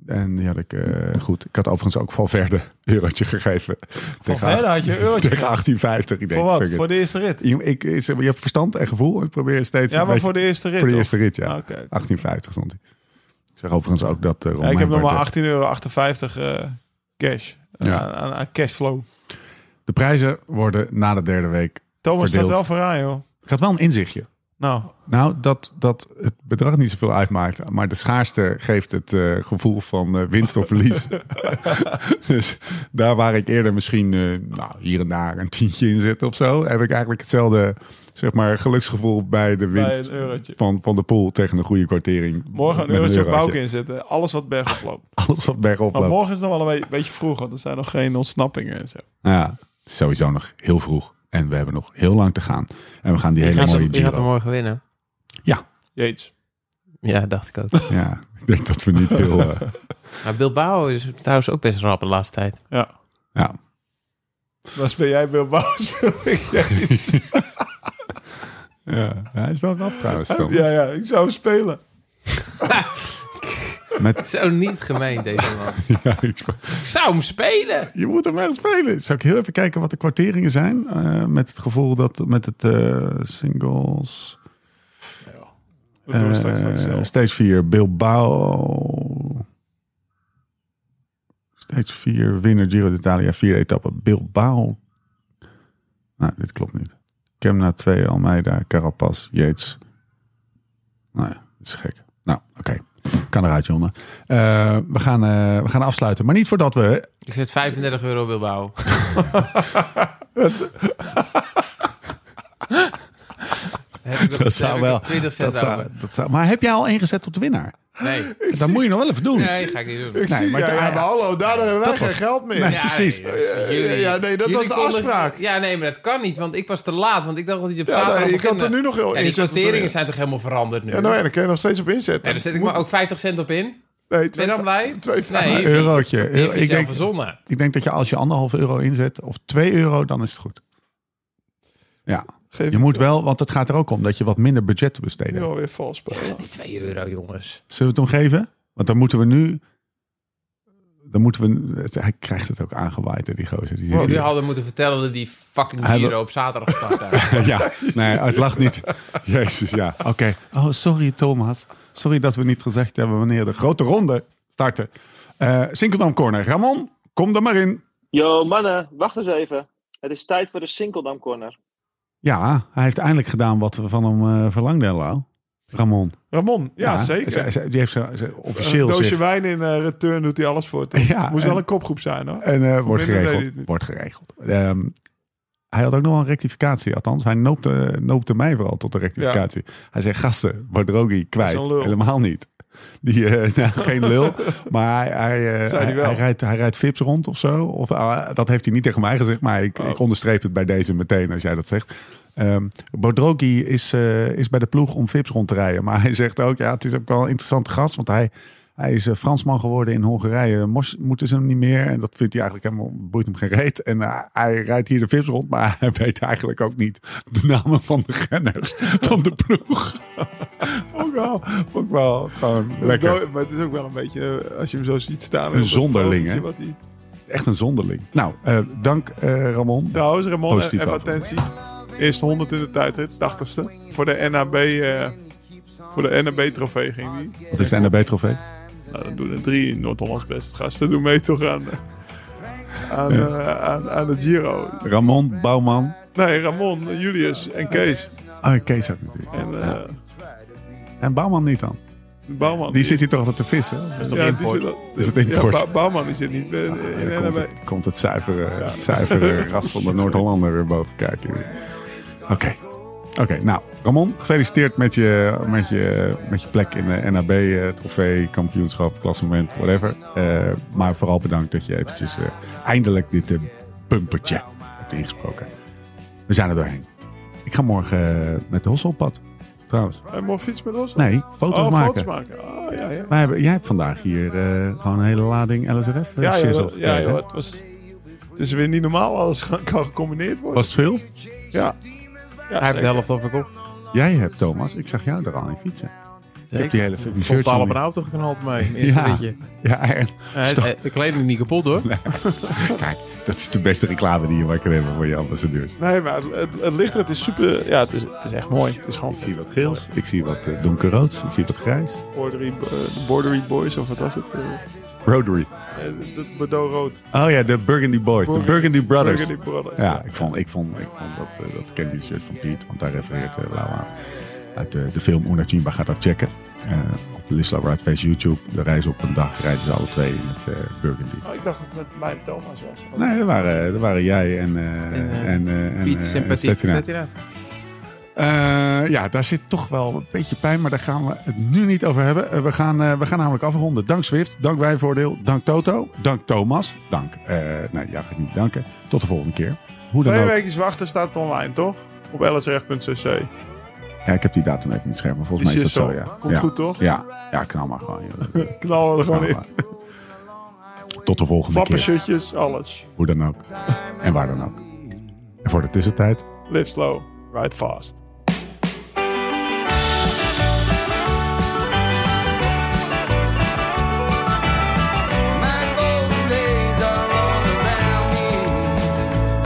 A: En die had ik eh, goed. Ik had overigens ook Valverde een eurotje gegeven. Tegen
D: verder had je een eurotje
A: Tegen 1850. Ik denk,
D: Voor wat?
A: fuck it.
D: Voor de eerste rit?
A: Je- ik, ik zeg maar, je hebt verstand en gevoel. Ik probeer steeds
D: Ja,
A: een
D: maar
A: beetje-
D: voor de eerste rit.
A: voor de
D: toch?
A: eerste rit, ja.
D: Ah, oké.
A: 1850 stond hij. Ik zeg overigens ook dat eh Ron
D: Ja, ik heb nog maar
A: Heijmert-
D: 18,58 euro eh, cash.
A: Ja.
D: Aan, aan, aan cashflow.
A: De prijzen worden na de derde week
D: Thomas staat
A: verdeeld.
D: wel vooraan, joh.
A: Ik had wel een inzichtje.
D: Nou,
A: Nou, dat, dat het bedrag niet zoveel uitmaakt. Maar de schaarste geeft het eh, gevoel van eh, winst of verlies. dus daar waar ik eerder misschien eh, nou, hier en daar een tientje in zit of zo... heb ik eigenlijk hetzelfde zeg maar, geluksgevoel bij de
D: bij
A: winst
D: een eurotje.
A: van, van de pool tegen een goede kwartering.
D: Morgen een
A: Met
D: eurotje op
A: eurotje.
D: Bouke inzetten. Alles wat bergop loopt.
A: Alles wat bergop
D: Maar
A: loopt.
D: morgen is nog wel een beetje, beetje vroeg, want er zijn nog geen ontsnappingen en zo.
A: Ja, het is sowieso nog heel vroeg. En we hebben nog heel lang te gaan. En we gaan die
F: Wie
A: hele
F: gaat,
A: mooie
F: hem- wie gaat er
A: Giro.
F: morgen winnen?
D: Jeets.
F: Ja, dacht ik ook.
A: Ja, ik denk dat we niet heel... eh,
F: Maar Bilbao is trouwens ook best rap de laatste tijd.
D: Ja.
A: ja.
D: Dan speel jij Bilbao, speel ik Yates.
A: ja, hij is wel rap trouwens. Tom.
D: Ja, ja, ik zou hem spelen.
A: Met,
F: Zo niet gemeen deze man.
A: ja, ik sp-
F: Ik zou hem spelen!
A: je moet hem echt spelen. Zou ik heel even kijken wat de kwarteringen zijn? eh, met het gevoel dat met het eh, singles.
D: Dat doen we straks
A: eh,
D: wel zelf.
A: stage 4 Bilbao. Stage 4 winnaar Giro d'Italia, vier etappen. Bilbao. Nou, dit klopt niet. Kemna 2, Almeida, Carapaz, Yates. Nou ja, dat is gek. Nou, oké. Kan eruit, Jonne. Eh, we, gaan, eh, we gaan afsluiten. Maar niet voordat we
F: Ik zet 35 euro op Bilbao. Heb ik op-
A: Dat zou
F: heb ik op
A: wel.
F: 20 cent
A: Dat zou,
F: over.
A: dat zou, maar heb jij al ingezet op de winnaar?
F: Nee,
A: Dat moet je nog wel even doen.
F: nee, ga ik niet doen.
D: Ik
A: Nee,
D: zie,
A: maar
D: ja,
A: de-
D: ja, maar hallo, daardoor hebben wij
A: eh, Dat
D: geen
A: was-
D: geld meer.
A: Nee. precies.
F: nee, dat is-
D: Ja,
F: jullie-
D: ja, nee, dat
F: jullie
D: was de
F: konden-
D: afspraak.
F: Ja, nee, maar dat kan niet, want ik was te laat. Want ik dacht dat hij op
D: Ja,
F: zaterdag
D: nee, je kan
F: beginnen.
D: er nu nog heel
F: Ja, die
D: inzetten, toch, ja.
F: sorteringen zijn toch helemaal veranderd nu?
D: Ja, nou ja, dan kun je nog steeds op inzetten.
F: Ja, daar zet ik maar ook 50 cent op in.
D: Nee,
F: Ben
D: twee,
F: je dan blij?
D: twee vragen.
A: Een
F: Nee,
A: Eurotje.
F: die heb
A: Ik
F: zelf
A: denk,
F: verzonnen.
A: ik denk dat je als je anderhalf euro inzet of twee euro, dan is het goed. Ja,
D: Geef
A: je moet wel, want het gaat er ook om dat je wat minder budget te besteden.
D: nu
A: hebt.
D: alweer vals spelen.
F: Die 2 euro, jongens.
A: Zullen we het hem geven? Want dan moeten we nu Dan moeten we, het- hij krijgt het ook aangewaaid, hè, die gozer. Die
F: Oh,
A: zit
F: die
A: hier.
F: hadden moeten vertellen dat die fucking
A: Hij
F: dieren
A: wil-
F: op zaterdag start hebben.
A: ja, nee, het lacht niet. Jezus, ja. Oké. Oh, sorry Thomas. Sorry dat we niet gezegd hebben wanneer de grote ronde startte. Eh Sinkeldam Corner. Ramon, kom er maar in.
H: Yo mannen, wacht eens even. Het is tijd voor de Sinkeldam Corner.
A: Ja, hij heeft eindelijk gedaan wat we van hem eh, verlangden, Lau. Ramon.
D: Ramon, ja, zeker.
A: ze- ze- Die heeft ze- ze-
D: een
A: officieel
D: doosje
A: zich...
D: wijn in eh, return doet hij alles voor. toch?
A: Ja,
D: Moest
A: en-
D: wel een kopgroep zijn hoor.
A: En eh, wordt
D: Nee, nee,
A: geregeld.
D: nee, nee.
A: Wordt geregeld. Ehm, hij had ook nog wel een rectificatie, althans. Hij noopte, noopte mij vooral tot de rectificatie. Hij zei, gasten, Bodrogi
D: Dat
A: kwijt.
D: is een lul.
A: Helemaal niet. Die, eh, nou, geen lul, maar hij, hij, eh,
D: Zei
A: hij,
D: hij wel.
A: hij rijdt, hij rijdt Vips rond of zo. Of, ah, dat heeft hij niet tegen mij gezegd, maar
D: Oh.
A: ik, ik onderstreep het bij deze meteen als jij dat zegt. Ehm Bodrogi is, eh, is bij de ploeg om Vips rond te rijden. Maar hij zegt ook, ja, het is ook wel een interessante gast, want hij, hij is eh, Fransman geworden in Hongarije. Mos moeten ze hem niet meer. En dat vindt hij eigenlijk helemaal, boeit hem geen reet. En eh, hij rijdt hier de Vips rond, maar hij weet eigenlijk ook niet de namen van de renners van de ploeg. ook wel, ook wel gewoon lekker.
D: Do- Maar het is ook wel een beetje, eh, als je hem zo ziet staan. op
A: Een
D: dat
A: zonderling,
D: fotootje
A: hè?
D: wat hij-
A: Echt een zonderling. Nou, eh, dank eh, Ramon.
D: Trouwens, Ramon, eh,
A: Positief
D: even
A: over.
D: attentie. Eerst 100 in de tijdrit, 80ste. Voor de NAB, eh, voor de NAB-trofee ging die.
A: Wat is de NAB-trofee?
D: Nou, dan doen er drie Noord-Hollands best gasten. Doen mee toch aan, eh, aan, eh, aan, aan de Giro.
A: Ramon, Bouwman.
D: Nee, Ramon, Julius en Kees.
A: Oh, en Kees ook natuurlijk.
D: En eh,
A: En Bouwman niet dan.
D: de Bouwman.
A: Die zit hier toch altijd te vissen? Dat is toch
D: ja,
A: import?
D: Die zit,
A: Is het
D: Ja,
A: import?
D: Bou- Bouwman die zit niet eh, in
A: Dan
D: de
A: Ah, komt
D: NAB.
A: het, komt het zuivere, zuivere ras van de Noord-Hollander weer boven kijken. weer. Oké. Oké, nou, Ramon, gefeliciteerd met je, met je, met je plek in de NAB eh, trofee, kampioenschap, klassement, whatever. Eh, maar vooral bedankt dat je eventjes eh, eindelijk dit eh, bumpertje hebt ingesproken. We zijn er doorheen. Ik ga morgen eh, met de Hossel op pad, trouwens.
D: Hij mocht fiets met ons?
A: Nee, foto's
D: oh,
A: maken.
D: foto's maken. Ah, ja, ja.
A: Wij hebben, jij hebt vandaag hier eh, gewoon een hele lading LSRF
D: Ja,
A: eh, shizzle
D: joh, dat-
A: gekregen,
D: ja
A: hè?
D: joh, het, was, het is weer niet normaal. Alles ge- kan gecombineerd worden.
A: Was het veel?
D: ja. Ja,
F: Hij heeft de
D: zeker.
F: helft al verkocht.
A: Jij hebt, Thomas. Ik zag jou er al in fietsen. Ik heb die hele film.
F: Vol taal op een auto geknald mee. in het Eerste
A: Ja.
F: ritje.
A: Ja, en-
F: Eh,
A: Stop.
F: eh, De kleding niet kapot hoor.
A: kijk, dat is de beste reclame die je maar kan hebben voor je ambassadeurs.
D: Nee, maar het, het, het lichter, het is super... Ja, het is, het is echt mooi. Het is gewoon...
A: Ik zie wat geels, ik zie wat eh, donkerroods, ik zie wat grijs.
D: Borderie, eh, de Borderie Boys, of wat was het? eh
A: Rotary.
D: eh, dat Bordeaux Rood.
A: Oh ja, de Burgundy Boys, de Burgundy Brothers.
D: Burgundy Brothers.
A: Ja, ik vond, ik vond, ik vond dat, eh, dat Candy shirt van Piet, want daar refereert eh Lau aan. Uit eh, de film Una Chimba, ga dat checken. Eh, op Lisla Ridefest YouTube, de reis op een dag, rijden ze alle twee in het eh, Burgundy.
D: Oh, ik dacht dat het met mij en Thomas was.
A: Nee, er waren, er waren jij en, eh en,
F: eh,
A: eh, en,
F: Piet,
A: eh,
F: sympathiek.
A: Stettina.
F: Zet nou. hij daar?
A: Eh, ja, daar zit toch wel een beetje pijn, maar daar gaan we het nu niet over hebben. Eh, we, gaan, eh, we gaan namelijk afronden. Dank Swift, dank Wijnvoordeel, dank Toto, dank Thomas, dank. eh nee, jij gaat niet bedanken. Tot de volgende keer. Hoe dan
D: Twee
A: ook.
D: weken wachten staat het online, toch? Op lsrf.cc.
A: Ja, ik heb die datum even niet scherm, maar volgens
D: Is
A: mij is dat
D: je
A: zo.
D: zo?
A: ja.
D: Komt
A: ja.
D: goed, toch?
A: Ja, ja knal maar gewoon. joh.
D: Knallen we er
A: Knal
D: gewoon in.
A: maar. Tot de volgende keer.
D: Wappenshirtjes, alles.
A: Hoe dan ook. En waar dan ook. En voor de tussentijd.
D: Live slow, ride fast.
B: My golden days are all around me.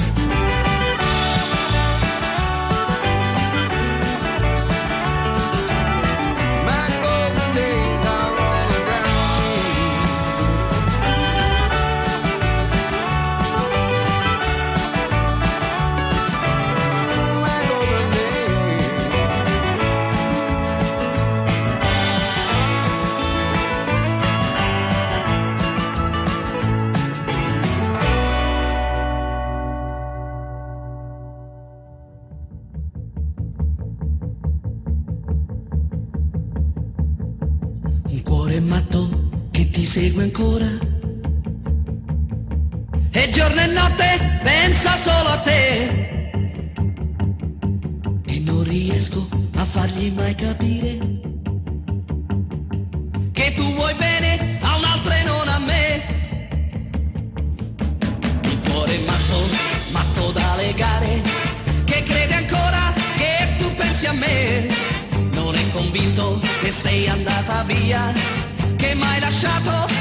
B: My golden days are all around me. My golden days.
I: Ancora è matto che ti segue ancora. E giorno e notte pensa solo a te. E non riesco a fargli mai capire che tu vuoi bene a un'altra e non a me. Il cuore è matto, matto da legare, che crede ancora che tu pensi a me. Non è convinto che sei andata via, che m'hai lasciato